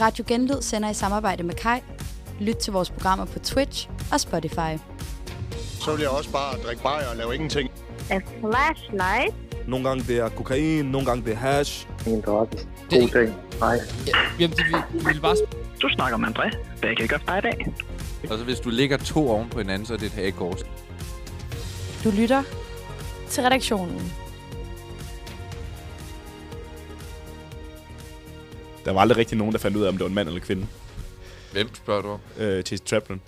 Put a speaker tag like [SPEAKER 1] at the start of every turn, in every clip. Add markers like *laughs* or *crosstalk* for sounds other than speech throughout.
[SPEAKER 1] Radio Genlyd sender i samarbejde med Kai. Lyt til vores programmer på Twitch og Spotify.
[SPEAKER 2] Så vil jeg også bare drikke bajer og lave ingenting.
[SPEAKER 3] A flashlight.
[SPEAKER 4] Nogle gange det er kokain, nogle gange det er hash.
[SPEAKER 5] Min drømme.
[SPEAKER 6] Det-
[SPEAKER 5] God ting. Nej.
[SPEAKER 6] Jamen, det vil- vil bare... sp-
[SPEAKER 7] Du snakker med André. Hvad kan jeg gøre for dig i dag?
[SPEAKER 8] Og så Altså, hvis du ligger to oven på hinanden, så er det et hagekors.
[SPEAKER 9] Du lytter til redaktionen.
[SPEAKER 4] Der var aldrig rigtig nogen, der fandt ud af, om det var en mand eller kvinde.
[SPEAKER 8] Hvem spørger du om?
[SPEAKER 4] Øh, Chase Chaplin.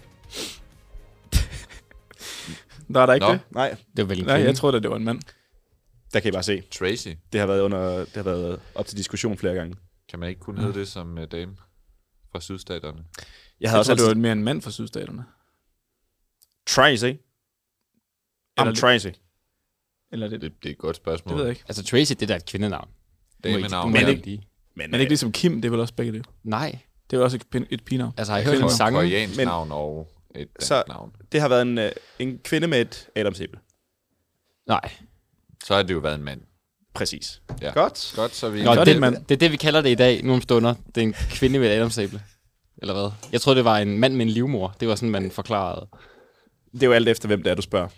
[SPEAKER 4] Der er der ikke
[SPEAKER 8] Nå.
[SPEAKER 4] det? Nej,
[SPEAKER 6] Det er vel en
[SPEAKER 4] Nej
[SPEAKER 6] kvinde.
[SPEAKER 4] jeg troede da, det var en mand. Der kan I bare se.
[SPEAKER 8] Tracy.
[SPEAKER 4] Det har været, under, det har været op til diskussion flere gange.
[SPEAKER 8] Kan man ikke kun hedde det som uh, dame fra sydstaterne?
[SPEAKER 4] Jeg
[SPEAKER 10] Jeg
[SPEAKER 4] havde
[SPEAKER 10] tror,
[SPEAKER 4] også
[SPEAKER 10] det var
[SPEAKER 4] altid...
[SPEAKER 10] mere en mand fra sydstaterne.
[SPEAKER 4] Tracy.
[SPEAKER 10] Eller
[SPEAKER 4] I'm
[SPEAKER 10] det-
[SPEAKER 4] Tracy.
[SPEAKER 10] Eller det, det,
[SPEAKER 8] Det, det er et godt spørgsmål.
[SPEAKER 10] det ved jeg ikke.
[SPEAKER 6] Altså, Tracy, det er da et kvindenavn. Det må I-
[SPEAKER 8] Damenavn.
[SPEAKER 6] det må
[SPEAKER 4] Men øh,
[SPEAKER 6] I
[SPEAKER 4] ikke-
[SPEAKER 6] lige.
[SPEAKER 10] Men ikke ligesom Kim, det er vel også begge det.
[SPEAKER 6] Nej.
[SPEAKER 10] Det er jo også et, pin- et pigenavn.
[SPEAKER 6] Altså, har I hørt en
[SPEAKER 8] Et
[SPEAKER 6] sang?
[SPEAKER 8] koreansk
[SPEAKER 4] Men-
[SPEAKER 8] navn og et dansk
[SPEAKER 4] Så-
[SPEAKER 8] så... navn.
[SPEAKER 4] det har været en, øh, en kvinde med et adamsæble.
[SPEAKER 6] Nej.
[SPEAKER 8] Så har det jo været en mand.
[SPEAKER 4] Præcis.
[SPEAKER 8] Ja.
[SPEAKER 4] Godt.
[SPEAKER 8] Godt, så er vi...
[SPEAKER 6] Nå,
[SPEAKER 10] Godt,
[SPEAKER 6] det,
[SPEAKER 10] mand.
[SPEAKER 6] det er det, vi kalder det i dag, nogle stunder. Det er en kvinde med et adamsæble. Eller hvad? Jeg troede, det var en mand med en livmor. Det var sådan, man forklarede.
[SPEAKER 4] Det er jo alt efter, hvem det er, du spørger.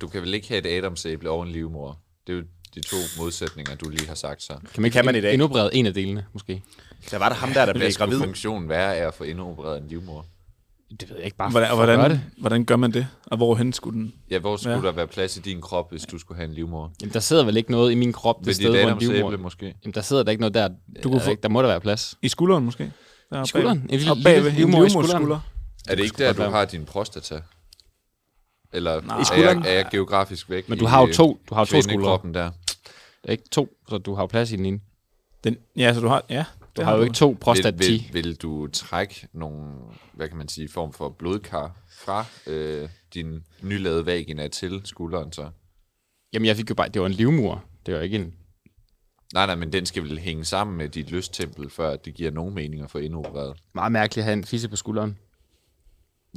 [SPEAKER 8] Du kan vel ikke have et adamsæble og en livmor? Det er jo de to modsætninger, du lige har sagt så.
[SPEAKER 6] Kan man,
[SPEAKER 4] kan man i dag.
[SPEAKER 6] indoperere en af delene, måske?
[SPEAKER 4] Der var der ham der, der blev
[SPEAKER 8] Hvad skulle
[SPEAKER 4] gravid.
[SPEAKER 8] funktionen være af at få indopereret en livmor?
[SPEAKER 6] Det ved jeg ikke bare.
[SPEAKER 10] Hvordan,
[SPEAKER 6] for at
[SPEAKER 10] hvordan,
[SPEAKER 6] gøre det.
[SPEAKER 10] hvordan gør man det? Og hvorhen skulle den?
[SPEAKER 8] Ja, hvor skulle
[SPEAKER 10] Ja.
[SPEAKER 8] ja. der være plads i din krop, hvis du skulle have en livmor?
[SPEAKER 6] Jamen, der sidder vel ikke noget i min krop,
[SPEAKER 8] Ved
[SPEAKER 6] det sted,
[SPEAKER 8] dit
[SPEAKER 6] hvor en livmor...
[SPEAKER 8] adamsæble måske?
[SPEAKER 6] Jamen, der sidder der ikke noget der.
[SPEAKER 10] Du
[SPEAKER 6] Du
[SPEAKER 10] kunne
[SPEAKER 6] kunne
[SPEAKER 10] få-
[SPEAKER 6] ikke, der må der være plads.
[SPEAKER 10] I skulderen måske? Der
[SPEAKER 6] I skulderen? En lille-
[SPEAKER 10] og bagved,
[SPEAKER 6] lille
[SPEAKER 10] en
[SPEAKER 6] livmoder i
[SPEAKER 10] livmoder
[SPEAKER 6] skulderen.
[SPEAKER 10] skulder.
[SPEAKER 8] Er det ikke
[SPEAKER 6] kunne
[SPEAKER 8] der,
[SPEAKER 6] godt
[SPEAKER 8] du
[SPEAKER 6] være.
[SPEAKER 8] har din prostata? Eller
[SPEAKER 10] Nej. I
[SPEAKER 8] er,
[SPEAKER 4] skulderen?
[SPEAKER 8] jeg, er jeg geografisk væk
[SPEAKER 6] Men du har jo
[SPEAKER 8] i,
[SPEAKER 6] to, du har jo
[SPEAKER 8] øh,
[SPEAKER 6] to skuldre.
[SPEAKER 8] kvindekroppen der?
[SPEAKER 6] Der er ikke to, så du har jo plads i den ene.
[SPEAKER 10] Den, ja, så du har... Ja,
[SPEAKER 6] Du har jo ikke to prostat 10.
[SPEAKER 8] Vil, vil, vil du trække nogle, hvad kan man sige, form for blodkar fra øh, din nylavede vagina til skulderen så?
[SPEAKER 6] Jamen, jeg fik jo bare, det var en livmur. Det var ikke en...
[SPEAKER 8] Nej, nej, men den skal vel hænge sammen med dit lysttempel, før det giver nogen mening at få indopereret.
[SPEAKER 6] Meget mærkeligt at have en fisse på skulderen.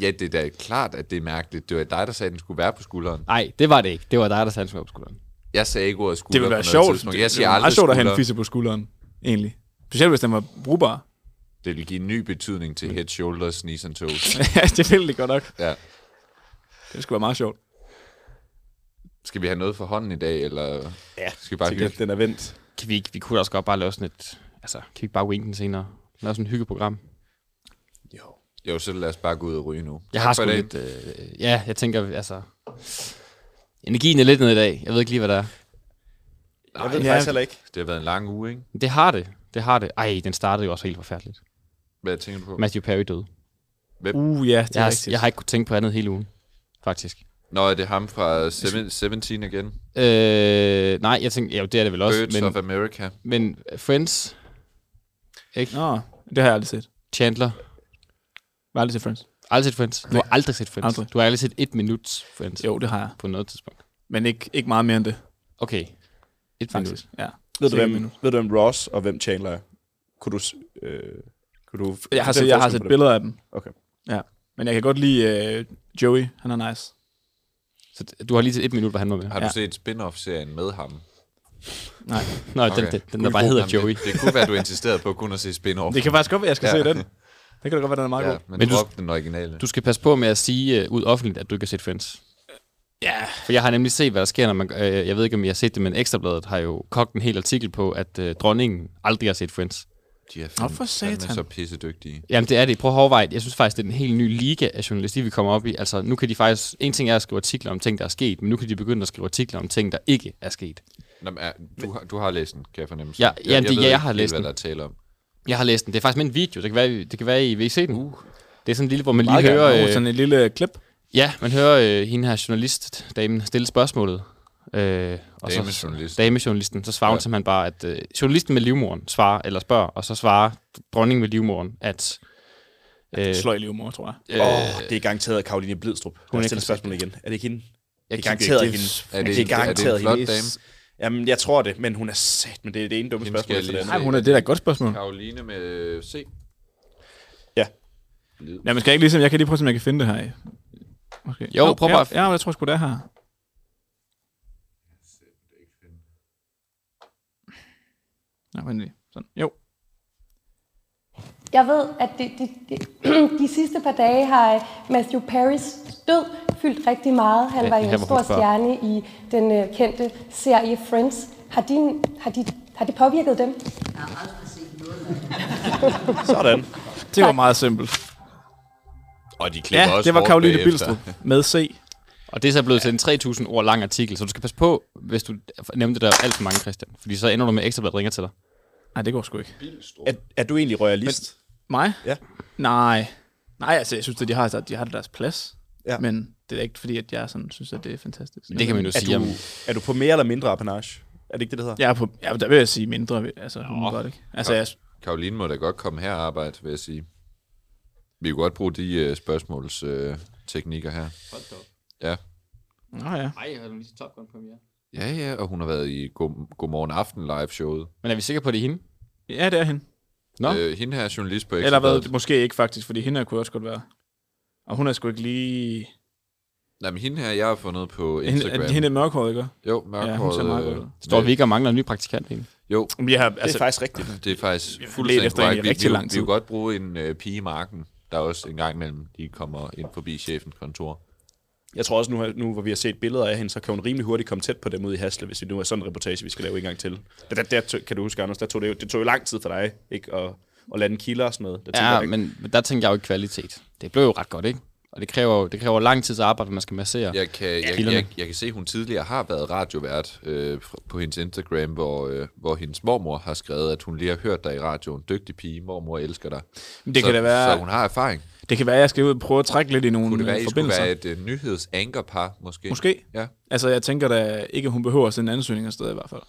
[SPEAKER 8] Ja, det er da klart, at det er mærkeligt. Det var dig, der sagde, at den skulle være på skulderen.
[SPEAKER 6] Nej, det var det ikke. Det var dig, der satte mig på skulderen.
[SPEAKER 8] Jeg sagde ikke ordet
[SPEAKER 10] Det
[SPEAKER 8] skulder
[SPEAKER 10] ville være
[SPEAKER 8] på noget
[SPEAKER 10] sjovt.
[SPEAKER 8] tidspunkt.
[SPEAKER 10] Det-
[SPEAKER 8] Jeg
[SPEAKER 10] Det
[SPEAKER 8] siger
[SPEAKER 10] er
[SPEAKER 8] aldrig
[SPEAKER 10] meget sjovt at have
[SPEAKER 8] skulder.
[SPEAKER 10] en fisse på skulderen, egentlig. Specielt hvis den var brugbar. *laughs*
[SPEAKER 8] Det vil give en ny betydning til head, shoulders, knees and toes.
[SPEAKER 10] Ja, det ville det godt nok.
[SPEAKER 8] Ja.
[SPEAKER 10] Det skulle være meget sjovt.
[SPEAKER 8] Skal vi have noget for hånden i dag, eller ja, skal vi bare
[SPEAKER 4] Tænk,
[SPEAKER 8] hygge?
[SPEAKER 4] at Den er vendt.
[SPEAKER 6] Kan vi ikke, vi kunne da også godt bare lave sådan et... Altså, kan vi ikke bare winke den senere? Lave sådan et hyggeprogram.
[SPEAKER 8] Jo, så lad os bare gå ud og ryge nu.
[SPEAKER 6] Jeg
[SPEAKER 8] Tak
[SPEAKER 6] har
[SPEAKER 8] for
[SPEAKER 6] sgu
[SPEAKER 8] i dag.
[SPEAKER 6] lidt... Øh, ja, jeg tænker, altså... Energien er lidt nede i dag. Jeg ved ikke lige, hvad der er.
[SPEAKER 4] Jeg ved
[SPEAKER 10] Ja.
[SPEAKER 4] ja. faktisk heller ikke.
[SPEAKER 8] Det har været en lang uge, ikke?
[SPEAKER 6] Men Det har det. Det har det. Ej, den startede jo også helt forfærdeligt.
[SPEAKER 8] Hvad tænker du på?
[SPEAKER 6] Matthew Perry døde.
[SPEAKER 10] Uh, ja, det
[SPEAKER 6] Jeg
[SPEAKER 10] er
[SPEAKER 6] har,
[SPEAKER 10] rigtigt.
[SPEAKER 6] jeg har ikke kunnet tænke på andet hele ugen, faktisk.
[SPEAKER 8] Nå, er det ham fra Seven- 17 igen?
[SPEAKER 6] Øh, nej, jeg tænkte, ja, det er det vel også.
[SPEAKER 8] Birds
[SPEAKER 6] men,
[SPEAKER 8] of America.
[SPEAKER 6] men øh, Friends, ikke?
[SPEAKER 10] Nå, det har jeg aldrig set.
[SPEAKER 6] Chandler,
[SPEAKER 10] Jeg har aldrig set Friends.
[SPEAKER 6] aldrig set Friends. Du har aldrig set Friends.
[SPEAKER 10] Aldrig.
[SPEAKER 6] Du har aldrig set et minut Friends
[SPEAKER 10] Jo, det har jeg.
[SPEAKER 6] på noget tidspunkt.
[SPEAKER 10] Men ikke, ikke meget mere end det,
[SPEAKER 6] Okay, et minut.
[SPEAKER 10] faktisk. Ja.
[SPEAKER 4] Ved du,
[SPEAKER 10] Sikke
[SPEAKER 4] hvem,
[SPEAKER 10] minut.
[SPEAKER 4] ved du, hvem Ross og hvem Chandler er? Kunne du... s- Øh, kunne du
[SPEAKER 10] Jeg har,
[SPEAKER 4] se,
[SPEAKER 10] set, jeg har set billeder af dem.
[SPEAKER 4] Okay.
[SPEAKER 10] Ja. Men jeg kan godt lide øh, Joey. Han er nice.
[SPEAKER 6] Så d- du har lige set et minut, hvor han var med.
[SPEAKER 8] Har du
[SPEAKER 10] Ja.
[SPEAKER 8] set spin-off-serien med ham?
[SPEAKER 10] Nej.
[SPEAKER 6] Nå, okay. den, den, den der bare hedder
[SPEAKER 8] Jamen,
[SPEAKER 6] Joey.
[SPEAKER 8] Det, det kunne være, du insisterede på kun at se spin-off.
[SPEAKER 10] Det kan faktisk godt være, jeg skal
[SPEAKER 8] Ja.
[SPEAKER 10] ja. se den. Det kan da godt være, den er meget ja.
[SPEAKER 8] ja,
[SPEAKER 10] god.
[SPEAKER 8] men,
[SPEAKER 6] Men
[SPEAKER 8] men
[SPEAKER 6] du-
[SPEAKER 8] drop den originale.
[SPEAKER 6] Du skal passe på med at sige øh, ud offentligt, at du ikke har set Friends.
[SPEAKER 10] Ja.
[SPEAKER 6] For jeg har nemlig set, hvad der sker, når man... Øh, jeg ved ikke, om I har set det, men Ekstrabladet har jo kogt en hel artikel på, at øh, dronningen aldrig har set Friends.
[SPEAKER 8] de er
[SPEAKER 10] Nå,
[SPEAKER 8] fandme,
[SPEAKER 10] for satan.
[SPEAKER 8] fandme så pissedygtige.
[SPEAKER 6] Jamen det er det. Prøv at overveje. det. Jeg synes faktisk, det er en helt ny liga af journalistik, vi kommer op i. Altså nu kan de faktisk... En ting er at skrive artikler om ting, der er sket, men nu kan de begynde at skrive artikler om ting, der ikke er sket.
[SPEAKER 8] Nå, men, er- du, har, du har læst den, kan jeg fornemme.
[SPEAKER 6] Ja, ja, det-
[SPEAKER 8] ved
[SPEAKER 6] ja, jeg
[SPEAKER 8] ikke
[SPEAKER 6] har
[SPEAKER 8] helt,
[SPEAKER 6] læst
[SPEAKER 8] hvad
[SPEAKER 6] den.
[SPEAKER 8] der er tale om.
[SPEAKER 6] Jeg har læst den. Det er faktisk med en video. Det kan være, det kan være I vil se den. Uh. Det er sådan en lille, hvor man lige
[SPEAKER 10] Meget gerne.
[SPEAKER 6] hører...
[SPEAKER 10] Oh,
[SPEAKER 6] Øh,
[SPEAKER 10] sådan et lille klip.
[SPEAKER 6] ja, man hører øh, hende her journalist, damen, stille spørgsmålet. Øh, og
[SPEAKER 8] Damejournalist.
[SPEAKER 6] Så, damejournalisten. Så svarer hun
[SPEAKER 8] Ja.
[SPEAKER 6] simpelthen bare, at øh, journalisten med livmoren svarer, eller spørger, og så svarer dronningen med livmoren, at... Øh,
[SPEAKER 10] Slå i livmor, tror jeg.
[SPEAKER 6] øh,
[SPEAKER 4] Åh, oh, det er garanteret Karoline Blidstrup. Hun
[SPEAKER 6] ikke
[SPEAKER 4] har stillet
[SPEAKER 6] set
[SPEAKER 4] spørgsmål igen. Er det ikke hende?
[SPEAKER 6] jeg
[SPEAKER 4] det er
[SPEAKER 6] kan ikke-
[SPEAKER 4] garanteret
[SPEAKER 6] det-
[SPEAKER 4] hende.
[SPEAKER 8] Er det
[SPEAKER 4] det
[SPEAKER 8] en-
[SPEAKER 4] er
[SPEAKER 8] er det en
[SPEAKER 4] garanteret
[SPEAKER 8] flot
[SPEAKER 4] hende. Jamen, jeg tror det, men hun er sat, men det er det ene dumme
[SPEAKER 8] Hende skal
[SPEAKER 4] spørgsmål efter det
[SPEAKER 8] jeg lige
[SPEAKER 10] Nej,
[SPEAKER 4] andet.
[SPEAKER 8] se.
[SPEAKER 10] hun er, det er da et godt spørgsmål.
[SPEAKER 8] Karoline med øh, C.
[SPEAKER 4] Ja.
[SPEAKER 8] Blid.
[SPEAKER 10] Ja, men skal jeg ikke ligesom, jeg kan lige prøve, at se, om jeg kan finde det her. i- Måske.
[SPEAKER 6] Jo,
[SPEAKER 10] Nå,
[SPEAKER 6] prøv
[SPEAKER 10] ja,
[SPEAKER 6] bare at-
[SPEAKER 10] Ja, men jeg tror sgu, det er her. Nå, vent lige. Sådan. Jo.
[SPEAKER 5] Jeg ved, at de, de, de, *clears throat* de sidste par dage har øh, Matthew Perrys død fyldt rigtig meget. Han
[SPEAKER 6] Ja,
[SPEAKER 5] var jo
[SPEAKER 6] her
[SPEAKER 5] en
[SPEAKER 6] var
[SPEAKER 5] stor
[SPEAKER 6] hun før.
[SPEAKER 5] stjerne i den øh, kendte serie Friends. Har, din, har, de, har det påvirket dem?
[SPEAKER 4] Sådan.
[SPEAKER 10] Det var meget simpelt.
[SPEAKER 8] Og de klipper
[SPEAKER 10] Ja,
[SPEAKER 8] også
[SPEAKER 10] det var
[SPEAKER 8] bort
[SPEAKER 10] Karoline
[SPEAKER 8] bagefter.
[SPEAKER 10] Bilstrup med C.
[SPEAKER 6] Og det er så blevet til en 3.000 ord lang artikel, så du skal passe på, hvis du nævnte der alt for mange, Christian. Fordi så ender du med at ekstra, der ringer til dig.
[SPEAKER 10] Nej, det går sgu ikke.
[SPEAKER 4] Er, er du egentlig royalist?
[SPEAKER 10] Mig?
[SPEAKER 4] Ja.
[SPEAKER 10] Nej. Nej, altså, jeg synes, at de har, at de har deres plads.
[SPEAKER 4] Ja.
[SPEAKER 10] Men det er da ikke fordi, at jeg sådan, synes, at det er fantastisk.
[SPEAKER 6] Det kan man jo
[SPEAKER 4] er,
[SPEAKER 6] sige.
[SPEAKER 4] du,
[SPEAKER 6] Jamen,
[SPEAKER 4] er du på mere eller mindre apanage? Er det ikke det, det hedder?
[SPEAKER 10] Jeg er på, ja, der vil jeg sige mindre, altså hun godt, ikke? Altså, jeg,
[SPEAKER 8] Karoline må da godt komme her og arbejde, vil jeg sige. Vi kan godt bruge de øh, spørgsmålsteknikker øh, teknikker her. Ja.
[SPEAKER 10] nå ja.
[SPEAKER 6] Ej, har du lige Top Gun premiere?
[SPEAKER 8] ja, ja, og hun har været i Go- Godmorgen Aften live-showet.
[SPEAKER 6] Men er vi sikre på, at det er hende?
[SPEAKER 10] Ja, det er hende.
[SPEAKER 6] Nå.
[SPEAKER 8] Øh, hende her er journalist på
[SPEAKER 10] Eller
[SPEAKER 8] Ekstra
[SPEAKER 10] hvad,
[SPEAKER 8] Bladet.
[SPEAKER 10] det måske ikke faktisk, fordi hende her kunne også godt være. Og hun er sgu ikke lige...
[SPEAKER 8] Nej, men hende her, jeg har fundet på Instagram.
[SPEAKER 10] Hende, hende er mørkhåret, ikke?
[SPEAKER 8] Jo,
[SPEAKER 10] Ja, hun ser meget
[SPEAKER 8] mørkhåret.
[SPEAKER 10] godt
[SPEAKER 8] øh,
[SPEAKER 10] ud.
[SPEAKER 6] Står
[SPEAKER 8] med-
[SPEAKER 6] vi ikke og mangler en ny praktikant egentlig?
[SPEAKER 8] Jo,
[SPEAKER 10] Men jeg har,
[SPEAKER 4] Altså, det er
[SPEAKER 10] altså,
[SPEAKER 4] faktisk rigtigt.
[SPEAKER 8] det er faktisk
[SPEAKER 10] Lidt
[SPEAKER 8] fuldstændig
[SPEAKER 10] efter en i
[SPEAKER 8] korrekt. Vi,
[SPEAKER 10] rigtig
[SPEAKER 8] vi, vi,
[SPEAKER 10] lang
[SPEAKER 8] vi
[SPEAKER 10] tid.
[SPEAKER 8] kunne godt bruge en øh, pige i marken, der også en gang imellem lige kommer ind forbi chefens kontor.
[SPEAKER 4] Jeg tror også, nu, her- nu hvor vi har set billeder af hende, så kan hun rimelig hurtigt komme tæt på dem ude i Hasle, hvis det nu er sådan en reportage, vi skal lave en gang til. Der, der, der tog- kan du huske, Anders, der tog det, jo, det tog jo lang tid for dig ikke? At, at lande kilder og sådan noget. Der tænker
[SPEAKER 6] Ja,
[SPEAKER 4] jeg,
[SPEAKER 6] men men der tænker jeg jo ikke kvalitet. Det blev jo ret godt, ikke? Og det kræver, jo- det kræver lang tids arbejde, at man skal massere.
[SPEAKER 8] Jeg kan, jeg,
[SPEAKER 6] Kilderne.
[SPEAKER 8] jeg, jeg kan se, at hun tidligere har været radiovært øh, fr- på hendes Instagram, hvor, øh, hvor hendes mormor har skrevet, at hun lige har hørt dig i radioen. Dygtig pige, mormor elsker dig.
[SPEAKER 10] Men det
[SPEAKER 8] så,
[SPEAKER 10] kan da være-
[SPEAKER 8] Så hun har erfaring.
[SPEAKER 10] det kan være, at jeg skal ud og prøve at trække lidt i nogle
[SPEAKER 8] Kunne det være,
[SPEAKER 10] øh,
[SPEAKER 8] I skulle
[SPEAKER 10] forbindelser.
[SPEAKER 8] være et øh, nyhedsankerpar, måske?
[SPEAKER 10] Måske.
[SPEAKER 8] Ja.
[SPEAKER 10] Altså, jeg tænker da ikke, at hun behøver at sende en ansøgning afsted i hvert fald.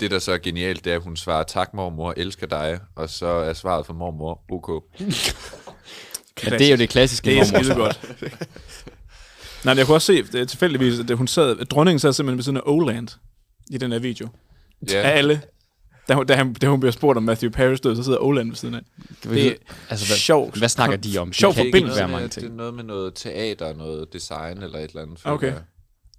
[SPEAKER 8] Det, der så er genialt, det er, at hun svarer, tak mormor, elsker dig, og så er svaret fra mormor, ok.
[SPEAKER 6] Men det er jo det klassiske
[SPEAKER 10] Det er
[SPEAKER 6] mormor.
[SPEAKER 10] skide godt. *laughs* Nej, men jeg kunne også se det, er tilfældigvis, at det- hun sad, at dronningen sad simpelthen ved siden af Oland i den her video. Ja. Af alle. Da hun, da, han, da hun bliver spurgt om Matthew Paris død, så sidder Oland ved siden af.
[SPEAKER 6] Det,
[SPEAKER 10] Det
[SPEAKER 6] altså, hvad,
[SPEAKER 10] sjovt.
[SPEAKER 6] hvad snakker de om? Det
[SPEAKER 10] Sjov
[SPEAKER 6] kan ikke
[SPEAKER 10] forbindelse.
[SPEAKER 6] være
[SPEAKER 8] noget
[SPEAKER 6] mange
[SPEAKER 8] med,
[SPEAKER 6] ting.
[SPEAKER 8] Det er noget med noget teater, noget design eller et eller andet. føler
[SPEAKER 10] Okay.
[SPEAKER 8] jeg.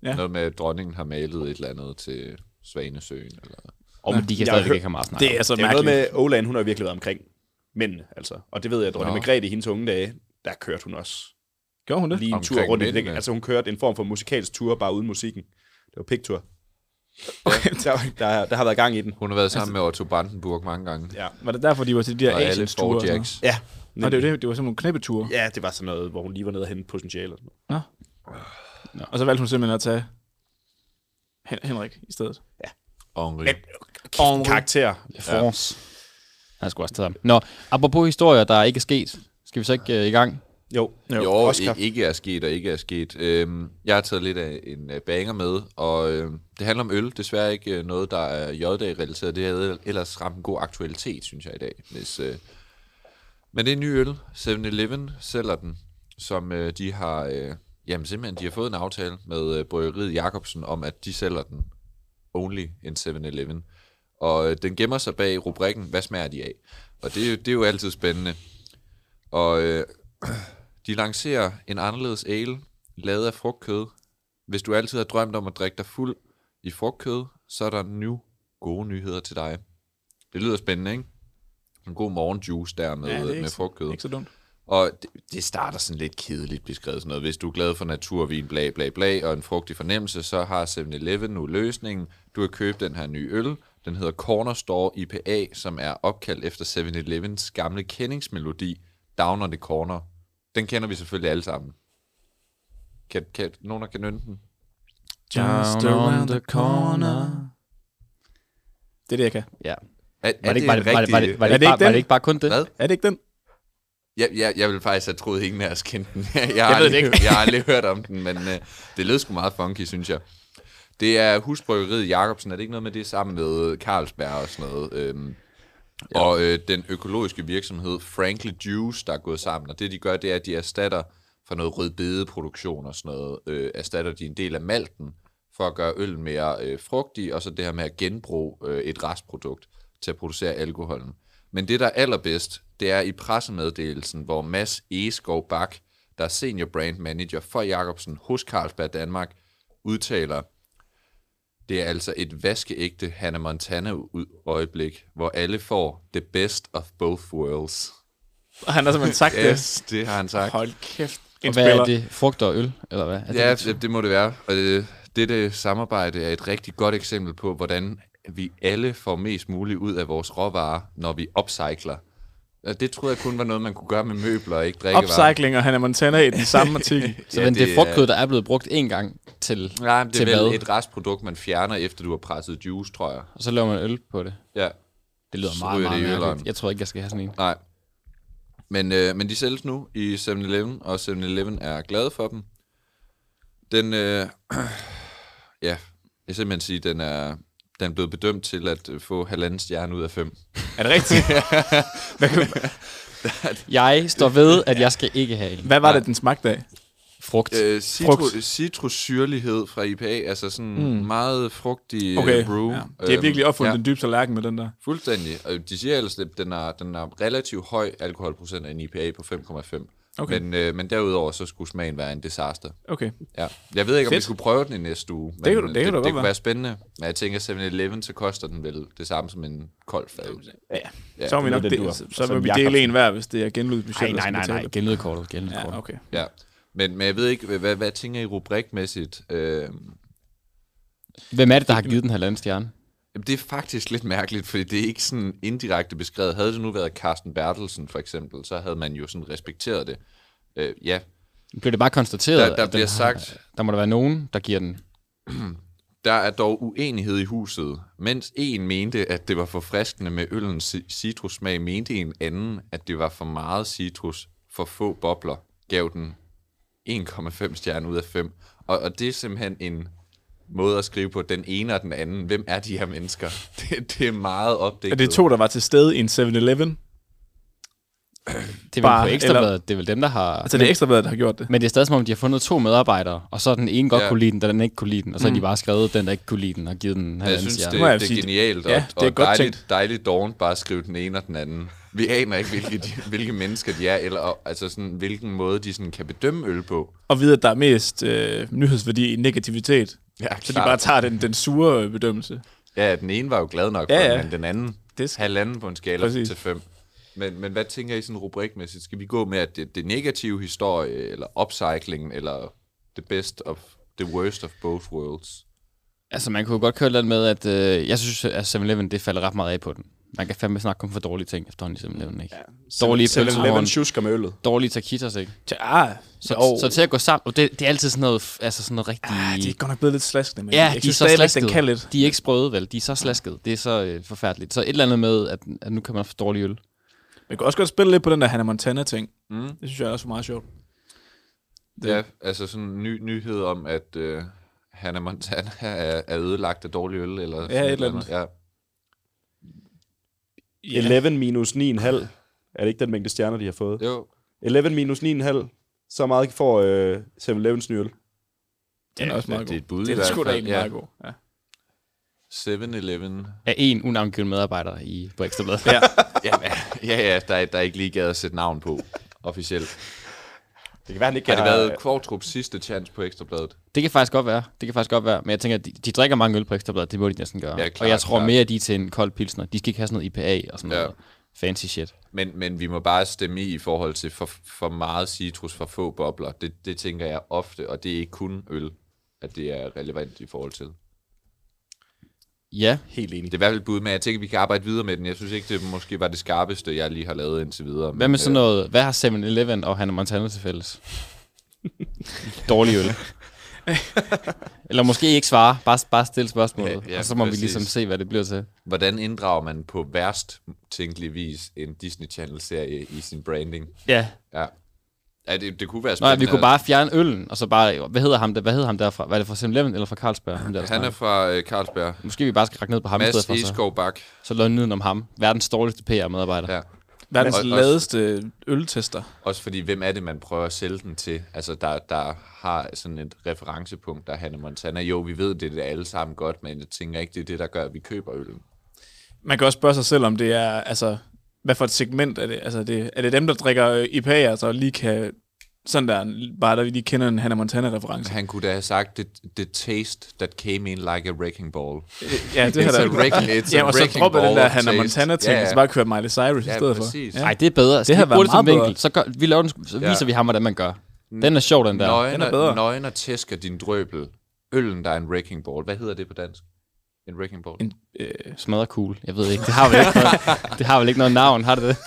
[SPEAKER 10] Ja.
[SPEAKER 8] Noget med, at dronningen har malet et eller andet til Svanesøen. Eller...
[SPEAKER 6] Og men de kan
[SPEAKER 4] Jeg
[SPEAKER 6] stadigvæk
[SPEAKER 4] hører-
[SPEAKER 6] ikke have meget at snakke
[SPEAKER 10] Det er
[SPEAKER 6] om.
[SPEAKER 10] altså
[SPEAKER 4] det er jo noget
[SPEAKER 10] mærkeligt.
[SPEAKER 4] med, Olan, hun har jo virkelig været omkring mænd, altså. Og det ved jeg, at dronning
[SPEAKER 8] Nå.
[SPEAKER 4] Margrethe i hendes unge dage, der kørte hun også
[SPEAKER 10] Gjorde hun det?
[SPEAKER 4] lige en tur
[SPEAKER 8] Omkring
[SPEAKER 4] rundt i det.
[SPEAKER 8] mændene.
[SPEAKER 4] Altså hun kørte en form for musikalsk tur, bare uden musikken. Det var
[SPEAKER 10] *laughs*
[SPEAKER 4] pigtur. Der, der, der har været gang i den.
[SPEAKER 8] Hun har været sammen altså... med Otto Brandenburg mange gange.
[SPEAKER 4] Ja.
[SPEAKER 10] Var det derfor, de var til de der
[SPEAKER 8] og alle
[SPEAKER 10] Asiens-ture? Og sådan noget?
[SPEAKER 8] Jacks.
[SPEAKER 4] Ja,
[SPEAKER 10] Nå, det var det. Det var sådan nogle knæppeture.
[SPEAKER 4] Ja, det var sådan noget, hvor hun lige var nede og hente potentiale. Og sådan noget.
[SPEAKER 10] Og så valgte hun simpelthen at tage Hen- Henrik i stedet.
[SPEAKER 8] Henri.
[SPEAKER 4] Kæft, øh, karakter.
[SPEAKER 6] France. Han skulle også tage ham. Nå, apropos historier, der ikke er sket. Skal vi så ikke øh, i gang?
[SPEAKER 4] Jo,
[SPEAKER 8] Jo,
[SPEAKER 4] jo.
[SPEAKER 8] Oscar.
[SPEAKER 4] Oscar.
[SPEAKER 8] ikke er sket og ikke er sket. Øhm, jeg har taget lidt af en øh, banger med, og øhm, det handler om øl. Desværre ikke øh, noget, der er J-dag-relateret. Det havde ellers ramt en god aktualitet, synes jeg i dag. Hvis, øh... Men det er en ny øl. 7-Eleven sælger den, som øh, de har... Øh... Jamen simpelthen, de har fået en aftale med øh, bryggeriet Jacobsen om, at de sælger den only in 7-Eleven. Og øh, den gemmer sig bag rubrikken, hvad smager de af? Og det, er jo- det er jo altid spændende. Og øh, *clears throat* de lancerer en anderledes ale, lavet af frugtkød. Hvis du altid har drømt om at drikke dig fuld i frugtkød, så er der nu gode nyheder til dig. Det lyder spændende, ikke? En god morgenjuice der med,
[SPEAKER 10] Ja, det er
[SPEAKER 8] ja,
[SPEAKER 10] ikke
[SPEAKER 8] med
[SPEAKER 10] så-
[SPEAKER 8] frugtkød.
[SPEAKER 10] Ikke så dumt.
[SPEAKER 8] Og det, det starter sådan lidt kedeligt beskrevet sådan noget. Hvis du er glad for naturvin, bla bla bla, og en frugtig fornemmelse, så har 7-Eleven nu løsningen. Du kan købe den her nye øl. Den hedder Corner Store IPA, som er opkaldt efter 7-Elevens gamle kendingsmelodi, Down on the Corner. Den kender vi selvfølgelig alle sammen. Kan, kan, nogen der kan nynde den?
[SPEAKER 10] Just around the corner. Det er det, jeg kan.
[SPEAKER 6] Ja.
[SPEAKER 8] Er,
[SPEAKER 6] Var det ikke- var det- var det- var det- var
[SPEAKER 10] Er
[SPEAKER 6] det
[SPEAKER 10] det
[SPEAKER 6] ikke bare-
[SPEAKER 10] ikke
[SPEAKER 6] var
[SPEAKER 10] den?
[SPEAKER 6] det ikke bare kun det?
[SPEAKER 8] Hvad?
[SPEAKER 10] Er det ikke den?
[SPEAKER 8] Jeg, jeg, jeg ville faktisk have troet, at ingen af os kendte den. *laughs* jeg, har jeg, aldrig, ikke. jeg har aldrig hørt om den, men øh, det lød sgu meget funky, synes jeg. Det er husbryggeriet Jacobsen. Er det ikke noget med det sammen med Carlsberg og sådan noget? Øhm, ja. Og øh, den økologiske virksomhed Frankly Juice, der er gået sammen. Og det, de gør, det er, at de erstatter for noget rødbedeproduktion og sådan noget, øh, erstatter de en del af malten for at gøre øl mere øh, frugtig, og så det her med at genbruge øh, et restprodukt til at producere alkoholen. Men det, der er allerbedst, det er i pressemeddelelsen, hvor Mads Egeskov Bak, der er senior brand manager for Jacobsen hos Carlsberg Danmark, udtaler, det er altså et vaskeægte Hannah Montana-øjeblik, hvor alle får the best of both worlds.
[SPEAKER 10] Og han har simpelthen sagt
[SPEAKER 8] Yes, det har han sagt.
[SPEAKER 10] Hold kæft.
[SPEAKER 6] Og hvad er det? Frugt og øl, eller hvad? Er
[SPEAKER 8] Ja,
[SPEAKER 6] det,
[SPEAKER 8] det, det må det være. Og det, dette samarbejde er et rigtig godt eksempel på, hvordan vi alle får mest muligt ud af vores råvarer, når vi upcycler. Og det troede jeg kun var noget, man kunne gøre med møbler og ikke drikkevarer.
[SPEAKER 10] Upcycling og Hannah Montana i den samme artikel.
[SPEAKER 6] så men det, er frugtkød, der er blevet brugt én gang til,
[SPEAKER 8] Nej, men det
[SPEAKER 6] til
[SPEAKER 8] er
[SPEAKER 6] hvad?
[SPEAKER 8] vel et restprodukt, man fjerner, efter du har presset juice, tror jeg.
[SPEAKER 6] Og så laver man øl på det.
[SPEAKER 8] Ja.
[SPEAKER 6] Det lyder
[SPEAKER 8] Så
[SPEAKER 6] meget,
[SPEAKER 8] ryger
[SPEAKER 6] meget
[SPEAKER 8] det i
[SPEAKER 6] mærkeligt.
[SPEAKER 8] øleren.
[SPEAKER 6] Jeg tror ikke, jeg skal have sådan en.
[SPEAKER 8] Nej. Men, øh, men de sælges nu i 7-Eleven, og 7-Eleven er glad for dem. Den, øh, *clears throat* ja, jeg vil simpelthen sige, den er, den er blevet bedømt til at øh, få halvanden stjerne ud af fem.
[SPEAKER 10] Er det
[SPEAKER 6] *laughs*
[SPEAKER 10] rigtigt? Hvad kan-
[SPEAKER 6] Jeg står ved, at jeg skal ikke have en.
[SPEAKER 10] Hvad var det, den smagte af?
[SPEAKER 6] Frugt.
[SPEAKER 8] Øh,
[SPEAKER 10] Frugt.
[SPEAKER 8] citru, citrussyrlighed fra IPA, altså sådan mm. meget frugtig øh,
[SPEAKER 10] Okay.
[SPEAKER 8] brew.
[SPEAKER 10] Ja. De har
[SPEAKER 8] Øhm,
[SPEAKER 10] virkelig opfundet
[SPEAKER 8] ja.
[SPEAKER 10] den dybe tallerken med den der.
[SPEAKER 8] Fuldstændig. Og de siger ellers, at den er, den er relativt høj alkoholprocent af en IPA på 5,5.
[SPEAKER 10] Okay.
[SPEAKER 8] Men, øh, men derudover, så skulle smagen være en disaster.
[SPEAKER 10] Okay.
[SPEAKER 8] Ja. Jeg ved ikke, om
[SPEAKER 10] Fedt.
[SPEAKER 8] vi skulle prøve den i næste uge. Men
[SPEAKER 10] kan du- det kan
[SPEAKER 8] det,
[SPEAKER 10] da godt
[SPEAKER 8] det kunne
[SPEAKER 10] være.
[SPEAKER 8] være spændende. Men jeg tænker, 7-Eleven, så koster den vel det samme som en kold fad. Ja,
[SPEAKER 10] så må vi
[SPEAKER 4] det er
[SPEAKER 10] nok
[SPEAKER 4] den, du har-
[SPEAKER 10] det, så
[SPEAKER 4] som
[SPEAKER 10] vil vi
[SPEAKER 4] Jakob-
[SPEAKER 10] dele en hver, hvis det er genlydbudget.
[SPEAKER 6] Altså Nej, nej, nej, nej. Genlydkortet,
[SPEAKER 10] Ja,
[SPEAKER 6] genlydkortet.
[SPEAKER 10] okay.
[SPEAKER 8] Ja. Men, men jeg ved ikke, hvad, hvad, hvad tænker I rubrikmæssigt? Øh,
[SPEAKER 6] Hvem er det, der har givet den halvanden stjerne?
[SPEAKER 8] jamen, det er faktisk lidt mærkeligt, fordi det er ikke sådan indirekte beskrevet. Havde det nu været Carsten Bertelsen for eksempel, så havde man jo sådan respekteret det. Øh, ja,
[SPEAKER 6] Bliver det bare konstateret?
[SPEAKER 8] Der- der
[SPEAKER 6] at den
[SPEAKER 8] bliver
[SPEAKER 6] har-
[SPEAKER 8] sagt-
[SPEAKER 6] Der må der være nogen, der giver den.
[SPEAKER 8] Der er dog uenighed i huset. Mens en mente, at det var forfriskende med øllens ci- citrussmag, mente en anden, at det var for meget citrus, for få bobler, gav den 1,5 stjerne ud af 5. Og, og det er simpelthen en måde at skrive på den ene og den anden. Hvem er de her mennesker? *laughs* Det, det er meget opdækket.
[SPEAKER 10] Er det to, der var til stede i en 7-Eleven?
[SPEAKER 6] Det er
[SPEAKER 10] Bare-
[SPEAKER 6] vel på
[SPEAKER 10] eller-
[SPEAKER 6] ekstrabladet, det er vel dem, der har...
[SPEAKER 10] Altså, det er ekstrabladet, der har gjort det.
[SPEAKER 6] Men det er stadig som om, de har fundet to medarbejdere, og så har den ene godt
[SPEAKER 8] Ja.
[SPEAKER 6] ja. kunne lide den, og den anden ikke kunne lide den, og så
[SPEAKER 10] Mm.
[SPEAKER 6] har de bare skrevet den, der ikke kunne lide den, og givet den
[SPEAKER 8] Jeg
[SPEAKER 6] halvanden
[SPEAKER 8] synes, det,
[SPEAKER 6] stjerne.
[SPEAKER 10] Nu må jeg
[SPEAKER 8] det
[SPEAKER 10] sige,
[SPEAKER 8] er genialt, og,
[SPEAKER 10] ja, det er
[SPEAKER 8] og
[SPEAKER 10] godt
[SPEAKER 8] dejligt,
[SPEAKER 10] tænkt.
[SPEAKER 8] dejligt dovent bare at skrive den ene og den anden. Vi aner ikke, hvilke, de, hvilke mennesker de er, eller altså sådan, hvilken måde de sådan kan bedømme øl på.
[SPEAKER 10] Og vide, at der er mest øh, nyhedsværdi i negativitet.
[SPEAKER 8] Ja,
[SPEAKER 10] Så de bare tager den, den sure øh, bedømmelse.
[SPEAKER 8] Ja, den ene var jo glad nok
[SPEAKER 10] Ja,
[SPEAKER 8] ja, for
[SPEAKER 10] ja.
[SPEAKER 8] den, men den anden
[SPEAKER 10] Det
[SPEAKER 8] det
[SPEAKER 10] skal-
[SPEAKER 8] skal... halvanden på en skala
[SPEAKER 10] Præcis.
[SPEAKER 8] Præcis. til fem. Men, men hvad tænker I sådan rubrikmæssigt? Skal vi gå med, at det, det negative historie, eller upcycling, eller the best of the worst of both worlds?
[SPEAKER 6] Altså, man kunne jo godt køre lidt med, at øh, jeg synes, at 7-Eleven, det falder ret meget af på den. Man kan fandme snakke om for dårlige ting efterhånden i 7-Eleven, ikke? Ja. Dårlige
[SPEAKER 4] 7-Eleven
[SPEAKER 6] pølsehorn,
[SPEAKER 4] tjusker med øllet.
[SPEAKER 6] dårlige taquitos, ikke?
[SPEAKER 10] Ja,
[SPEAKER 6] Så, oh. så til at gå sammen, og det, det er altid sådan noget, f- altså sådan noget rigtig...
[SPEAKER 10] Ah, de er godt nok blevet lidt slaskende, men
[SPEAKER 6] Ja,
[SPEAKER 10] jeg
[SPEAKER 6] de er
[SPEAKER 10] synes
[SPEAKER 6] så
[SPEAKER 10] stadigvæk,
[SPEAKER 6] slaskede.
[SPEAKER 10] den kan lidt.
[SPEAKER 6] De er ikke sprøde, vel? De er så slaskede. Det er så øh, forfærdeligt. Så et eller andet med, at, at nu kan man få dårlig øl.
[SPEAKER 10] Man kan også godt spille lidt på den der Hannah Montana-ting. Mm. Det synes jeg også er meget sjovt.
[SPEAKER 8] Det. Ja, altså sådan en ny nyhed om, at øh, Hannah Montana *laughs* er, er ødelagt af dårlig øl, eller sådan
[SPEAKER 10] et eller andet.
[SPEAKER 8] Ja.
[SPEAKER 4] 11 minus 9,5. Er det ikke den mængde stjerner, de har fået?
[SPEAKER 8] Jo,
[SPEAKER 4] 11 minus 9,5. Så meget får øh, 7-Elevens nye øl.
[SPEAKER 10] Den er også meget
[SPEAKER 8] det er
[SPEAKER 10] god.
[SPEAKER 8] et bud i
[SPEAKER 10] Den er
[SPEAKER 8] hvert
[SPEAKER 10] sgu da
[SPEAKER 8] fald,
[SPEAKER 10] egentlig
[SPEAKER 8] ja.
[SPEAKER 10] meget god. Ja.
[SPEAKER 8] 7-Eleven.
[SPEAKER 6] Af en unavngiven medarbejder i, på Ekstrabladet.
[SPEAKER 10] Ja.
[SPEAKER 8] *laughs* ja, ja, ja, der er, der er ikke lige gad at sætte navn på, officielt.
[SPEAKER 4] Det kan være, han ikke
[SPEAKER 8] Har det
[SPEAKER 4] har-
[SPEAKER 8] været Kvartrups sidste chance på Ekstrabladet?
[SPEAKER 6] *laughs* Det kan faktisk godt være. Det kan faktisk godt være. Men jeg tænker, at de, de drikker mange øl på Ekstrabladet. Det må de næsten gøre.
[SPEAKER 8] Ja, klart,
[SPEAKER 6] og jeg tror
[SPEAKER 8] klart.
[SPEAKER 6] mere, de er til en kold pilsner. De skal ikke have sådan noget IPA og sådan
[SPEAKER 8] Ja.
[SPEAKER 6] noget fancy shit.
[SPEAKER 8] Men, men vi må bare stemme i i forhold til for, for meget citrus, for få bobler. Det, det tænker jeg ofte, og det er ikke kun øl, at det er relevant i forhold til.
[SPEAKER 6] Ja,
[SPEAKER 4] Helt enig.
[SPEAKER 8] Det er i hvert fald et bud, men jeg tænker, vi kan arbejde videre med den. Jeg synes ikke, det måske var det skarpeste, jeg lige har lavet indtil videre. øh,
[SPEAKER 6] hvad med sådan noget? Hvad har 7-Eleven og Hannah Montana til fælles? Dårlig øl. Eller måske ikke svare. Bare, bare stille spørgsmålet.
[SPEAKER 8] Ja, ja,
[SPEAKER 6] og så må vi
[SPEAKER 8] præcis.
[SPEAKER 6] ligesom se, hvad det bliver til.
[SPEAKER 8] Hvordan inddrager man på værst tænkelig vis en Disney Channel-serie i sin branding?
[SPEAKER 6] Ja.
[SPEAKER 8] Ja, ja det, det kunne
[SPEAKER 6] Nå,
[SPEAKER 8] være
[SPEAKER 6] ja,
[SPEAKER 8] spændende.
[SPEAKER 6] vi kunne bare fjerne øllen, og så bare... Hvad hedder ham, der, hvad hedder ham derfra? Var det fra 7-Eleven eller fra Carlsberg? Ham der, der
[SPEAKER 8] Han er
[SPEAKER 6] snakker?
[SPEAKER 8] fra øh, Carlsberg.
[SPEAKER 6] Måske vi bare skal række ned på ham i stedet
[SPEAKER 8] Mads
[SPEAKER 6] for, så,
[SPEAKER 8] Eskov Bak.
[SPEAKER 6] så løn nyden om ham. Verdens dårligste PR-medarbejder.
[SPEAKER 8] Ja.
[SPEAKER 10] Verdens
[SPEAKER 8] Og-
[SPEAKER 10] ladeste øltester.
[SPEAKER 8] Også fordi, hvem er det, man prøver at sælge den til? Altså, der, der har sådan et referencepunkt, der er Hannah Montana. Jo, vi ved det, det er alle sammen godt, men jeg tænker ikke, det er det, der gør, at vi køber øllen.
[SPEAKER 10] Man kan også spørge sig selv, om det er, altså, hvad for et segment er det? Altså, det, er det dem, der drikker øh, IPA, altså, og lige kan Sådan der, bare der vi lige kender en Hannah Montana-reference.
[SPEAKER 8] Han kunne da have sagt, the, the taste that came in like a wrecking ball.
[SPEAKER 10] Ja, det har
[SPEAKER 8] it's
[SPEAKER 10] der
[SPEAKER 8] a wrecking, it's
[SPEAKER 10] ja,
[SPEAKER 8] a
[SPEAKER 10] og så
[SPEAKER 8] wrecking
[SPEAKER 10] droppede
[SPEAKER 8] ball
[SPEAKER 10] den der Hannah
[SPEAKER 8] taste.
[SPEAKER 10] Montana-ting, yeah. og så bare kørte Miley Cyrus
[SPEAKER 8] Ja,
[SPEAKER 10] i stedet
[SPEAKER 8] præcis.
[SPEAKER 10] for.
[SPEAKER 8] Ja.
[SPEAKER 6] Nej, det er bedre.
[SPEAKER 10] Det har været meget bedre.
[SPEAKER 6] Så, gør, vi laver den, så
[SPEAKER 8] Ja.
[SPEAKER 6] viser ja. vi ham, hvordan man gør. Den er sjov, den der.
[SPEAKER 8] Nøgen,
[SPEAKER 10] Den er bedre.
[SPEAKER 8] nøgen og tæsker din drøbel. Øllen, der er en wrecking ball. Hvad hedder det på dansk? En wrecking ball.
[SPEAKER 10] En, øh,
[SPEAKER 6] Smadrer cool. Jeg ved ikke. Det har vel ikke
[SPEAKER 8] *laughs*
[SPEAKER 6] noget, det har vel ikke noget navn, har det det?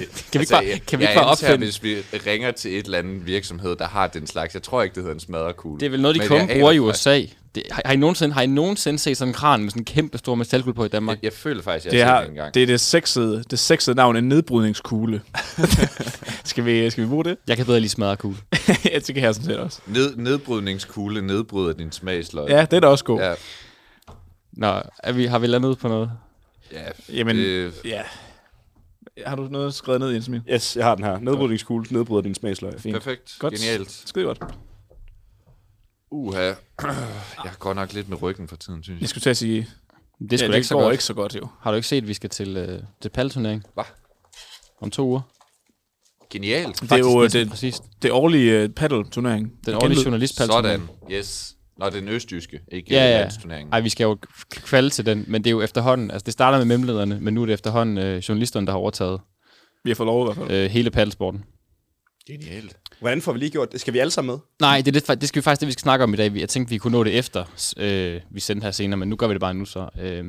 [SPEAKER 6] *laughs*
[SPEAKER 8] altså,
[SPEAKER 6] Kan vi ikke bare- kan vi ikke bare opfinde-
[SPEAKER 8] hvis vi ringer til et eller andet virksomhed, der har den slags. Jeg tror ikke, det hedder en smadrekugle.
[SPEAKER 6] Det er vel noget, de
[SPEAKER 8] Men
[SPEAKER 6] kun
[SPEAKER 8] jeg aner
[SPEAKER 6] bruger i
[SPEAKER 8] faktisk-
[SPEAKER 6] USA. Det, har, har, I nogensinde, har I nogensinde set sådan en kran med sådan en kæmpe stor metalkugle på i Danmark?
[SPEAKER 8] Jeg, jeg føler faktisk, jeg
[SPEAKER 10] Det,
[SPEAKER 8] har
[SPEAKER 10] har,
[SPEAKER 8] set det engang.
[SPEAKER 10] det er det sexede, det sexede navn, en *laughs* nedbrydningskugle. skal, vi, skal vi bruge *laughs* det?
[SPEAKER 6] Jeg kan bedre lige smadre kugle.
[SPEAKER 10] ja, det kan jeg sådan set også.
[SPEAKER 8] Ned, nedbrydningskugle nedbryder din smagsløg.
[SPEAKER 10] Ja, det er da også god. Ja.
[SPEAKER 8] ja.
[SPEAKER 6] Nå, er vi, har vi landet på noget?
[SPEAKER 8] ja.
[SPEAKER 10] Jamen,
[SPEAKER 8] Øh,
[SPEAKER 10] ja. Har du noget skrevet ned, Jens Emil?
[SPEAKER 4] Yes, jeg har den her. Nedbrydningskugle nedbryder din smagsløg. Fint.
[SPEAKER 8] perfekt. Genialt.
[SPEAKER 10] Skide godt.
[SPEAKER 8] Uha. *clears throat* Jeg har godt nok lidt med ryggen for tiden, synes
[SPEAKER 10] Jeg
[SPEAKER 8] jeg.
[SPEAKER 10] skulle til at sige,
[SPEAKER 6] Det
[SPEAKER 10] ja,
[SPEAKER 6] skulle
[SPEAKER 10] det
[SPEAKER 6] ja, ikke så
[SPEAKER 10] går
[SPEAKER 6] godt.
[SPEAKER 10] ikke så godt jo.
[SPEAKER 6] Har du ikke set, at vi skal til, øh, til palturnering
[SPEAKER 8] Hva?
[SPEAKER 6] om to uger?
[SPEAKER 8] Genialt.
[SPEAKER 10] Det er jo øh,
[SPEAKER 6] næsten
[SPEAKER 10] det,
[SPEAKER 6] Præcis.
[SPEAKER 10] det årlige uh, paddle-turnering.
[SPEAKER 6] Den årlige journalistpalturnering.
[SPEAKER 8] Sådan. Yes. Nå, det er den østjyske, ikke
[SPEAKER 6] Ja, ja.
[SPEAKER 8] landsturneringen.
[SPEAKER 6] Ej, vi skal jo k- kvalde til den, men det er jo efterhånden, altså det starter med memlederne, men nu er det efterhånden øh, journalisterne, der har overtaget
[SPEAKER 10] Vi har fået lov i hvert fald.
[SPEAKER 6] øh, hele paddelsporten.
[SPEAKER 8] Genialt.
[SPEAKER 4] Hvordan får vi lige gjort det? Skal vi alle sammen med?
[SPEAKER 6] Nej, det, er det, fa- det skal vi faktisk det, vi skal snakke om i dag. Vi- Jeg tænkte, vi kunne nå det efter, s- øh, vi sendte her senere, men nu gør vi det bare nu så. Øh,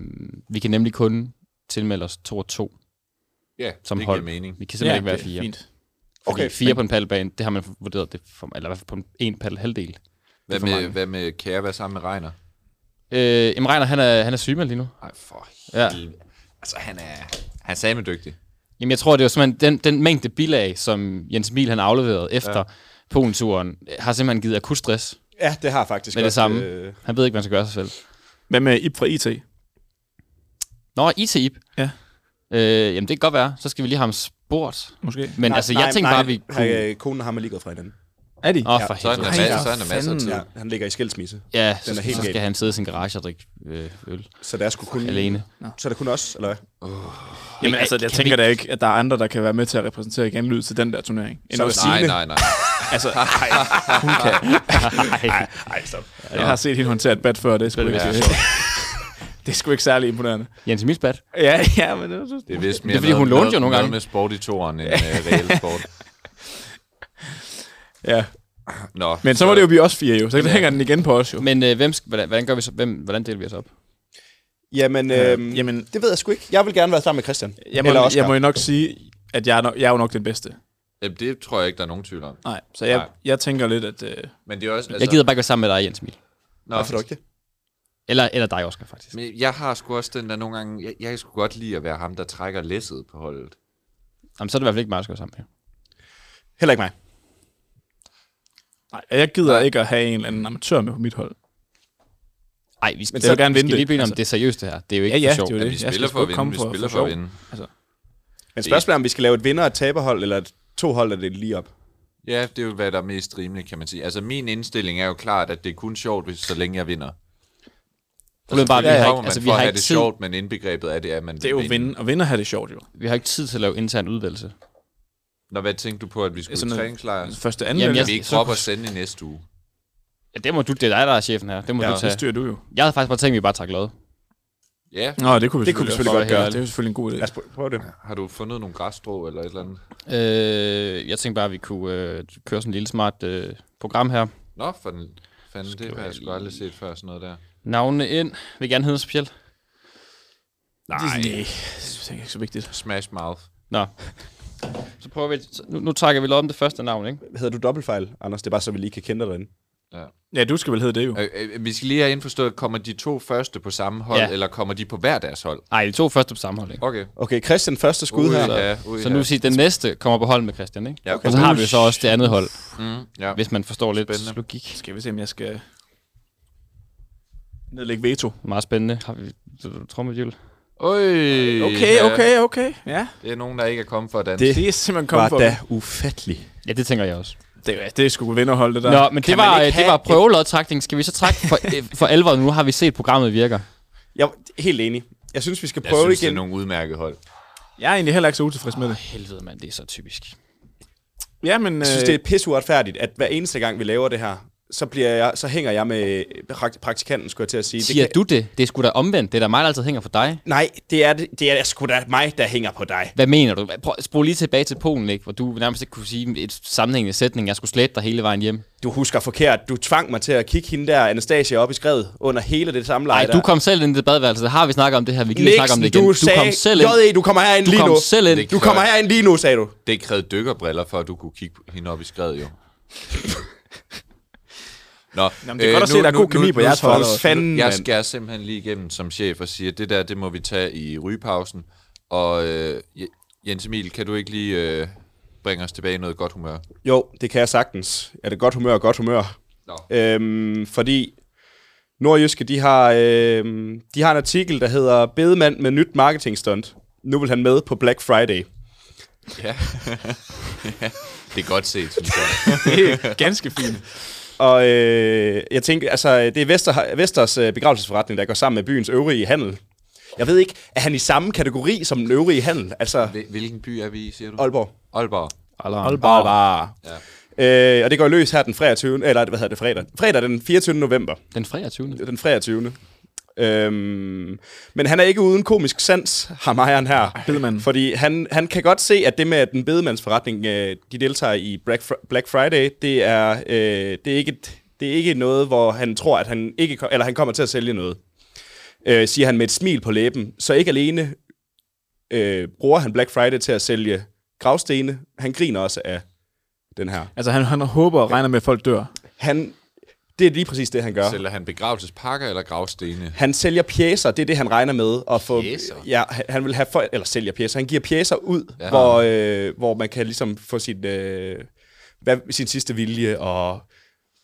[SPEAKER 6] vi kan nemlig kun tilmelde os to og to
[SPEAKER 8] Ja,
[SPEAKER 6] som
[SPEAKER 8] det
[SPEAKER 6] hold.
[SPEAKER 8] giver mening.
[SPEAKER 6] Vi kan simpelthen ja, ikke være fire.
[SPEAKER 10] Fint.
[SPEAKER 6] Fordi
[SPEAKER 4] Okay,
[SPEAKER 6] okay, fire
[SPEAKER 4] men-
[SPEAKER 6] på en paddelbane, det har man vurderet, det er for, eller i hvert fald på en, en paddel halvdel.
[SPEAKER 8] Hvad
[SPEAKER 6] for
[SPEAKER 8] med,
[SPEAKER 6] mange.
[SPEAKER 8] hvad med kære være sammen med Reiner?
[SPEAKER 6] Øh, jamen Reiner, han er, han er sygemeldt lige nu.
[SPEAKER 8] Ej, for
[SPEAKER 6] Ja.
[SPEAKER 8] helvede. Altså, han er, han er samme dygtig.
[SPEAKER 6] Jamen, jeg tror, det var simpelthen den, den mængde bilag, som Jens Emil han afleverede efter ja. Polen-turen, øh, har simpelthen givet akut stress
[SPEAKER 4] Ja, det har jeg faktisk
[SPEAKER 6] med det
[SPEAKER 4] også,
[SPEAKER 6] samme.
[SPEAKER 4] øh,
[SPEAKER 6] Han ved ikke, hvad han skal gøre sig selv.
[SPEAKER 10] Hvad med Ip fra IT?
[SPEAKER 6] Nå, IT-IP.
[SPEAKER 10] Ja.
[SPEAKER 6] Øh, jamen, det kan godt være. Så skal vi lige have ham spurgt.
[SPEAKER 10] Måske.
[SPEAKER 6] Men nej, altså, jeg tænkte bare, at vi kunne...
[SPEAKER 4] Nej, øh, konen og ham er lige gået fra hinanden.
[SPEAKER 10] Er de?
[SPEAKER 6] Åh, oh, for
[SPEAKER 8] Så er
[SPEAKER 6] helvede.
[SPEAKER 8] der,
[SPEAKER 10] Ej,
[SPEAKER 8] masser,
[SPEAKER 10] for
[SPEAKER 8] så er der masser af tid.
[SPEAKER 4] Ja, han ligger i skilsmisse.
[SPEAKER 6] Ja, så,
[SPEAKER 4] Den er helt
[SPEAKER 6] så skal
[SPEAKER 4] gal.
[SPEAKER 6] han sidde i sin garage og drikke øh, øl
[SPEAKER 4] Så der skulle kun...
[SPEAKER 6] alene.
[SPEAKER 4] Så er der kun os, eller hvad?
[SPEAKER 10] Jamen altså, jeg
[SPEAKER 6] Kan
[SPEAKER 10] tænker
[SPEAKER 6] vi-
[SPEAKER 10] da ikke, at der er andre, der kan være med til at repræsentere genlyd til den der turnering. End
[SPEAKER 4] Så er
[SPEAKER 10] os.
[SPEAKER 4] det
[SPEAKER 8] Nej,
[SPEAKER 4] Signe.
[SPEAKER 8] nej, nej.
[SPEAKER 4] *laughs*
[SPEAKER 10] altså,
[SPEAKER 6] *laughs*
[SPEAKER 10] ej, hun kan.
[SPEAKER 6] Nej,
[SPEAKER 4] Nej, stop.
[SPEAKER 10] Jeg har set hende håndtere et bat før, det er sgu
[SPEAKER 6] Det er
[SPEAKER 10] ikke,
[SPEAKER 6] det
[SPEAKER 10] *laughs* det er sgu ikke særlig imponerende.
[SPEAKER 6] Jens Emils bad.
[SPEAKER 10] Ja, ja, men det var
[SPEAKER 8] Det er vist mere
[SPEAKER 6] Det er, fordi hun
[SPEAKER 8] noget-
[SPEAKER 6] lånte jo nogle
[SPEAKER 8] noget
[SPEAKER 6] gange.
[SPEAKER 8] med sport i toren end uh,
[SPEAKER 6] *laughs*
[SPEAKER 8] reelt sport.
[SPEAKER 10] Ja.
[SPEAKER 8] Nå,
[SPEAKER 10] Men så må det jo blive os fire jo, så hænger den igen på os jo.
[SPEAKER 6] Men øh, hvem, sk- hvordan, hvordan, gør vi så, hvem, hvordan deler vi os op?
[SPEAKER 4] Jamen, øhm,
[SPEAKER 10] Øh,
[SPEAKER 4] jamen,
[SPEAKER 10] jamen-
[SPEAKER 4] det ved jeg sgu ikke. Jeg vil gerne være sammen med Christian.
[SPEAKER 10] Jeg må,
[SPEAKER 4] eller Oscar.
[SPEAKER 10] jeg må jo nok sige, at jeg er, nok, jeg er jo nok den bedste.
[SPEAKER 8] Jamen, det tror jeg ikke, der er nogen tvivl om.
[SPEAKER 10] Nej, så jeg,
[SPEAKER 8] Nej.
[SPEAKER 10] jeg tænker lidt, at... Øh,
[SPEAKER 8] Men det er også... Altså,
[SPEAKER 6] Jeg gider bare ikke være sammen med dig, Jens Emil.
[SPEAKER 8] Nå,
[SPEAKER 4] Hvorfor dog ikke det?
[SPEAKER 6] Eller, eller dig, Oscar, faktisk.
[SPEAKER 8] Men jeg har sgu også den der nogle gange... Jeg, jeg kan sgu godt lide at være ham, der trækker læsset på holdet.
[SPEAKER 6] Jamen, så er det i hvert fald ikke mig, der skal være sammen med.
[SPEAKER 4] Heller ikke mig.
[SPEAKER 10] nej, jeg gider ikke at have en eller anden amatør med på mit hold.
[SPEAKER 6] Nej, vi skal,
[SPEAKER 10] Men så vil jeg gerne
[SPEAKER 6] vi skal
[SPEAKER 10] vinde det.
[SPEAKER 6] lige blive altså. om
[SPEAKER 10] Altså-
[SPEAKER 6] det er seriøst det her. Det er jo ikke
[SPEAKER 10] Ja, ja,
[SPEAKER 6] for Altså, sjovt.
[SPEAKER 10] det er jo
[SPEAKER 8] Ja,
[SPEAKER 10] det.
[SPEAKER 8] vi
[SPEAKER 10] Jeg
[SPEAKER 8] spiller
[SPEAKER 10] skal
[SPEAKER 8] for at
[SPEAKER 10] sgu
[SPEAKER 8] vinde,
[SPEAKER 10] komme
[SPEAKER 8] vi
[SPEAKER 10] for-
[SPEAKER 8] spiller
[SPEAKER 10] for
[SPEAKER 8] for at
[SPEAKER 10] sjov.
[SPEAKER 8] vinde.
[SPEAKER 4] Men spørgsmålet er, om vi skal lave et vinder- og taberhold, eller et to hold, der det er lige op.
[SPEAKER 8] Ja, det er jo, hvad der er mest rimeligt, kan man sige. Altså, min indstilling er jo klart, at det er kun sjovt, hvis, så længe jeg vinder.
[SPEAKER 6] Problemet er bare, at vi
[SPEAKER 8] Selvfølgelig
[SPEAKER 6] har ikke,
[SPEAKER 8] kommer man
[SPEAKER 6] altså, vi
[SPEAKER 8] for at
[SPEAKER 6] har
[SPEAKER 8] have
[SPEAKER 6] ikke
[SPEAKER 8] det
[SPEAKER 6] tid,
[SPEAKER 8] sjovt, men indbegrebet af det er, at man
[SPEAKER 10] Det er jo at vinde, og vinde og have det sjovt jo.
[SPEAKER 6] vi har ikke tid til at lave intern udvalgelse.
[SPEAKER 8] Nå, hvad tænkte du på, at vi skulle
[SPEAKER 10] Sådan
[SPEAKER 8] i
[SPEAKER 10] noget-
[SPEAKER 8] træningslejr?
[SPEAKER 10] Første anden
[SPEAKER 6] Jamen,
[SPEAKER 10] Jamen,
[SPEAKER 8] Kan
[SPEAKER 6] jeg-
[SPEAKER 8] vi ikke
[SPEAKER 6] så-
[SPEAKER 8] droppe og sende i næste uge?
[SPEAKER 6] Ja, det må du, det er dig, der er chefen her. Det må ja, du
[SPEAKER 10] jeg, det
[SPEAKER 6] tage.
[SPEAKER 10] styrer du jo.
[SPEAKER 6] Jeg havde faktisk bare tænkt, at vi bare trak lod.
[SPEAKER 8] Ja,
[SPEAKER 10] Nå, det kunne vi,
[SPEAKER 4] Det kunne vi selvfølgelig godt
[SPEAKER 10] også.
[SPEAKER 4] gøre.
[SPEAKER 10] Det er jo selvfølgelig en god idé.
[SPEAKER 4] Lad os prø- prøve det.
[SPEAKER 8] har du fundet nogle græsstrå eller et eller andet?
[SPEAKER 6] Øh, jeg tænkte bare, at vi kunne øh, køre sådan et lille smart øh, program her.
[SPEAKER 8] Nå, for den, fanden, det har jeg sgu aldrig set før, sådan noget der.
[SPEAKER 6] Navnene ind. Vil I gerne hedde noget specielt?
[SPEAKER 10] Nej, det er sådan ikke så vigtigt.
[SPEAKER 8] Smash Mouth.
[SPEAKER 6] Nå. Så prøver vi. så Nu, nu trækker vi lod om det første navn, ikke?
[SPEAKER 4] Hedder du dobbeltfejl, Anders? Det er bare, så vi lige kan kende dig derinde.
[SPEAKER 10] Ja, du skal vel hedde det jo.
[SPEAKER 8] Øh, øh, vi skal lige have indforstået, kommer de to første på samme hold,
[SPEAKER 6] Ja.
[SPEAKER 8] ja. eller kommer de på hver deres hold?
[SPEAKER 6] Nej, de to første på samme hold, ikke?
[SPEAKER 8] Okay.
[SPEAKER 4] Okay, Christian første skud her.
[SPEAKER 8] ja, ui,
[SPEAKER 6] Så nu
[SPEAKER 8] ja.
[SPEAKER 6] vil sige, at den næste kommer på hold med Christian, ikke?
[SPEAKER 8] Ja, okay.
[SPEAKER 6] Og så har vi jo så også det andet hold,
[SPEAKER 8] Mm, ja.
[SPEAKER 6] hvis man forstår lidt
[SPEAKER 8] Spændende.
[SPEAKER 6] logik.
[SPEAKER 10] Skal vi se, om jeg skal nedlægge veto.
[SPEAKER 6] Meget spændende. Har vi trommedjul?
[SPEAKER 8] Øj,
[SPEAKER 10] Okay,
[SPEAKER 8] ja.
[SPEAKER 10] okay, okay. Ja.
[SPEAKER 8] Det er nogen, der ikke er kommet for at danse.
[SPEAKER 10] Det, det er simpelthen
[SPEAKER 4] Var
[SPEAKER 10] kommet for.
[SPEAKER 4] da
[SPEAKER 10] Det,
[SPEAKER 4] ufatteligt.
[SPEAKER 6] Ja, det tænker jeg også.
[SPEAKER 10] er- det er sgu vinderhold, det der.
[SPEAKER 6] Nå, men det
[SPEAKER 4] man
[SPEAKER 6] var,
[SPEAKER 4] ikke
[SPEAKER 6] øh, det
[SPEAKER 4] have
[SPEAKER 6] var
[SPEAKER 4] et-
[SPEAKER 6] prøvelodtrækning. Skal vi så trække
[SPEAKER 4] *laughs*
[SPEAKER 6] for, øh, for alvor? Nu har vi set, programmet virker.
[SPEAKER 4] Jeg er helt enig. Jeg synes, vi skal
[SPEAKER 8] Jeg
[SPEAKER 4] prøve
[SPEAKER 8] synes, det
[SPEAKER 4] igen.
[SPEAKER 8] er nogle udmærket hold.
[SPEAKER 10] Jeg er egentlig heller ikke så utilfreds med det.
[SPEAKER 6] Helvede, mand, det er så typisk.
[SPEAKER 10] Ja, men,
[SPEAKER 4] jeg synes,
[SPEAKER 10] øh,
[SPEAKER 4] det er pisseuretfærdigt, at hver eneste gang, vi laver det her, så, bliver jeg, så hænger jeg med prakt- praktikanten, skulle jeg til at sige.
[SPEAKER 6] Siger du det? Det er sgu da omvendt. Det er da mig, der altid hænger for dig.
[SPEAKER 4] Nej, det er, det det er sgu da mig, der hænger på dig.
[SPEAKER 6] Hvad mener du? Prøv, spol lige tilbage til Polen, ikke? hvor du nærmest ikke kunne sige et sammenhængende sætning. Jeg skulle slette dig hele vejen hjem.
[SPEAKER 4] Du husker forkert. Du tvang mig til at kigge hende der, Anastasia, op i skrevet under hele det samme
[SPEAKER 6] Nej, du kom selv ind i det badeværelse. Der har vi snakket om det her. Vi gider ikke snakke om det igen.
[SPEAKER 4] du, sagde, E
[SPEAKER 6] kom selv ind.
[SPEAKER 4] JE, du kommer herind
[SPEAKER 6] du
[SPEAKER 4] lige
[SPEAKER 6] kom
[SPEAKER 4] nu.
[SPEAKER 6] Selv ind.
[SPEAKER 4] Du kommer herind lige nu, sagde du.
[SPEAKER 8] Det krævede dykkerbriller, for at du kunne kigge hende op i skrevet, jo. Nå, øh,
[SPEAKER 4] Jamen, det er godt at se, der er god kemi på jeres
[SPEAKER 8] nu-
[SPEAKER 4] hold.
[SPEAKER 8] nu-
[SPEAKER 4] Fanden,
[SPEAKER 8] Jeg
[SPEAKER 4] mand.
[SPEAKER 8] skærer simpelthen lige igennem som chef og siger, det der, det må vi tage i rygepausen. Og øh, Je- Jens Emil, kan du ikke lige øh, bringe os tilbage i noget godt humør?
[SPEAKER 4] Jo, det kan jeg sagtens. Er det godt humør, godt humør. Øhm, fordi Nordjyske, de har, øhm, de har en artikel, der hedder Bedemand med nyt marketingstunt. Nu vil han med på Black Friday.
[SPEAKER 8] Ja. ja. Det er godt set, synes
[SPEAKER 10] Det
[SPEAKER 8] jeg.
[SPEAKER 10] er ganske fint.
[SPEAKER 4] Og øh, jeg tænker, altså, det er Vester, Vesters øh, begravelsesforretning, der går sammen med byens øvrige handel. Jeg ved ikke, er han i samme kategori som den øvrige handel? Altså,
[SPEAKER 8] Hvilken by er vi i, siger du?
[SPEAKER 4] Aalborg.
[SPEAKER 8] Aalborg.
[SPEAKER 6] Aalborg.
[SPEAKER 4] Aalborg. Aalborg. Ja. Øh, og det går løs her den 23. Eller hvad hedder det? Fredag. Fredag den 24. november.
[SPEAKER 6] Den 23.
[SPEAKER 4] Den 23. Øhm, men han er ikke uden komisk sans, har Mejeren her.
[SPEAKER 10] Bedemanden.
[SPEAKER 4] Fordi han, han kan godt se, at det med at den bedemandsforretning, øh, de deltager i Black, Fr- Black Friday, det er, øh, det, er ikke, et- det er ikke noget, hvor han tror, at han, ikke, kom- eller han kommer til at sælge noget. Øh, siger han med et smil på læben. Så ikke alene øh, bruger han Black Friday til at sælge gravstene, han griner også af den her.
[SPEAKER 10] Altså, han, han håber og regner med, at folk dør.
[SPEAKER 4] Han, det er lige præcis det, han gør.
[SPEAKER 8] Sælger han begravelsespakker eller gravstene?
[SPEAKER 4] Han sælger pjæser, det er det, han regner med at få.
[SPEAKER 8] Pjecer?
[SPEAKER 4] Ja, han- han vil have for, eller sælger pjæser. Han giver pjæser ud,
[SPEAKER 8] Ja.
[SPEAKER 4] ja. hvor, øh, hvor man kan ligesom få sin, øh, hvad, sin sidste vilje og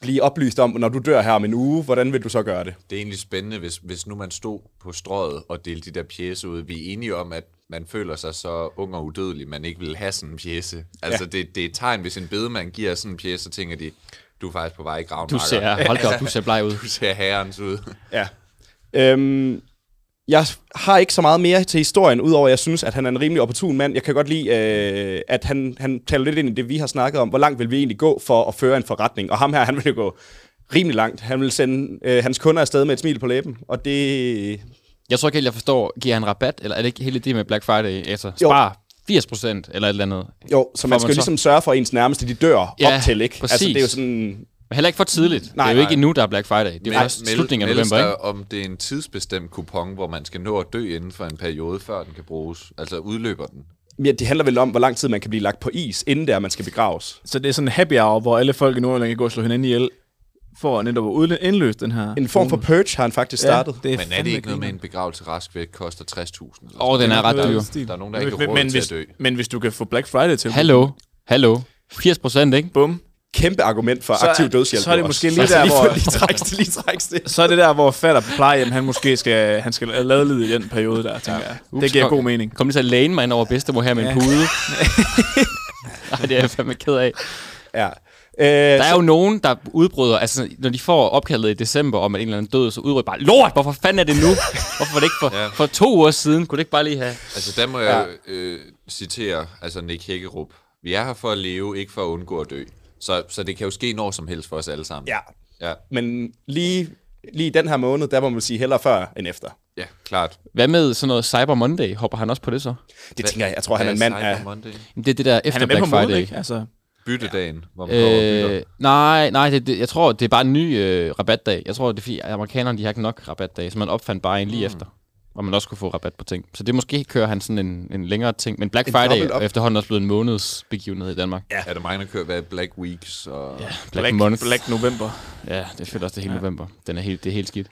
[SPEAKER 4] blive oplyst om, når du dør her om en uge, hvordan vil du så gøre det?
[SPEAKER 8] Det er egentlig spændende, hvis, hvis nu man stod på strøget og delte de der pjæse ud. Vi er enige om, at man føler sig så ung og udødelig, man ikke vil have sådan en pjæse. Altså,
[SPEAKER 4] Ja.
[SPEAKER 8] ja. det, det er et tegn, hvis en bedemand giver sådan en pjæse, så tænker de, du er faktisk på vej i graven.
[SPEAKER 6] Du ser-
[SPEAKER 8] makker."
[SPEAKER 6] hold da op, du ser bleg ud.
[SPEAKER 8] *laughs* du ser herrens ud.
[SPEAKER 4] Ja. Øhm, jeg har ikke så meget mere til historien, udover at jeg synes, at han er en rimelig opportun mand. Jeg kan godt lide, øh, at han, han taler lidt ind i det, vi har snakket om. Hvor langt vil vi egentlig gå for at føre en forretning? Og ham her, han vil jo gå rimelig langt. Han vil sende øh, hans kunder afsted med et smil på læben, og det...
[SPEAKER 6] Jeg tror ikke helt, jeg forstår. Giver han rabat, eller er det ikke hele det med Black Friday? Altså,
[SPEAKER 4] Jo.
[SPEAKER 6] spar 80 procent eller et eller andet.
[SPEAKER 4] Jo, så man
[SPEAKER 6] Får
[SPEAKER 4] skal jo
[SPEAKER 6] man så-
[SPEAKER 4] ligesom sørge for, at ens nærmeste de dør
[SPEAKER 6] Ja,
[SPEAKER 4] op til, ikke? Altså, det er jo
[SPEAKER 6] præcis.
[SPEAKER 4] sådan...
[SPEAKER 6] Men heller ikke for tidligt. Nej,
[SPEAKER 4] Nej,
[SPEAKER 6] det er jo
[SPEAKER 4] nej.
[SPEAKER 6] ikke endnu, der er Black Friday. Det er jo
[SPEAKER 8] Meld-
[SPEAKER 6] først slutningen af
[SPEAKER 8] meldes
[SPEAKER 6] november,
[SPEAKER 8] der,
[SPEAKER 6] ikke?
[SPEAKER 8] om det er en tidsbestemt kupon, hvor man skal nå at dø inden for en periode, før den kan bruges. Altså, udløber den.
[SPEAKER 4] Ja, det handler vel om, hvor lang tid man kan blive lagt på is, inden der man skal begraves.
[SPEAKER 10] Så det er sådan en happy hour, hvor alle folk i Nordjylland kan gå og slå hinanden ihjel, for netop at udlø- indløse den her...
[SPEAKER 4] En form for purge har han faktisk
[SPEAKER 10] Ja,
[SPEAKER 4] startet.
[SPEAKER 10] det er
[SPEAKER 8] Men er det
[SPEAKER 10] fandme
[SPEAKER 8] ikke noget med
[SPEAKER 10] grineren.
[SPEAKER 8] en begravelse rask væk koster Altså, 60.000? eller
[SPEAKER 6] Åh,
[SPEAKER 8] sådan
[SPEAKER 6] den er
[SPEAKER 8] noget?
[SPEAKER 6] ret dyr.
[SPEAKER 8] Der er nogen, der ikke har råd
[SPEAKER 10] men
[SPEAKER 8] til
[SPEAKER 10] hvis,
[SPEAKER 8] at dø.
[SPEAKER 10] Men hvis du kan få Black Friday til...
[SPEAKER 6] Hallo? Hallo? 80 procent, ikke?
[SPEAKER 10] Bum.
[SPEAKER 4] Kæmpe argument for
[SPEAKER 10] Så er-
[SPEAKER 4] aktiv dødshjælp.
[SPEAKER 10] så er det
[SPEAKER 4] også. *laughs*
[SPEAKER 10] måske lige
[SPEAKER 4] Altså,
[SPEAKER 10] der, hvor-
[SPEAKER 4] Lige, lige træks det, lige træks det.
[SPEAKER 10] Så er det der, hvor fatter på plejehjem, han måske skal, han skal lade lidt i den periode der, tænker jeg. Det giver
[SPEAKER 6] kom-
[SPEAKER 10] god mening.
[SPEAKER 6] Kom lige så at læne mig ind over bedstemor her med en
[SPEAKER 10] Ja. *laughs*
[SPEAKER 6] pude. Nej, det er jeg fandme ked af.
[SPEAKER 4] Ja. Øh,
[SPEAKER 6] Der er
[SPEAKER 4] så-
[SPEAKER 6] jo nogen, der udbryder, altså når de får opkaldet i december om, at en eller anden død, så udrykker bare, lort, hvorfor fanden er det nu? Hvorfor var det ikke for,
[SPEAKER 8] Ja.
[SPEAKER 6] ja. for to uger siden? Kunne det ikke bare lige have...
[SPEAKER 8] Altså, der må jeg øh, citere altså Nick Hækkerup. Vi er her for at leve, ikke for at undgå at dø. Så, så det kan jo ske når som helst for os alle sammen.
[SPEAKER 4] Ja,
[SPEAKER 8] Ja,
[SPEAKER 4] men lige, lige den her måned, der må man sige hellere før end efter.
[SPEAKER 8] ja klart.
[SPEAKER 6] Hvad med sådan noget Cyber Monday? Hopper han også på det så?
[SPEAKER 4] Det tænker jeg. Jeg tror, han er en
[SPEAKER 8] Hvad
[SPEAKER 4] mand af...
[SPEAKER 8] Cyber Monday?
[SPEAKER 6] Jamen, det er det der efter
[SPEAKER 10] Han er med
[SPEAKER 6] Black
[SPEAKER 10] på modet,
[SPEAKER 6] Friday.
[SPEAKER 10] ikke? Altså,
[SPEAKER 8] Byttedagen, hvor man øh...
[SPEAKER 6] Øh, nej, nej det, det, jeg tror, det er bare en ny øh, rabatdag. Jeg tror, det er fordi, amerikanerne de har ikke nok rabatdag, så man opfandt bare en lige efter, hvor man også kunne få rabat på ting. Så det måske kører han sådan en, en længere ting. Men Black
[SPEAKER 4] En
[SPEAKER 6] Friday
[SPEAKER 4] dobbelt op.
[SPEAKER 6] er efterhånden også blevet en måneds begivenhed i Danmark. Ja,
[SPEAKER 8] Er det mig, der kører hvad Black Weeks? Og... Ja.
[SPEAKER 6] Black, Month.
[SPEAKER 10] Black November.
[SPEAKER 6] Ja, det føler også det er hele november. Den er helt, det er helt skidt.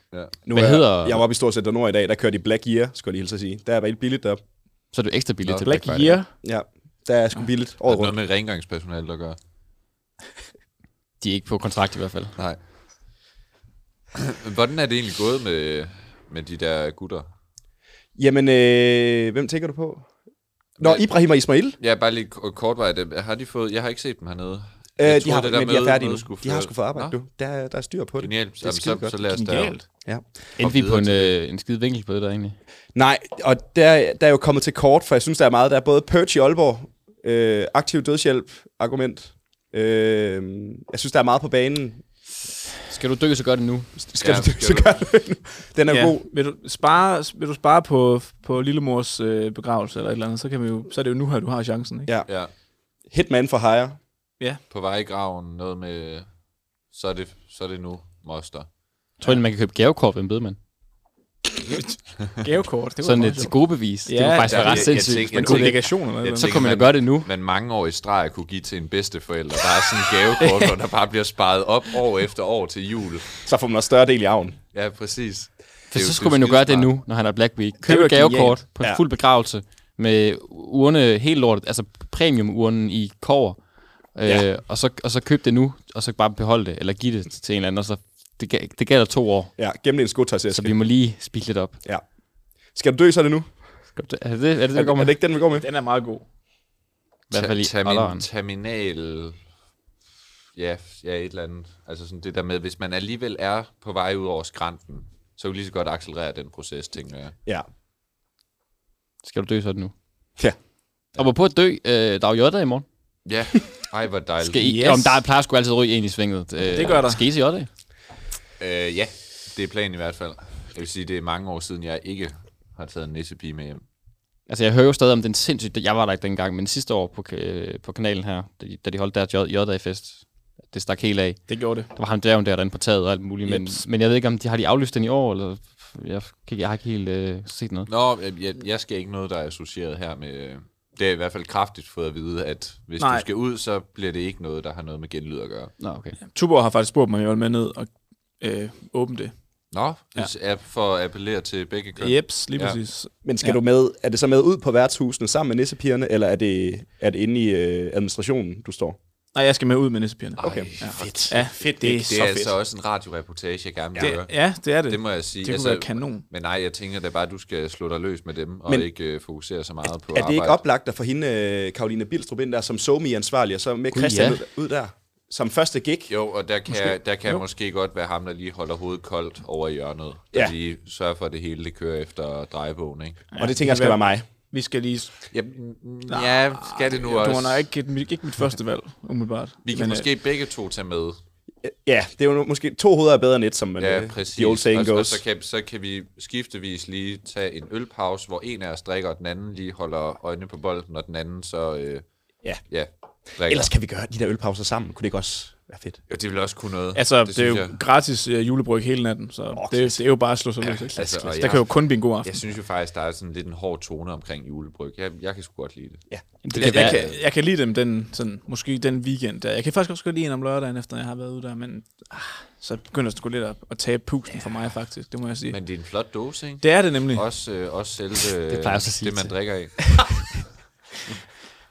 [SPEAKER 4] Nu
[SPEAKER 6] Hvad
[SPEAKER 4] er,
[SPEAKER 6] hedder-
[SPEAKER 4] Jeg var oppe i Storcenter Nord i dag, der kørte de Black Year, skulle jeg lige hilse at sige. Der er helt billigt deroppe.
[SPEAKER 6] Så er det ekstra billigt til Black,
[SPEAKER 10] Black
[SPEAKER 6] Friday.
[SPEAKER 10] Year.
[SPEAKER 4] Ja, der er sgu billigt
[SPEAKER 8] Er
[SPEAKER 4] året
[SPEAKER 8] det noget
[SPEAKER 4] rundt.
[SPEAKER 8] med rengøringspersonale, der gør?
[SPEAKER 6] De er ikke på kontrakt i hvert fald.
[SPEAKER 8] Nej. *clears throat* Men Hvordan er det egentlig gået med, med de der gutter?
[SPEAKER 4] Jamen, øh, hvem tænker du på? Nå, Ibrahim og Ismail.
[SPEAKER 8] Ja, bare lige k- kortvarigt. øh, Har de fået... Jeg har ikke set dem hernede.
[SPEAKER 4] Øh,
[SPEAKER 8] Jeg
[SPEAKER 4] de har,
[SPEAKER 8] det
[SPEAKER 4] det
[SPEAKER 8] der
[SPEAKER 4] men de er
[SPEAKER 8] møde-
[SPEAKER 4] færdige nu.
[SPEAKER 8] møde skulle
[SPEAKER 4] De har
[SPEAKER 8] føre-
[SPEAKER 4] sgu fået arbejde
[SPEAKER 8] Nå,
[SPEAKER 4] nu. Der, der er styr på det.
[SPEAKER 8] Genialt.
[SPEAKER 4] Det er
[SPEAKER 8] Jamen, så,
[SPEAKER 4] skidegodt.
[SPEAKER 8] så lad os da...
[SPEAKER 10] Genialt.
[SPEAKER 4] Ja.
[SPEAKER 6] Endte vi på
[SPEAKER 8] videre
[SPEAKER 6] en, øh, en skide vinkel på det der egentlig.
[SPEAKER 4] Nej, og der, der er jo kommet til kort, for jeg synes, der er meget. Der er både Purge i Aalborg, øh, aktiv dødshjælp, argument, Øh, jeg synes, der er meget på banen.
[SPEAKER 6] Skal du dykke så godt nu?
[SPEAKER 4] Skal ja, du dykke så godt nu? Den er ja. god.
[SPEAKER 10] Vil du spare, vil du spare på, på lillemors øh, begravelse eller et eller andet, så, kan vi jo, så er det jo nu her, du har chancen. Ikke?
[SPEAKER 4] Ja.
[SPEAKER 8] ja.
[SPEAKER 4] Hitman for hire.
[SPEAKER 10] Ja.
[SPEAKER 8] På vej i graven, noget med, så er det, så er det nu, moster.
[SPEAKER 6] Tror du, man kan købe gavekort ved en bedemand?
[SPEAKER 10] *laughs* Gavekort, det var
[SPEAKER 6] Sådan
[SPEAKER 10] meget
[SPEAKER 6] et
[SPEAKER 10] sjovt.
[SPEAKER 6] tilgodebevis. det
[SPEAKER 10] Ja,
[SPEAKER 6] var faktisk
[SPEAKER 10] der-
[SPEAKER 6] være ret
[SPEAKER 10] jeg-
[SPEAKER 6] sindssygt.
[SPEAKER 8] tænker-
[SPEAKER 6] Men
[SPEAKER 8] jeg tænker-
[SPEAKER 10] Obligationer, eller
[SPEAKER 8] jeg
[SPEAKER 6] Så
[SPEAKER 8] tænker,
[SPEAKER 6] kan man jo
[SPEAKER 8] man-
[SPEAKER 6] gøre det nu.
[SPEAKER 8] man mange år i streg kunne give til en bedsteforælder. Der er sådan en gavekort, hvor der bare bliver sparet op år efter år til jul.
[SPEAKER 4] Så får man også større del i arven.
[SPEAKER 8] Ja, præcis.
[SPEAKER 6] For
[SPEAKER 8] Det er jo-
[SPEAKER 6] så
[SPEAKER 8] det
[SPEAKER 6] skulle
[SPEAKER 8] er jo
[SPEAKER 6] man jo gøre det
[SPEAKER 8] skidesmart.
[SPEAKER 6] nu, når han er Black Week. Købe
[SPEAKER 4] var
[SPEAKER 6] et gavekort
[SPEAKER 4] genialt.
[SPEAKER 6] på en
[SPEAKER 4] Ja.
[SPEAKER 6] fuld begravelse med urne helt lortet, altså premium-urnen i kover.
[SPEAKER 4] Ja.
[SPEAKER 6] Øh, og, så, og så køb det nu, og så bare beholde det, eller give det til en eller anden, og så det, ga- det gælder to år.
[SPEAKER 4] Ja, gem det i en
[SPEAKER 6] Så
[SPEAKER 4] skotøjsæske.
[SPEAKER 6] vi må lige spille lidt op.
[SPEAKER 4] Ja. Skal du dø, så er det nu.
[SPEAKER 6] Er det er det,
[SPEAKER 4] Er,
[SPEAKER 6] det, går
[SPEAKER 4] er
[SPEAKER 6] med?
[SPEAKER 4] det ikke den, vi går med?
[SPEAKER 10] Den er meget god.
[SPEAKER 6] I hvert fald i
[SPEAKER 8] Ta-
[SPEAKER 6] alderen.
[SPEAKER 8] termin, terminal... Ja, ja, et eller andet. Altså sådan det der med, hvis man alligevel er på vej ud over skrænten, så kan vi lige så godt accelerere den proces, tænker jeg.
[SPEAKER 4] Ja.
[SPEAKER 6] Skal du dø sådan nu?
[SPEAKER 4] Ja.
[SPEAKER 6] Og på at dø, øh, der er jo jodda i morgen.
[SPEAKER 8] Ja, *laughs* ej, hvor dejligt.
[SPEAKER 6] Skal I, yes.
[SPEAKER 10] Yes.
[SPEAKER 6] om der plejer sgu altid ryge en i svinget. Øh,
[SPEAKER 10] Det gør der.
[SPEAKER 6] Skal I se jodda?
[SPEAKER 8] Øh, ja, det er planen i hvert fald. Jeg vil sige, det er mange år siden, jeg ikke har taget en nissepige med hjem.
[SPEAKER 6] Altså, jeg hører jo stadig om den sindssygt... Jeg var der ikke dengang, men sidste år på, ka- øh, på kanalen her, da de- da de holdt deres J-dag-fest, det stak helt af.
[SPEAKER 10] Det gjorde det.
[SPEAKER 6] Der var ham dæven der, derinde på taget og alt muligt, men,
[SPEAKER 10] Jeps.
[SPEAKER 6] men jeg ved ikke, om de har de aflyst den i år, eller... Jeg, kan- jeg har ikke helt øh, set noget.
[SPEAKER 8] Nå, jeg- jeg, jeg skal ikke noget, der er associeret her med... Det er i hvert fald kraftigt fået at vide, at hvis Nej.
[SPEAKER 10] Nej.
[SPEAKER 8] du skal ud, så bliver det ikke noget, der har noget med genlyd at gøre.
[SPEAKER 6] Nå, okay.
[SPEAKER 10] Tuborg har faktisk spurgt mig, om jeg vil med ned og øh, åbne det.
[SPEAKER 8] Nå, ja. for at appellere til begge køn.
[SPEAKER 10] Jeps, lige
[SPEAKER 8] Ja.
[SPEAKER 10] præcis.
[SPEAKER 4] Men skal ja.
[SPEAKER 10] Ja.
[SPEAKER 4] du med, er det så med ud på værtshusene sammen med nissepigerne, eller er det, er det inde i øh, administrationen, du står?
[SPEAKER 10] Nej, jeg skal med ud med nissepigerne.
[SPEAKER 4] Okay.
[SPEAKER 10] Ja.
[SPEAKER 4] Fedt.
[SPEAKER 10] Ja, fedt. Det er,
[SPEAKER 8] Det
[SPEAKER 10] så
[SPEAKER 8] er
[SPEAKER 10] fedt.
[SPEAKER 8] altså også en radioreportage, jeg gerne vil høre.
[SPEAKER 10] Det, ja, det er det.
[SPEAKER 8] Det må jeg sige. Altså,
[SPEAKER 10] Det kunne være kanon.
[SPEAKER 8] Men nej, jeg tænker da bare, at du skal slå dig løs med dem, og
[SPEAKER 4] Men-
[SPEAKER 8] men, ikke øh, fokusere så meget på
[SPEAKER 4] Er det
[SPEAKER 8] arbejde.
[SPEAKER 4] ikke oplagt at få hende, øh, Karoline Bilstrup, ind der som somi-ansvarlig, og så med
[SPEAKER 6] Gud,
[SPEAKER 4] Christian
[SPEAKER 6] ja.
[SPEAKER 4] ud- ud der som første gig?
[SPEAKER 8] Jo, og der kan, måske. Der kan måske godt være ham, der lige holder hovedet koldt over i hjørnet.
[SPEAKER 4] Ja.
[SPEAKER 8] Der ja. lige sørger for, at det hele det kører efter drejebogen, ikke?
[SPEAKER 4] Og det tænker jeg skal være mig.
[SPEAKER 10] Vi skal lige...
[SPEAKER 8] Ja, mm, ja skal det nu
[SPEAKER 10] Du
[SPEAKER 8] også?
[SPEAKER 10] var nok ikke, mit- ikke mit første valg, umiddelbart.
[SPEAKER 8] Vi kan
[SPEAKER 10] Men, øh,
[SPEAKER 8] måske begge to tage med.
[SPEAKER 4] Ja, det er jo måske to hoveder er bedre end et, som man,
[SPEAKER 8] Ja,
[SPEAKER 4] øh,
[SPEAKER 8] præcis.
[SPEAKER 4] the old saying
[SPEAKER 8] og,
[SPEAKER 4] goes.
[SPEAKER 8] Og så, kan, så kan vi skiftevis lige tage en ølpause, hvor en af os drikker, og den anden lige holder øjnene på bolden, og den anden så... Øh,
[SPEAKER 4] Ja.
[SPEAKER 8] ja drikker.
[SPEAKER 4] Ellers kan vi gøre de der ølpauser sammen. Kunne det ikke også være fedt?
[SPEAKER 8] Jo, det vil også kunne noget.
[SPEAKER 10] Altså, det, det er jo
[SPEAKER 8] synes jeg.
[SPEAKER 10] gratis øh, julebryg hele natten, så oh, det, det er jo bare at slå sig løs. ikke?
[SPEAKER 8] altså, og
[SPEAKER 10] der
[SPEAKER 8] jeg-
[SPEAKER 10] kan jo kun blive en god aften.
[SPEAKER 8] Jeg synes jo faktisk, der er sådan lidt en hård tone omkring julebryg. Jeg, jeg kan sgu godt lide det.
[SPEAKER 4] Ja.
[SPEAKER 6] Det
[SPEAKER 10] Jeg,
[SPEAKER 6] kan
[SPEAKER 10] jeg,
[SPEAKER 6] være,
[SPEAKER 10] kan, jeg kan lide dem den, sådan, måske den weekend der. Jeg kan faktisk også godt lide en om lørdagen, efter jeg har været ude der, men ah, så begynder det sgu lidt at, at tabe pusten for mig faktisk, det må jeg sige. Men,
[SPEAKER 8] Men det er en flot dåse, ikke?
[SPEAKER 10] det er det nemlig.
[SPEAKER 8] Også, øh, også
[SPEAKER 6] *laughs*
[SPEAKER 8] selve det,
[SPEAKER 6] plejer jeg også at sige
[SPEAKER 8] det man
[SPEAKER 6] til.
[SPEAKER 8] drikker af.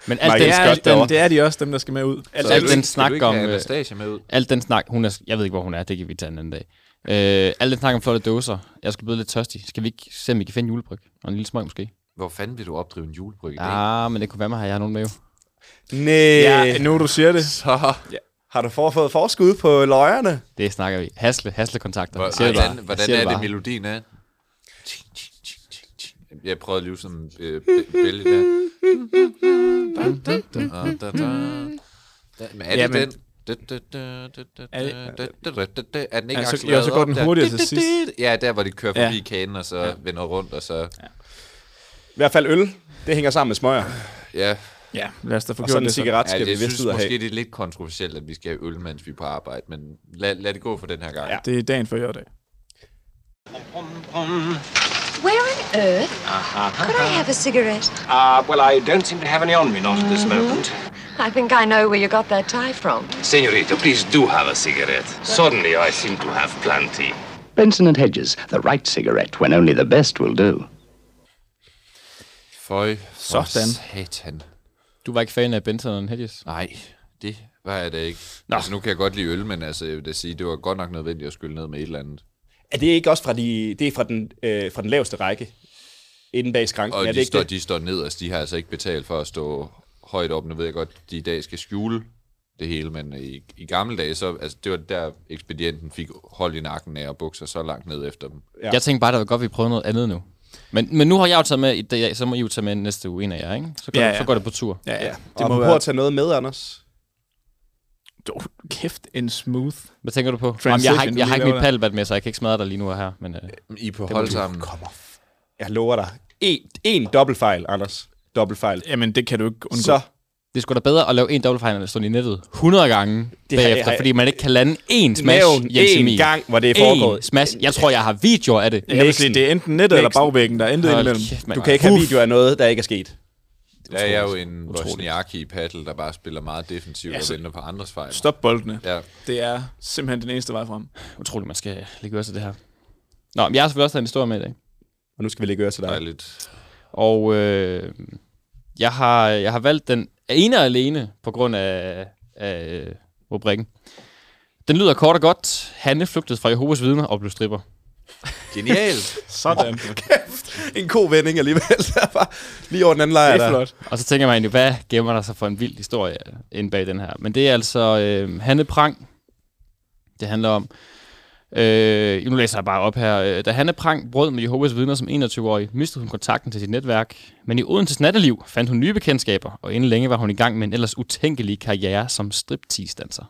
[SPEAKER 6] Men alt
[SPEAKER 4] Michael
[SPEAKER 6] den,
[SPEAKER 10] Det
[SPEAKER 4] Scott
[SPEAKER 10] er,
[SPEAKER 4] derovre.
[SPEAKER 10] det er de også, dem der skal med ud. Altså,
[SPEAKER 6] Så al den snak
[SPEAKER 8] skal du
[SPEAKER 6] om,
[SPEAKER 8] ikke
[SPEAKER 6] øh,
[SPEAKER 8] have Anastasia med ud?
[SPEAKER 6] al den snak, hun er, jeg ved ikke, hvor hun er, det kan vi tage en anden dag. Øh, al den snak om flotte dåser. Jeg skal blive lidt tørstig. Skal vi ikke se, om vi kan finde julebryg? Og en lille smøg måske?
[SPEAKER 8] Hvor fanden vil du opdrive en julebryg i dag?
[SPEAKER 6] Ja, men det kunne være mig, at jeg har nogen med jo.
[SPEAKER 4] Næh,
[SPEAKER 10] Ja, nu du siger det.
[SPEAKER 6] Ah.
[SPEAKER 8] *laughs* Så,
[SPEAKER 4] har du for fået forskud på løjerne?
[SPEAKER 6] Det snakker vi. Hasle, hasle kontakter.
[SPEAKER 8] Hvor,
[SPEAKER 6] Jeg siger det bare.
[SPEAKER 8] hvordan,
[SPEAKER 6] Jeg
[SPEAKER 8] hvordan
[SPEAKER 6] siger
[SPEAKER 8] er det,
[SPEAKER 6] bare.
[SPEAKER 8] melodien er? Jeg prøvede at lyve som en øh, bæ- bælge der. Men er det
[SPEAKER 10] Jamen.
[SPEAKER 8] den? Er den ikke
[SPEAKER 10] Ja, så-
[SPEAKER 8] accelereret
[SPEAKER 10] jo, så går den
[SPEAKER 8] op der?
[SPEAKER 10] hurtigere til sidst.
[SPEAKER 8] Ja, der hvor de kører forbi
[SPEAKER 10] Ja.
[SPEAKER 8] kanen, og så vender rundt, og så...
[SPEAKER 4] I hvert fald øl. Det hænger sammen med smøger.
[SPEAKER 8] Ja,
[SPEAKER 10] Ja, lad os da få
[SPEAKER 4] Og
[SPEAKER 10] gjort
[SPEAKER 4] sådan en
[SPEAKER 10] det så.
[SPEAKER 4] cigaret skal ja,
[SPEAKER 8] ja
[SPEAKER 4] vi
[SPEAKER 8] det
[SPEAKER 4] vist
[SPEAKER 8] synes
[SPEAKER 4] ud at have.
[SPEAKER 8] måske, det er lidt kontroversielt, at vi skal have øl, mens vi er på arbejde, men lad, lad det gå for den her gang.
[SPEAKER 4] Ja.
[SPEAKER 8] Ja.
[SPEAKER 10] Det er dagen før dag.
[SPEAKER 11] Where on earth could I have a cigarette?
[SPEAKER 7] Uh, well, I don't seem to have any on me, not at this moment.
[SPEAKER 11] I think I know where you got that tie from.
[SPEAKER 7] Senorita, please do have a cigarette. Suddenly, I seem to have plenty.
[SPEAKER 12] Benson and Hedges, the right cigarette when only the best will do.
[SPEAKER 8] Føj for
[SPEAKER 10] Sådan.
[SPEAKER 8] satan.
[SPEAKER 6] Du var ikke fan af Benson og Hedges?
[SPEAKER 8] Nej, det var jeg da ikke. Nå. Altså, nu kan jeg godt lide øl, men altså, jeg vil da sige, det var godt nok nødvendigt at skylle ned med et eller andet.
[SPEAKER 4] Er det ikke også fra, de, det er fra, den, øh, fra den laveste række? Inden bag skranken,
[SPEAKER 8] Og
[SPEAKER 4] er
[SPEAKER 8] ja,
[SPEAKER 4] det
[SPEAKER 8] de,
[SPEAKER 4] ikke
[SPEAKER 8] står,
[SPEAKER 4] det?
[SPEAKER 8] de står nederst, de har altså ikke betalt for at stå højt op. Nu ved jeg godt, de i dag skal skjule det hele, men øh, i, i gamle dage, så, altså, det var der ekspedienten fik hold i nakken af og bukser så langt ned efter dem.
[SPEAKER 4] Ja.
[SPEAKER 6] Ja. Jeg tænkte bare, det var godt, at vi prøvede noget andet nu. Men, men nu har jeg jo taget med i dag, så må I jo tage med næste uge en af jer, ikke? Så går, ja,
[SPEAKER 10] Ja,
[SPEAKER 6] ja.
[SPEAKER 10] ja.
[SPEAKER 6] Så går det på tur.
[SPEAKER 10] Ja, ja.
[SPEAKER 4] Det må være. at tage noget med, Anders.
[SPEAKER 10] oh, kæft, en smooth
[SPEAKER 6] Hvad tænker du på? Jamen,
[SPEAKER 10] transition,
[SPEAKER 6] jeg har, ikke-
[SPEAKER 10] du
[SPEAKER 6] jeg har
[SPEAKER 10] lige
[SPEAKER 6] ikke mit
[SPEAKER 10] laver der.
[SPEAKER 6] palbat med, så jeg kan ikke smadre dig lige nu og her. Men, øh,
[SPEAKER 8] I på
[SPEAKER 6] det må
[SPEAKER 8] hold
[SPEAKER 6] du-
[SPEAKER 8] sammen.
[SPEAKER 4] Kommer. Jeg lover dig. En, en dobbeltfejl, Anders. Dobbeltfejl.
[SPEAKER 10] Jamen, det kan du ikke undgå.
[SPEAKER 4] Så
[SPEAKER 6] Det skulle da bedre at lave en dobbeltfejl, end at stå i nettet 100 gange det
[SPEAKER 4] har-
[SPEAKER 6] bagefter,
[SPEAKER 4] har-
[SPEAKER 6] fordi man ikke kan lande én smash
[SPEAKER 4] Nævn én
[SPEAKER 6] Emil.
[SPEAKER 4] gang, hvor det er
[SPEAKER 6] Én
[SPEAKER 4] foregået.
[SPEAKER 6] smash. Jeg tror, jeg har videoer af det.
[SPEAKER 10] Jeg vil sige, det er enten nettet eller bagvæggen, der er intet
[SPEAKER 6] Hold
[SPEAKER 10] imellem.
[SPEAKER 6] kæft, mand.
[SPEAKER 4] du kan ikke have
[SPEAKER 6] Uff.
[SPEAKER 4] video af noget, der ikke er sket.
[SPEAKER 8] Der er jeg jo en
[SPEAKER 4] Utroligt.
[SPEAKER 8] Wozniacki i paddle, der bare spiller meget defensivt
[SPEAKER 10] Ja,
[SPEAKER 8] ja,
[SPEAKER 10] så-
[SPEAKER 8] og venter på andres fejl.
[SPEAKER 10] Stop boldene.
[SPEAKER 8] Ja.
[SPEAKER 10] Det er simpelthen den eneste vej frem.
[SPEAKER 6] Utroligt, man skal lægge øre til det her. Nå, men jeg har selvfølgelig også taget en historie med i dag.
[SPEAKER 4] Og nu skal vi lægge øre til dig.
[SPEAKER 8] Dejligt.
[SPEAKER 6] Og øh, jeg, har, jeg har valgt den ene og alene på grund af, af øh, rubrikken. Den lyder kort og godt. Hanne flygtede fra Jehovas vidner og blev stripper.
[SPEAKER 8] Genialt.
[SPEAKER 10] Sådan.
[SPEAKER 4] Kæft, *laughs* en god vending alligevel. *laughs* Der var lige over den anden lejr. der.
[SPEAKER 6] Og så tænker man jo, hvad gemmer der sig for en vild historie inde bag den her? Men det er altså øh, Hanne Prang, det handler om. Øh, nu læser jeg bare op her. Øh, Da Hanne Prang brød med Jehovas vidner som 21-årig, mistede hun kontakten til sit netværk. Men i Odenses natteliv fandt hun nye bekendtskaber, og inden længe var hun i gang med en ellers utænkelig karriere som striptease-danser.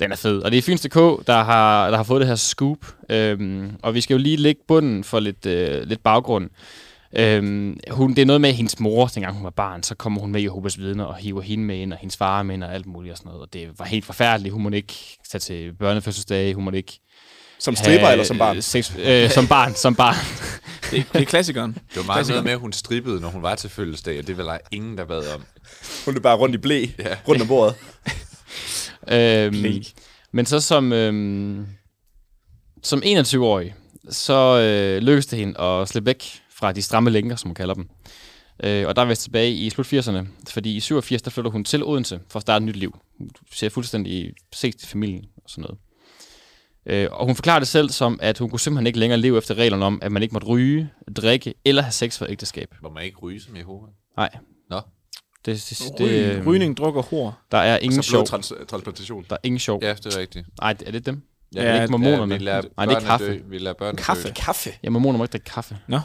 [SPEAKER 6] Den er fed. Og det er Fyns.dk, der har, der har fået det her scoop. Øhm, og vi skal jo lige lægge bunden for lidt, øh, lidt baggrund. Øhm, hun, det er noget med at hendes mor, dengang hun var barn, så kommer hun med i Jehovas vidner og hiver hende med ind, og hendes far med ind og alt muligt og sådan noget. Og det var helt forfærdeligt. Hun måtte ikke tage til børnefødselsdage, hun måtte ikke...
[SPEAKER 4] Som stripper eller som barn?
[SPEAKER 6] øh, Sex, øh, som barn, som barn.
[SPEAKER 10] det, det er klassikeren.
[SPEAKER 8] Det var meget noget med, at hun strippede, når hun var til fødselsdag, og det var der ingen, der bad om.
[SPEAKER 4] Hun er bare rundt i blæ, ja. rundt om bordet.
[SPEAKER 6] Øhm, men så som, øhm, som 21-årig, så øh, lykkedes det hende at slippe væk fra de stramme lænker, som hun kalder dem. Øh, og der er vi tilbage i slut 80'erne, fordi i 87, der flytter hun til Odense for at starte et nyt liv. Hun ser fuldstændig ses til familien og sådan noget. Øh, og hun forklarer det selv som, at hun kunne simpelthen ikke længere leve efter reglerne om, at man ikke måtte ryge, drikke eller have sex for ægteskab.
[SPEAKER 8] Må man ikke ryge som Jehova?
[SPEAKER 6] Nej.
[SPEAKER 8] Nå.
[SPEAKER 6] Det, det, det,
[SPEAKER 10] Rygning,
[SPEAKER 6] øh,
[SPEAKER 10] rygning, druk og hår.
[SPEAKER 6] Der er ingen
[SPEAKER 10] Og så
[SPEAKER 6] sjov.
[SPEAKER 10] blod trans- transplantation.
[SPEAKER 6] Der er ingen sjov.
[SPEAKER 8] Ja, det er rigtigt.
[SPEAKER 6] Nej, er det dem?
[SPEAKER 8] Ja,
[SPEAKER 6] Ja, det er
[SPEAKER 8] ja,
[SPEAKER 6] ikke mormonerne.
[SPEAKER 8] ja, vi
[SPEAKER 6] Nej,
[SPEAKER 8] lader
[SPEAKER 6] det er
[SPEAKER 8] børnene
[SPEAKER 6] kaffe.
[SPEAKER 8] dø. Vi lader børnene dø.
[SPEAKER 4] Kaffe?
[SPEAKER 6] Ja, mormoner må ikke drikke kaffe.
[SPEAKER 10] Nå.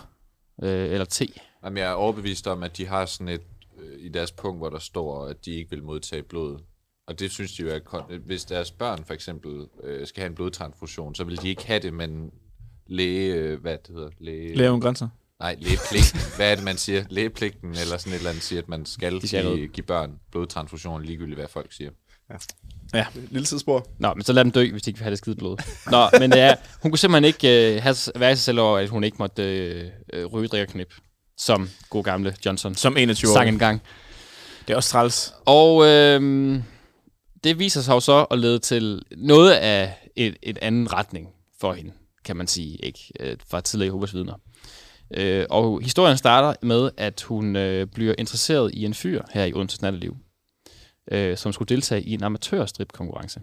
[SPEAKER 6] Øh, eller te.
[SPEAKER 8] Jamen, jeg er overbevist om, at de har sådan et øh, i deres punkt, hvor der står, at de ikke vil modtage blod. Og det synes de jo er... kon- Hvis deres børn for eksempel øh, skal have en blodtransfusion, så vil de ikke have det, men læge... Øh, hvad det hedder? Læge...
[SPEAKER 10] Læge uden grænser.
[SPEAKER 8] Nej, lægepligten. hvad er det, man siger? Lægepligten eller sådan et eller andet siger, at man skal
[SPEAKER 6] De siger
[SPEAKER 8] give,
[SPEAKER 6] noget.
[SPEAKER 8] give børn blodtransfusion, ligegyldigt hvad folk siger.
[SPEAKER 4] Ja.
[SPEAKER 10] Ja.
[SPEAKER 4] Lille tidsspor.
[SPEAKER 6] Nå, men så lad dem dø, hvis de ikke vil have det skide blod. Nå, men det er, hun kunne simpelthen ikke øh, have, være i sig selv over, at hun ikke måtte øh, øh, ryge, drikke og knip. Som god gamle Johnson.
[SPEAKER 10] Som 21-årig.
[SPEAKER 6] Sang en gang.
[SPEAKER 10] Det er også træls.
[SPEAKER 6] Og øh, det viser sig jo så at lede til noget af et, et anden retning for hende, kan man sige, ikke? Øh, Fra tidligere Jehovas vidner. Øh, og historien starter med, at hun øh, bliver interesseret i en fyr her i Odense Natteliv, øh, som skulle deltage i en amatørstripkonkurrence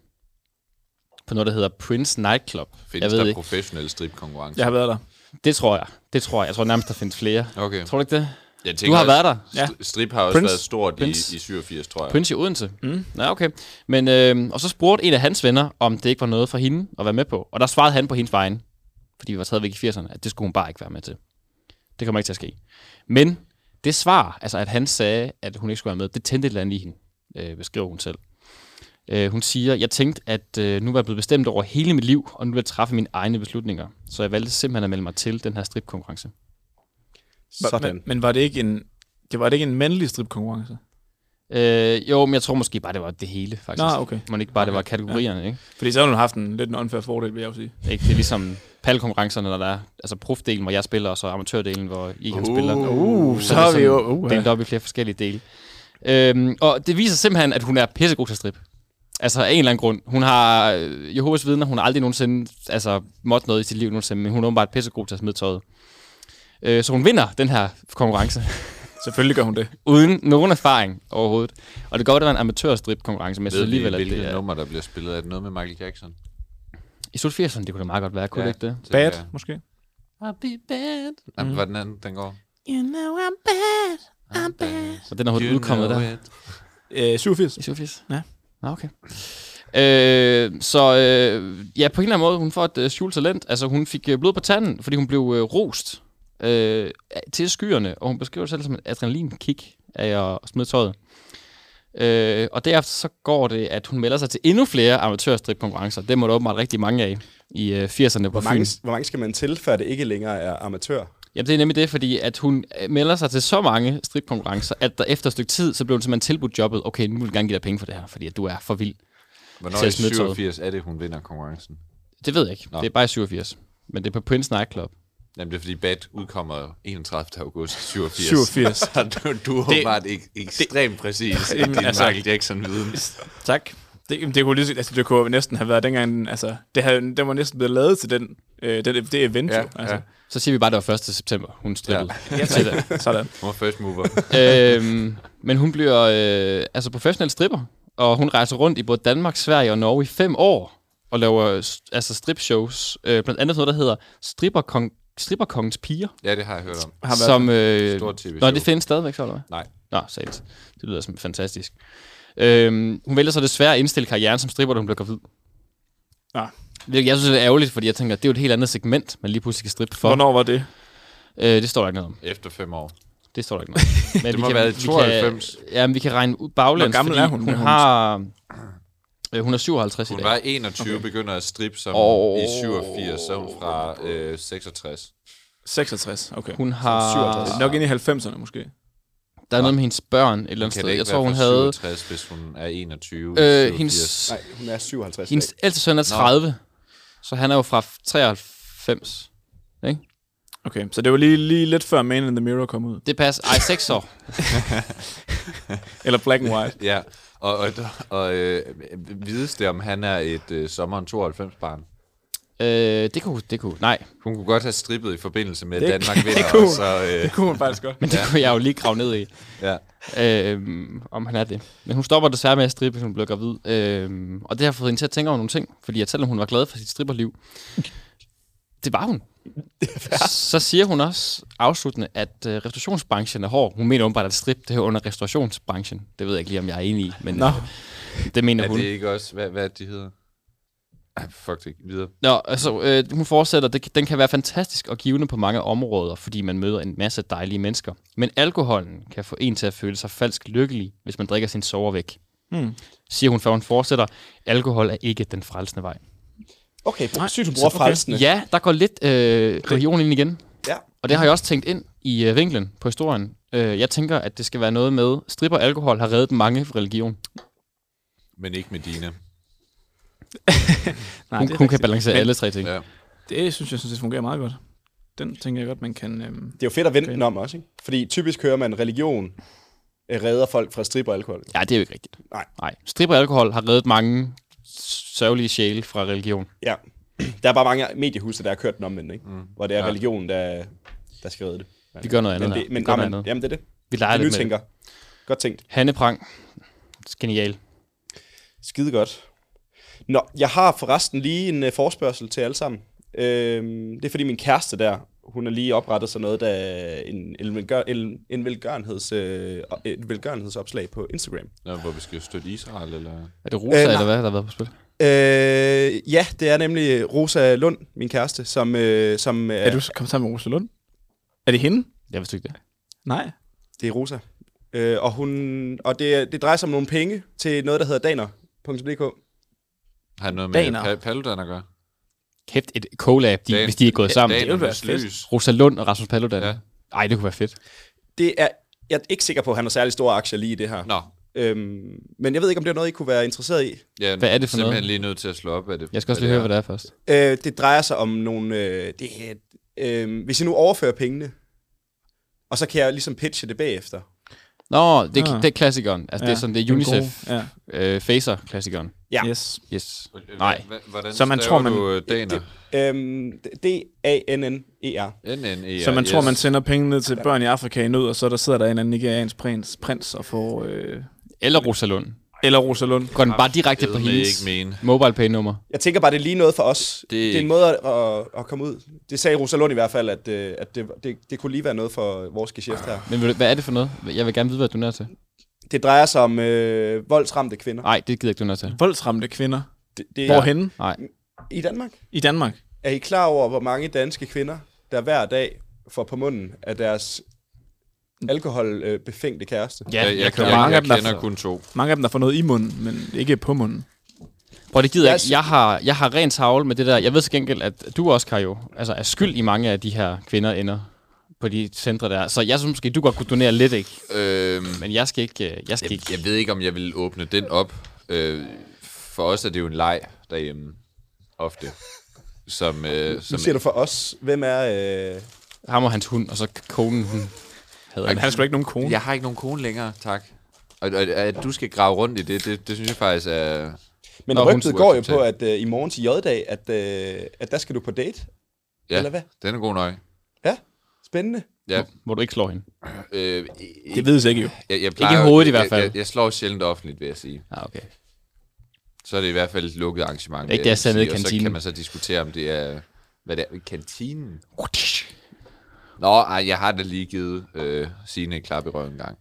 [SPEAKER 6] på noget, der hedder Prince Nightclub.
[SPEAKER 8] Findes der professionelle stripkonkurrencer?
[SPEAKER 10] Jeg har været der.
[SPEAKER 6] Det tror jeg. Det tror jeg. Jeg tror nærmest, der findes flere.
[SPEAKER 8] Okay.
[SPEAKER 6] Tror du ikke det?
[SPEAKER 8] Jeg
[SPEAKER 6] du
[SPEAKER 8] tænker
[SPEAKER 6] har
[SPEAKER 8] også,
[SPEAKER 6] været der.
[SPEAKER 8] st- Ja. strip har også været stort i- i 87, tror jeg.
[SPEAKER 6] Prince i Odense.
[SPEAKER 8] Mm.
[SPEAKER 6] Mm. Ja, okay. Men, øh, og så spurgte en af hans venner, om det ikke var noget for hende at være med på. Og der svarede han på hendes vegne, fordi vi var taget væk i 80'erne, at det skulle hun bare ikke være med til. Det kommer ikke til at ske. Men det svar, altså at han sagde, at hun ikke skulle være med, det tændte et eller andet i hende, øh, beskriver hun selv. Øh, hun siger, jeg tænkte, at øh, nu var jeg blevet bestemt over hele mit liv, og nu vil jeg træffe mine egne beslutninger. Så jeg valgte simpelthen at melde mig til den her stripkonkurrence.
[SPEAKER 10] Sådan. Men, men var det ikke en, det var det ikke en mandlig stripkonkurrence?
[SPEAKER 6] Øh, jo, men jeg tror måske bare, det var det hele, faktisk.
[SPEAKER 10] Nå, okay.
[SPEAKER 6] Man ikke bare, det var
[SPEAKER 10] Okay.
[SPEAKER 6] kategorierne, ja. ikke?
[SPEAKER 10] Fordi så havde hun haft en lidt en unfair fordel, vil jeg jo sige.
[SPEAKER 6] Ikke? Det er ligesom palkonkurrencerne, når der er altså profdelen, hvor jeg spiller, og så amatørdelen, hvor I kan
[SPEAKER 10] Uh,
[SPEAKER 6] spille.
[SPEAKER 10] uh, så
[SPEAKER 6] det
[SPEAKER 10] er vi
[SPEAKER 6] sådan
[SPEAKER 10] jo- uh, ja.
[SPEAKER 6] delt op i flere forskellige dele. Øhm, og det viser simpelthen, at hun er pissegod til at strip. Altså af en eller anden grund. Hun har øh, Jehovas vidner, hun har aldrig nogensinde altså, måttet noget i sit liv nogensinde, men hun er åbenbart pissegod til at smide tøjet. Øh, så hun vinder den her konkurrence. *laughs*
[SPEAKER 10] Selvfølgelig gør hun det.
[SPEAKER 6] Uden nogen erfaring overhovedet. Og det går, at det var en amatørstrip-konkurrence, men jeg synes
[SPEAKER 8] Ved vi,
[SPEAKER 6] alligevel, øh, at
[SPEAKER 8] hvilket
[SPEAKER 6] det er...
[SPEAKER 8] nummer, der bliver spillet? Er det noget med Michael Jackson?
[SPEAKER 6] I slut 80'erne, det kunne da meget godt være, kunne
[SPEAKER 8] Ja,
[SPEAKER 6] det ikke det?
[SPEAKER 8] tænker Bad, jeg.
[SPEAKER 10] måske?
[SPEAKER 6] I'll be bad.
[SPEAKER 8] Mm. Hvad den anden, den går?
[SPEAKER 6] You know I'm bad, I'm bad. Og den er
[SPEAKER 8] You
[SPEAKER 6] hurtigt udkommet
[SPEAKER 8] know
[SPEAKER 6] der.
[SPEAKER 10] Øh, 87.
[SPEAKER 6] 87?
[SPEAKER 10] Ja.
[SPEAKER 6] Nå, okay. Øh, så øh, ja, på en eller anden måde, hun får et øh, skjult talent. Altså, hun fik øh, blod på tanden, fordi hun blev øh, rost øh, til skyerne, og hun beskriver det selv som et adrenalinkick af at smide tøjet. Øh, og derefter så går det, at hun melder sig til endnu flere amatørstripkonkurrencer. Det må der åbenbart rigtig mange af i øh, 80'erne på
[SPEAKER 4] Hvor
[SPEAKER 6] Fyn.
[SPEAKER 4] mange, hvor mange skal man til, før det ikke længere er amatør?
[SPEAKER 6] Jamen, det er nemlig det, fordi at hun øh, melder sig til så mange stripkonkurrencer, at der efter et stykke tid, så blev hun simpelthen tilbudt jobbet. Okay, nu vil vi gerne give dig penge for det her, fordi at du er for vild.
[SPEAKER 8] Hvornår
[SPEAKER 6] til
[SPEAKER 8] i
[SPEAKER 6] at smide tøjet.
[SPEAKER 8] 87 er det, hun vinder konkurrencen?
[SPEAKER 6] Det ved jeg ikke. Det er bare i 87. Men det er på Prince Nightclub.
[SPEAKER 8] Jamen, det er fordi Bad udkommer 31. august 87.
[SPEAKER 10] *laughs* 87.
[SPEAKER 8] du, *laughs* du er
[SPEAKER 10] Det-
[SPEAKER 8] åbenbart ek- ekstremt præcis i din
[SPEAKER 10] Jamen, altså-
[SPEAKER 8] Michael Jackson-viden.
[SPEAKER 6] Tak.
[SPEAKER 10] Det, jamen, det, kunne lige, så- altså, det kunne jo næsten have været dengang, altså, det havde, den var næsten blevet lavet til den, øh, det, det event,
[SPEAKER 6] Ja,
[SPEAKER 10] jo, altså.
[SPEAKER 6] ja. Så siger vi bare, at det var 1. september, hun strippede.
[SPEAKER 10] Ja. Ja, tak. Sådan.
[SPEAKER 8] Hun var first mover.
[SPEAKER 6] øhm, men hun bliver øh, altså professionel stripper, og hun rejser rundt i både Danmark, Sverige og Norge i fem år, og laver øh, s- altså stripshows. Øh, blandt andet noget, der hedder Stripperkong, Stripperkongens Piger.
[SPEAKER 8] Ja, det har jeg hørt om.
[SPEAKER 6] Har været som,
[SPEAKER 8] et
[SPEAKER 6] øh,
[SPEAKER 8] stort TV-show.
[SPEAKER 6] Nå, det findes stadigvæk, så eller hvad?
[SPEAKER 8] Nej.
[SPEAKER 6] Nå, sat. Det lyder som fantastisk. Øhm, hun vælger så desværre at indstille karrieren som stripper, da hun bliver gravid.
[SPEAKER 10] Nå.
[SPEAKER 6] Hvilket jeg synes det er ærgerligt, fordi jeg tænker, det er jo et helt andet segment, man lige pludselig kan strippe for.
[SPEAKER 10] Hvornår var det?
[SPEAKER 6] Øh, det står der ikke noget om.
[SPEAKER 8] Efter fem år.
[SPEAKER 6] Det står der ikke
[SPEAKER 8] *laughs*
[SPEAKER 6] noget.
[SPEAKER 8] Det må have været i 92.
[SPEAKER 6] Vi kan, ja, men vi kan regne ud baglæns,
[SPEAKER 8] Hvor gammel
[SPEAKER 6] fordi
[SPEAKER 8] er hun, da
[SPEAKER 6] Hun,
[SPEAKER 8] hun-
[SPEAKER 6] har, øh, hun er 57 i
[SPEAKER 8] Hun
[SPEAKER 6] dag.
[SPEAKER 8] var 21, okay. begynder at strippe som
[SPEAKER 6] Åh.
[SPEAKER 8] i 87, så er hun fra øh, 66.
[SPEAKER 10] 66, okay.
[SPEAKER 6] Hun har-
[SPEAKER 10] 57. Nok ind i 90'erne måske.
[SPEAKER 6] Der er noget med hendes børn et eller andet
[SPEAKER 8] Kan
[SPEAKER 6] sted.
[SPEAKER 8] det ikke
[SPEAKER 6] Jeg
[SPEAKER 8] være
[SPEAKER 6] tror, hun
[SPEAKER 8] fra
[SPEAKER 6] havde...
[SPEAKER 8] 67, hvis hun er 21?
[SPEAKER 6] Øh, hendes,
[SPEAKER 4] Nej, hun er 57 i
[SPEAKER 6] Hendes
[SPEAKER 4] dag.
[SPEAKER 6] ældste søn er
[SPEAKER 4] Nå.
[SPEAKER 6] 30, så han er jo fra 93. Ikke?
[SPEAKER 10] Okay, så det var lige, lige lidt før Man in the Mirror kom ud.
[SPEAKER 6] Det passer. Ej, 6
[SPEAKER 8] *laughs*
[SPEAKER 6] år.
[SPEAKER 10] Eller Black and White.
[SPEAKER 8] ja, og, og, og øh, vides det, om han er et øh, sommeren 92-barn?
[SPEAKER 6] Øh, det kunne, det kunne, nej.
[SPEAKER 8] Hun kunne godt have strippet i forbindelse med
[SPEAKER 6] Det-
[SPEAKER 8] det, Danmark
[SPEAKER 6] det
[SPEAKER 8] vinder.
[SPEAKER 6] kunne
[SPEAKER 8] og
[SPEAKER 6] hun.
[SPEAKER 8] så, øh,
[SPEAKER 6] Det *laughs* kunne hun faktisk godt. Men det kunne jeg jo lige grave ned i.
[SPEAKER 8] Ja.
[SPEAKER 6] Øhm, om han er det. Men hun stopper desværre med at strippe, hun bliver gravid. Øhm, og det har fået hende til at tænke over nogle ting. Fordi at selvom hun var glad for sit
[SPEAKER 8] *laughs*
[SPEAKER 6] stripperliv, det var hun. Så siger hun også afsluttende, at øh, restaurationsbranchen er hård. Hun mener åbenbart, at strip det hører under restaurationsbranchen. Det ved jeg ikke lige, om jeg er enig i, men
[SPEAKER 8] Nå.
[SPEAKER 6] øh, det mener
[SPEAKER 8] er
[SPEAKER 6] hun.
[SPEAKER 8] det ikke også, hvad, hvad de hedder? Ej, fuck det, videre.
[SPEAKER 6] Nå, altså, øh, hun fortsætter, det, den kan være fantastisk og givende på mange områder, fordi man møder en masse dejlige mennesker. Men alkoholen kan få en til at føle sig falsk lykkelig, hvis man drikker sin sover væk.
[SPEAKER 10] Hmm.
[SPEAKER 6] Siger hun, før hun fortsætter, alkohol er ikke den frelsende vej.
[SPEAKER 4] Okay, sygt, hun bruger
[SPEAKER 6] Så-
[SPEAKER 4] frelsende.
[SPEAKER 6] Ja, der går lidt øh, religion ind igen.
[SPEAKER 4] Ja.
[SPEAKER 6] Og det har jeg også tænkt ind i øh, vinklen på historien. Øh, jeg tænker, at det skal være noget med, stripper og alkohol har reddet mange fra religion.
[SPEAKER 8] Men ikke med dine.
[SPEAKER 6] Hun-
[SPEAKER 10] det er
[SPEAKER 6] hun kan
[SPEAKER 10] rigtigt.
[SPEAKER 6] balancere alle tre ting.
[SPEAKER 8] Ja.
[SPEAKER 10] Det synes jeg, synes, det fungerer meget godt. Den tænker jeg godt, man kan... Øhm,
[SPEAKER 4] Det er jo fedt at vente den om også, ikke? Fordi typisk hører man, religion øh, redder folk fra strip og alkohol.
[SPEAKER 6] Ja, det er jo ikke rigtigt.
[SPEAKER 4] Nej.
[SPEAKER 6] Nej. Stripper og alkohol har reddet mange sørgelige sjæle fra religion.
[SPEAKER 4] Ja. Der er bare mange mediehuse, der har kørt den omvendt, ikke? Mm. Hvor det er
[SPEAKER 6] Ja.
[SPEAKER 4] ja. religion, der, der skal redde det.
[SPEAKER 6] Vi gør noget andet
[SPEAKER 4] Men,
[SPEAKER 6] her.
[SPEAKER 4] det, men,
[SPEAKER 6] Vi gør
[SPEAKER 4] nej,
[SPEAKER 6] noget
[SPEAKER 4] men
[SPEAKER 6] andet.
[SPEAKER 4] jamen, det er det.
[SPEAKER 6] Vi leger
[SPEAKER 4] det
[SPEAKER 6] lidt med
[SPEAKER 4] nytænker. Godt tænkt.
[SPEAKER 6] Hanne Prang. Genial.
[SPEAKER 4] Skide godt. Nå, jeg har forresten lige en uh, forspørgsel til alle sammen. Øhm, det er fordi min kæreste der, hun har lige oprettet sådan noget, der er en, en, velgør, en, en velgørenheds, øh, et velgørenhedsopslag på Instagram.
[SPEAKER 8] Nå, hvor vi skal støtte Israel, eller?
[SPEAKER 6] Er det Rosa,
[SPEAKER 4] Øh, nej.
[SPEAKER 6] eller hvad, der har været på spil?
[SPEAKER 4] Øh, ja, det er nemlig Rosa Lund, min kæreste, som... Øh, som
[SPEAKER 10] er du så kommet sammen med Rosa Lund? Er det hende?
[SPEAKER 6] Jeg vidste ikke det.
[SPEAKER 10] Nej.
[SPEAKER 4] Det er Rosa. Øh, og hun, og det, det drejer sig om nogle penge til noget, der hedder daner.dk.
[SPEAKER 8] Har han noget
[SPEAKER 4] Daner.
[SPEAKER 8] med pa- Paludan at gøre?
[SPEAKER 6] Kæft et collab, de,
[SPEAKER 8] Dan-
[SPEAKER 6] hvis de er gået
[SPEAKER 8] Dan-
[SPEAKER 6] sammen.
[SPEAKER 8] Dan- Det ville være fedt.
[SPEAKER 6] Rosa Lund og Rasmus Paludan. Ja. Ej, det kunne være fedt.
[SPEAKER 4] Det er, jeg er ikke sikker på, at han har særlig store aktier lige i det her.
[SPEAKER 8] Nå.
[SPEAKER 4] Øhm, men jeg ved ikke, om det er noget, I kunne være interesseret i.
[SPEAKER 8] Ja,
[SPEAKER 6] Hvad er det for noget?
[SPEAKER 8] simpelthen lige nødt til at slå op, hvad det
[SPEAKER 6] Jeg skal også lige høre, hvad det er først.
[SPEAKER 4] Øh, det drejer sig om nogle... Øh, det, er- øh, hvis I nu overfører pengene, og så kan jeg ligesom pitche det bagefter.
[SPEAKER 6] Nå, det,
[SPEAKER 4] Nå.
[SPEAKER 6] det er klassikeren. Altså, ja, det
[SPEAKER 4] Ja,
[SPEAKER 6] er sådan, det
[SPEAKER 4] den
[SPEAKER 6] er
[SPEAKER 4] gode.
[SPEAKER 6] UNICEF
[SPEAKER 4] Ja.
[SPEAKER 6] øh, Facer-klassikeren.
[SPEAKER 4] Ja.
[SPEAKER 10] Yes.
[SPEAKER 6] Yes. Nej.
[SPEAKER 8] Nej. Hvordan staver du øh, daner?
[SPEAKER 4] Øhm, D-A-N-N-E-R.
[SPEAKER 8] NNER,
[SPEAKER 10] Så man tror,
[SPEAKER 8] yes.
[SPEAKER 10] man sender penge ned til børn i Afrika i nød, og så der sidder der en eller anden nigeriansk prins, prins og får... Øh,
[SPEAKER 6] Eller Rosalund.
[SPEAKER 10] Eller Rosalund.
[SPEAKER 6] Går den bare direkte på
[SPEAKER 8] Eddermed
[SPEAKER 6] hendes
[SPEAKER 8] ikke mene.
[SPEAKER 6] mobile pay nummer
[SPEAKER 4] Jeg tænker bare, det er lige noget for os. Det, det er
[SPEAKER 6] ikke-
[SPEAKER 4] en måde at, at, at komme ud. Det sagde Rosa Lund i hvert fald, at, øh, at det, det, det kunne lige være noget for vores geschæft her.
[SPEAKER 6] Men vil du- hvad er det for noget? Jeg vil gerne vide, hvad du er nær til.
[SPEAKER 4] Det drejer sig om øh, voldsramte kvinder.
[SPEAKER 6] Nej, det gider jeg ikke, du er nær til.
[SPEAKER 10] Voldsramte kvinder?
[SPEAKER 4] Det, det
[SPEAKER 10] Hvorhenne?
[SPEAKER 6] Nej.
[SPEAKER 4] I Danmark.
[SPEAKER 10] I Danmark?
[SPEAKER 4] Er I klar over, hvor mange danske kvinder, der hver dag får på munden af deres alkoholbefængte kæreste.
[SPEAKER 6] Ja, jeg
[SPEAKER 8] kan- jeg- jeg kender kun to.
[SPEAKER 10] Mange af dem, der får noget i munden, men ikke på munden.
[SPEAKER 6] Bro, det gider jeg ikke. Jeg har, jeg har ren tavle med det der. Jeg ved til gengæld, at du også, Kajo, altså er skyld i mange af de her kvinder ender på de centre der. Så jeg synes måske, du godt kunne donere lidt, ikke?
[SPEAKER 8] Øhm,
[SPEAKER 6] Men jeg skal ikke... øh, Jeg skal
[SPEAKER 8] jeg, jeg ved ikke, om jeg vil åbne den op. Øh, for os er det jo en leg derhjemme, ofte. Som, øh,
[SPEAKER 4] Nu
[SPEAKER 8] som
[SPEAKER 4] siger du for os, hvem er... Øh...
[SPEAKER 6] Ham og hans hund, og så konen, hun havde
[SPEAKER 8] Ej, Jeg har ikke nogen kone længere, tak. Og, og at du skal grave rundt i det, det, det synes jeg faktisk er...
[SPEAKER 4] Men
[SPEAKER 8] Nå,
[SPEAKER 4] rygtet
[SPEAKER 8] hun-
[SPEAKER 4] går jo på, at øh, i morgen til J-dag, at, øh, at der skal du på date.
[SPEAKER 8] Ja,
[SPEAKER 4] Eller hvad?
[SPEAKER 8] den er god nok.
[SPEAKER 4] Ja, spændende.
[SPEAKER 8] Ja.
[SPEAKER 6] Hvor du ikke slår hende.
[SPEAKER 8] Øh,
[SPEAKER 6] Det vides ikke, jo.
[SPEAKER 8] Jeg, jeg
[SPEAKER 6] Ikke
[SPEAKER 8] plejer,
[SPEAKER 6] i hovedet i hvert fald.
[SPEAKER 8] Jeg, jeg, jeg slår sjældent offentligt, vil jeg sige.
[SPEAKER 6] Ah, okay.
[SPEAKER 8] Så er det i hvert fald et lukket arrangement.
[SPEAKER 6] Det er ikke
[SPEAKER 8] vil
[SPEAKER 6] det, jeg ser nede i
[SPEAKER 8] sige, og Så
[SPEAKER 6] kantinen.
[SPEAKER 8] kan man så diskutere, om det er... Hvad det er? Kantinen? Nå, ej, jeg har da lige givet øh, Signe en klap i røven en gang.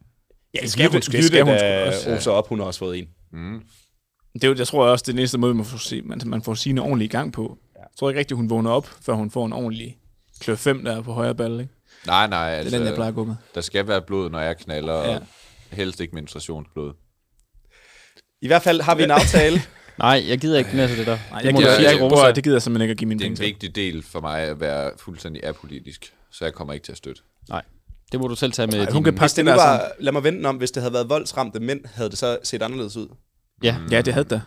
[SPEAKER 4] Ja, det skal Jytte- hun sgu. Det Jytte, skal hun da sgu også. rose op. Hun har også fået en.
[SPEAKER 8] Mm.
[SPEAKER 10] Det er jo, jeg tror også, det er den eneste måde, man får, se, man, man får sine ordentlige gang på. Jeg tror ikke rigtigt, hun vågner op, før hun får en ordentlig klør 5, der er på højre balle. Ikke?
[SPEAKER 8] Nej, nej.
[SPEAKER 10] er
[SPEAKER 8] Altså,
[SPEAKER 10] den, jeg plejer at gå med.
[SPEAKER 8] Der skal være blod, når jeg knaller, ja.
[SPEAKER 10] Ja.
[SPEAKER 8] og helst ikke menstruationsblod.
[SPEAKER 4] I hvert fald har vi en aftale.
[SPEAKER 6] Nej, jeg gider ikke mere til det der.
[SPEAKER 8] Nej,
[SPEAKER 6] Det må du sige til Rosa.
[SPEAKER 10] det gider jeg simpelthen ikke at give mine
[SPEAKER 8] Det er en
[SPEAKER 10] penge til.
[SPEAKER 8] vigtig del for mig at være fuldstændig apolitisk, så jeg kommer ikke til at støtte.
[SPEAKER 6] Nej, det må du selv tage med.
[SPEAKER 4] Ej, hun kan passe det nu var, lad mig vente om, hvis det havde været voldsramte mænd, havde det så set anderledes ud.
[SPEAKER 6] Ja.
[SPEAKER 10] Ja, det havde det.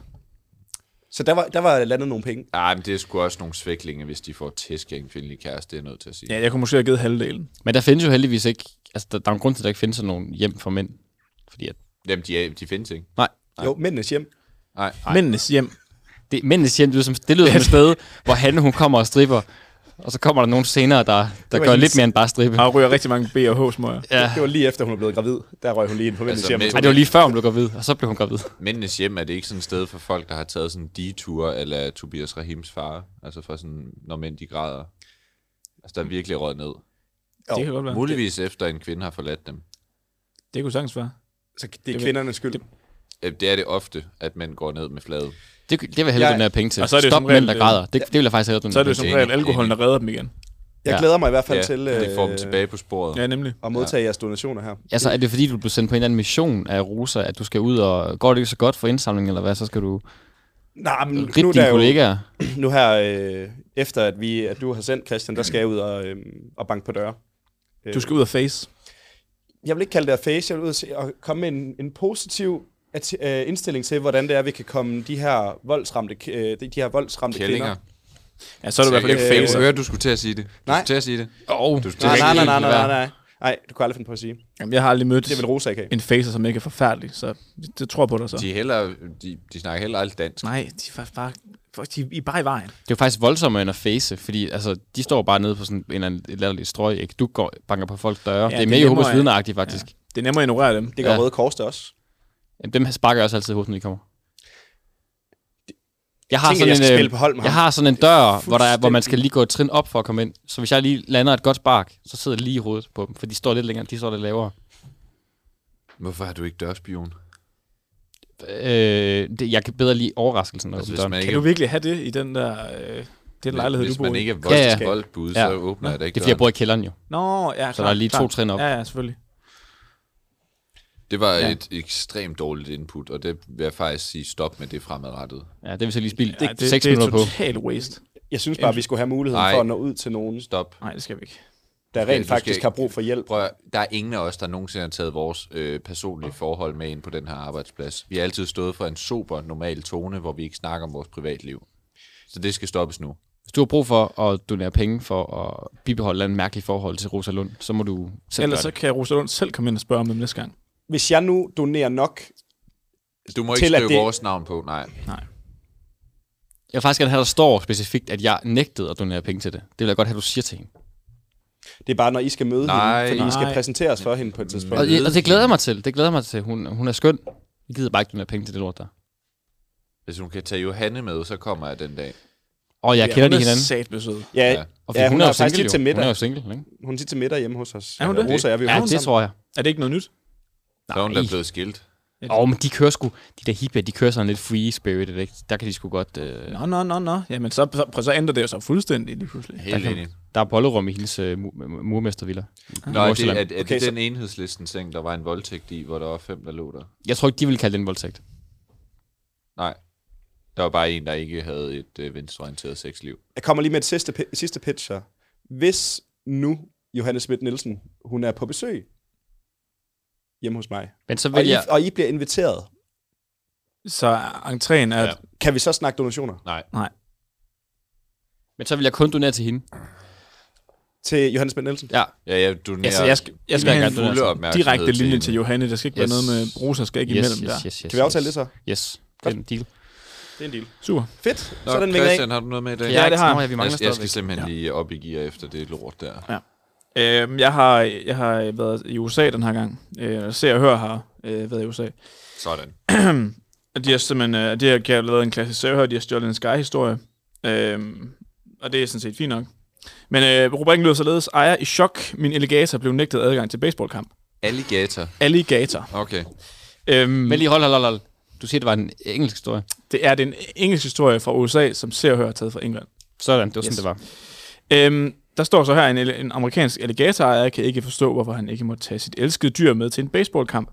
[SPEAKER 4] Så der var, der var landet nogle penge.
[SPEAKER 8] Nej, men det er sgu også nogle svæklinge, hvis de får tæsk af en kvindelig kæreste, det er jeg nødt til at sige.
[SPEAKER 10] Ja, jeg kunne måske have givet halvdelen.
[SPEAKER 6] Men der findes jo heldigvis ikke... Altså, der, der er en grund til, at der ikke findes sådan nogle hjem for mænd. Fordi at...
[SPEAKER 8] Jamen, de, er, de findes ikke.
[SPEAKER 6] Nej.
[SPEAKER 4] Jo, mændenes hjem.
[SPEAKER 8] Nej.
[SPEAKER 10] Mændenes hjem.
[SPEAKER 6] Det, mændenes hjem, det lyder som, det lyder som et sted, hvor han hun kommer og stripper. Og så kommer der nogen senere, der, der gør lidt mere end bare strippe.
[SPEAKER 10] Og ryger rigtig mange B og H smøger.
[SPEAKER 6] Ja.
[SPEAKER 4] Det var lige efter, hun er blevet gravid. Der røg hun lige ind på mændenes
[SPEAKER 8] Altså,
[SPEAKER 4] hjem.
[SPEAKER 8] mænd-
[SPEAKER 6] Ej, det var lige før, hun blev gravid, og så blev hun gravid.
[SPEAKER 8] Mændenes hjem er det ikke sådan et sted for folk, der har taget sådan en detur eller Tobias Rahims far, altså for sådan, når mænd de græder. Altså, der er virkelig røget ned.
[SPEAKER 10] Det kan godt være.
[SPEAKER 8] Muligvis efter en kvinde har forladt dem.
[SPEAKER 10] Det kunne sagtens være.
[SPEAKER 4] Så det er kvindernes skyld.
[SPEAKER 8] Øh, Det er det ofte, at mænd går ned med flade.
[SPEAKER 6] Det, det vil jeg hellere
[SPEAKER 4] Jeg-
[SPEAKER 6] donere penge til.
[SPEAKER 4] Og så er det jo
[SPEAKER 6] Stop
[SPEAKER 4] som regel,
[SPEAKER 6] mænd, der
[SPEAKER 4] øh,
[SPEAKER 6] græder. Det, det vil jeg faktisk hellere donere
[SPEAKER 10] Så er det jo som
[SPEAKER 6] penge
[SPEAKER 10] regel
[SPEAKER 6] til.
[SPEAKER 10] alkoholen, der redder dem igen.
[SPEAKER 4] Jeg
[SPEAKER 6] Ja.
[SPEAKER 4] glæder mig i hvert fald
[SPEAKER 6] Ja,
[SPEAKER 4] til... øh,
[SPEAKER 6] det får dem
[SPEAKER 8] tilbage på sporet.
[SPEAKER 10] Ja, nemlig.
[SPEAKER 4] Og modtage jeres donationer her.
[SPEAKER 6] Altså, er det fordi, du blev sendt på en eller anden mission af Rosa, at du skal ud og... Går det ikke så godt for indsamlingen, eller hvad? Så skal du...
[SPEAKER 4] Nej, men
[SPEAKER 6] Rip
[SPEAKER 4] nu,
[SPEAKER 6] dine
[SPEAKER 4] der
[SPEAKER 6] kollegaer.
[SPEAKER 4] Jo, nu her, øh, efter at, vi, at du har sendt Christian, der skal jeg ud og, øh, og banke på døre. Øh,
[SPEAKER 10] Du skal ud og face.
[SPEAKER 4] Jeg vil ikke kalde det at face, jeg vil ud og se- og komme med en, en positiv at, øh, indstilling til, hvordan det er, vi kan komme de her voldsramte, k- øh, de de her voldsramte
[SPEAKER 8] Kællinger.
[SPEAKER 4] kvinder.
[SPEAKER 10] Ja, så er du i hvert fald ikke
[SPEAKER 8] Jeg
[SPEAKER 10] face.
[SPEAKER 8] kunne høre, du skulle til at sige det. Du
[SPEAKER 4] Nej.
[SPEAKER 8] skulle til at sige det.
[SPEAKER 6] Oh,
[SPEAKER 8] du skulle til
[SPEAKER 4] Nej,
[SPEAKER 8] at
[SPEAKER 4] nej,
[SPEAKER 8] sige
[SPEAKER 4] nej,
[SPEAKER 8] det.
[SPEAKER 4] nej, nej, nej. Nej, du kunne aldrig finde på at sige.
[SPEAKER 10] Jamen, jeg har aldrig mødt
[SPEAKER 4] Det vil Rosa ikke have.
[SPEAKER 10] en facer, som ikke er forfærdelig, så det- det tror jeg på dig så.
[SPEAKER 8] De, er hellere, de, de snakker heller aldrig dansk.
[SPEAKER 10] Nej, de er faktisk bare, folk, de er bare i vejen.
[SPEAKER 6] Det er jo faktisk voldsommere end at face, fordi altså, de står bare nede på sådan en eller anden et latterligt strøg, ikke? Du går, banker på folk døre. Ja, det er mere Jehovas vidneragtigt, faktisk. Ja.
[SPEAKER 10] Det er nemmere at ignorere dem.
[SPEAKER 4] Det gør
[SPEAKER 6] Ja.
[SPEAKER 4] ja. Røde Kors det også.
[SPEAKER 6] Jamen, dem sparker jeg også altid i hovedet, når de kommer. Jeg har,
[SPEAKER 4] Tænk, at
[SPEAKER 6] sådan
[SPEAKER 4] jeg skal
[SPEAKER 6] en, øh,
[SPEAKER 4] spille på hold med
[SPEAKER 6] jeg
[SPEAKER 4] ham.
[SPEAKER 6] har sådan en dør, hvor, der er, hvor man skal lige gå et trin op for at komme ind. Så hvis jeg lige lander et godt spark, så sidder det lige i hovedet på dem, for de står lidt længere, de står lidt lavere.
[SPEAKER 8] Hvorfor har du ikke dørspion?
[SPEAKER 6] Øh, det, jeg kan bedre lige overraskelsen. Altså,
[SPEAKER 8] hvis man ikke
[SPEAKER 10] Kan du virkelig have det i den der... Øh, den lejlighed,
[SPEAKER 8] hvis
[SPEAKER 10] du bor
[SPEAKER 8] man
[SPEAKER 10] i?
[SPEAKER 8] ikke er voldsk ja, ja. voldbud, så åbner jeg da ikke
[SPEAKER 6] Det er fordi, jeg
[SPEAKER 8] døren.
[SPEAKER 6] bor i kælderen jo.
[SPEAKER 10] Nå, ja,
[SPEAKER 6] Så
[SPEAKER 10] klar,
[SPEAKER 6] der er lige to
[SPEAKER 10] klar.
[SPEAKER 6] trin op.
[SPEAKER 10] Ja, ja, selvfølgelig.
[SPEAKER 8] Det var
[SPEAKER 10] Ja.
[SPEAKER 8] ja. et ekstremt dårligt input, og det vil jeg faktisk sige stop med det fremadrettet.
[SPEAKER 6] Ja, det vil så lige spille
[SPEAKER 10] Ja, det- seks det er minutter på. total waste.
[SPEAKER 4] Jeg synes bare, vi skulle have muligheden
[SPEAKER 8] Nej.
[SPEAKER 4] for at nå ud til nogen.
[SPEAKER 8] Stop.
[SPEAKER 10] Nej, det skal vi ikke.
[SPEAKER 4] Der rent faktisk har brug for hjælp.
[SPEAKER 8] Prøv, at- der er ingen af os, der nogensinde har taget vores øh, personlige forhold med ind på den her arbejdsplads. Vi har altid stået for en super, normal tone, hvor vi ikke snakker om vores privatliv. Så det skal stoppes nu.
[SPEAKER 6] Hvis du har brug for at donere penge for at bibeholde en mærkelig forhold til Rosa Lund, så må du selv
[SPEAKER 10] Ellers
[SPEAKER 6] gøre
[SPEAKER 10] så
[SPEAKER 6] det.
[SPEAKER 10] kan Rosalund selv komme ind og spørge om dem næste gang.
[SPEAKER 4] Hvis jeg nu donerer nok...
[SPEAKER 8] Du må ikke
[SPEAKER 4] Til at
[SPEAKER 8] skrive
[SPEAKER 4] det-
[SPEAKER 8] vores navn på, nej.
[SPEAKER 10] Nej.
[SPEAKER 6] Jeg vil faktisk gerne have, at der står specifikt, at jeg nægtede at donere penge til det. Det vil jeg godt have, at du siger til hende.
[SPEAKER 4] Det er bare, når I skal møde
[SPEAKER 6] Nej.
[SPEAKER 4] hende, fordi I skal
[SPEAKER 6] Nej.
[SPEAKER 4] præsenteres for hende på et tidspunkt.
[SPEAKER 6] Og, og det glæder jeg mig til. Det glæder jeg mig til. Hun, hun er skøn. Jeg gider bare ikke donere penge til det lort der.
[SPEAKER 8] Hvis hun kan tage Johanne med, så kommer jeg den dag.
[SPEAKER 6] Og jeg
[SPEAKER 8] Ja,
[SPEAKER 6] kender
[SPEAKER 8] hun
[SPEAKER 6] de
[SPEAKER 8] er
[SPEAKER 6] hinanden.
[SPEAKER 10] satbesød.
[SPEAKER 4] Ja,
[SPEAKER 8] Ja.
[SPEAKER 4] ja.
[SPEAKER 6] Og
[SPEAKER 4] Og
[SPEAKER 6] fordi
[SPEAKER 4] ja, hun,
[SPEAKER 6] hun
[SPEAKER 4] hun
[SPEAKER 6] er
[SPEAKER 4] er,
[SPEAKER 6] jo
[SPEAKER 4] jo faktisk
[SPEAKER 6] single,
[SPEAKER 4] tit til
[SPEAKER 6] jo.
[SPEAKER 4] middag.
[SPEAKER 6] Hun er jo single, ikke?
[SPEAKER 4] Hun er tit til middag hjemme hos os.
[SPEAKER 10] Er hun det?
[SPEAKER 4] Rosa er vi jo
[SPEAKER 6] Ja,
[SPEAKER 4] sammen.
[SPEAKER 6] det tror jeg.
[SPEAKER 10] Er det ikke noget nyt?
[SPEAKER 8] Så er hun da blevet skilt.
[SPEAKER 6] Åh, oh, men de kører sgu, de der hippier, de kører sådan lidt free spirited, ikke? Der kan de sgu godt... Øh,
[SPEAKER 10] Nå, nå, nå, nå. Jamen, så, så, prøv, så ændrer det jo så fuldstændig lige pludselig.
[SPEAKER 8] Helt
[SPEAKER 6] der kan,
[SPEAKER 8] enig.
[SPEAKER 6] Der er bollerum i hendes øh, mur- murmestervilla. i
[SPEAKER 8] Nå, er det, er,
[SPEAKER 6] Nordsjælland.
[SPEAKER 8] er det okay, den enhedslisten seng, der var en voldtægt i, hvor der var fem, der lå der?
[SPEAKER 6] Jeg tror ikke, de ville kalde det en voldtægt.
[SPEAKER 8] Nej. Der var bare en, der ikke havde et øh, venstreorienteret sexliv.
[SPEAKER 4] Jeg kommer lige med et sidste, pi- sidste pitch her. Hvis nu Johanne Schmidt Nielsen, hun er på besøg hjemme hos mig,
[SPEAKER 6] Men så vil
[SPEAKER 4] og,
[SPEAKER 6] jeg-
[SPEAKER 4] I, og I bliver inviteret,
[SPEAKER 10] Så entréen er... Ja.
[SPEAKER 4] kan vi så snakke donationer?
[SPEAKER 8] Nej.
[SPEAKER 10] Nej.
[SPEAKER 6] Men så vil jeg kun donere til hende.
[SPEAKER 4] Til Johannes Bent Nielsen?
[SPEAKER 6] Ja.
[SPEAKER 8] Ja, jeg donerer.
[SPEAKER 10] Altså, jeg skal, jeg skal
[SPEAKER 6] vil
[SPEAKER 10] have
[SPEAKER 6] gerne donere til
[SPEAKER 10] en
[SPEAKER 6] hende.
[SPEAKER 10] fuld direkte linje til Johanne. Der skal ikke yes. være noget med bruser, skal ikke
[SPEAKER 6] yes,
[SPEAKER 10] imellem
[SPEAKER 6] yes,
[SPEAKER 10] der.
[SPEAKER 6] Yes, yes,
[SPEAKER 4] Kan vi aftale
[SPEAKER 6] yes.
[SPEAKER 4] det
[SPEAKER 6] Yes, det er en deal.
[SPEAKER 4] Det er en deal.
[SPEAKER 10] Super.
[SPEAKER 4] Fedt.
[SPEAKER 8] Nå,
[SPEAKER 4] så er den vinget af.
[SPEAKER 8] Christian, har du noget med i dag?
[SPEAKER 10] Ja, det har jeg. Nå, ja,
[SPEAKER 8] jeg.
[SPEAKER 10] vi mangler
[SPEAKER 8] Jeg, jeg skal
[SPEAKER 10] stadigvæk.
[SPEAKER 8] simpelthen lige op i gear efter det lort der.
[SPEAKER 10] Ja. Øhm, jeg, har, jeg har øh, været i USA den her gang. Øh, se og hør har øh, været i USA.
[SPEAKER 8] Sådan.
[SPEAKER 10] og de har simpelthen øh, de har, de har lavet en klassisk se og hør, de har stjålet en Sky-historie. Øhm, og det er sådan set fint nok. Men øh, rubrikken lyder således. Ejer i chok. Min alligator blev nægtet adgang til baseballkamp.
[SPEAKER 8] Alligator.
[SPEAKER 10] Alligator.
[SPEAKER 8] Okay.
[SPEAKER 10] Øhm,
[SPEAKER 6] Men lige hold, hold, hold, hold. Du siger, det var en engelsk historie.
[SPEAKER 10] Det er den engelske historie fra USA, som ser og hører er taget fra England.
[SPEAKER 6] Sådan, det var sådan, det var.
[SPEAKER 10] Øhm, der står så her, en, en amerikansk alligatorejer kan ikke forstå, hvorfor han ikke må tage sit elskede dyr med til en baseballkamp.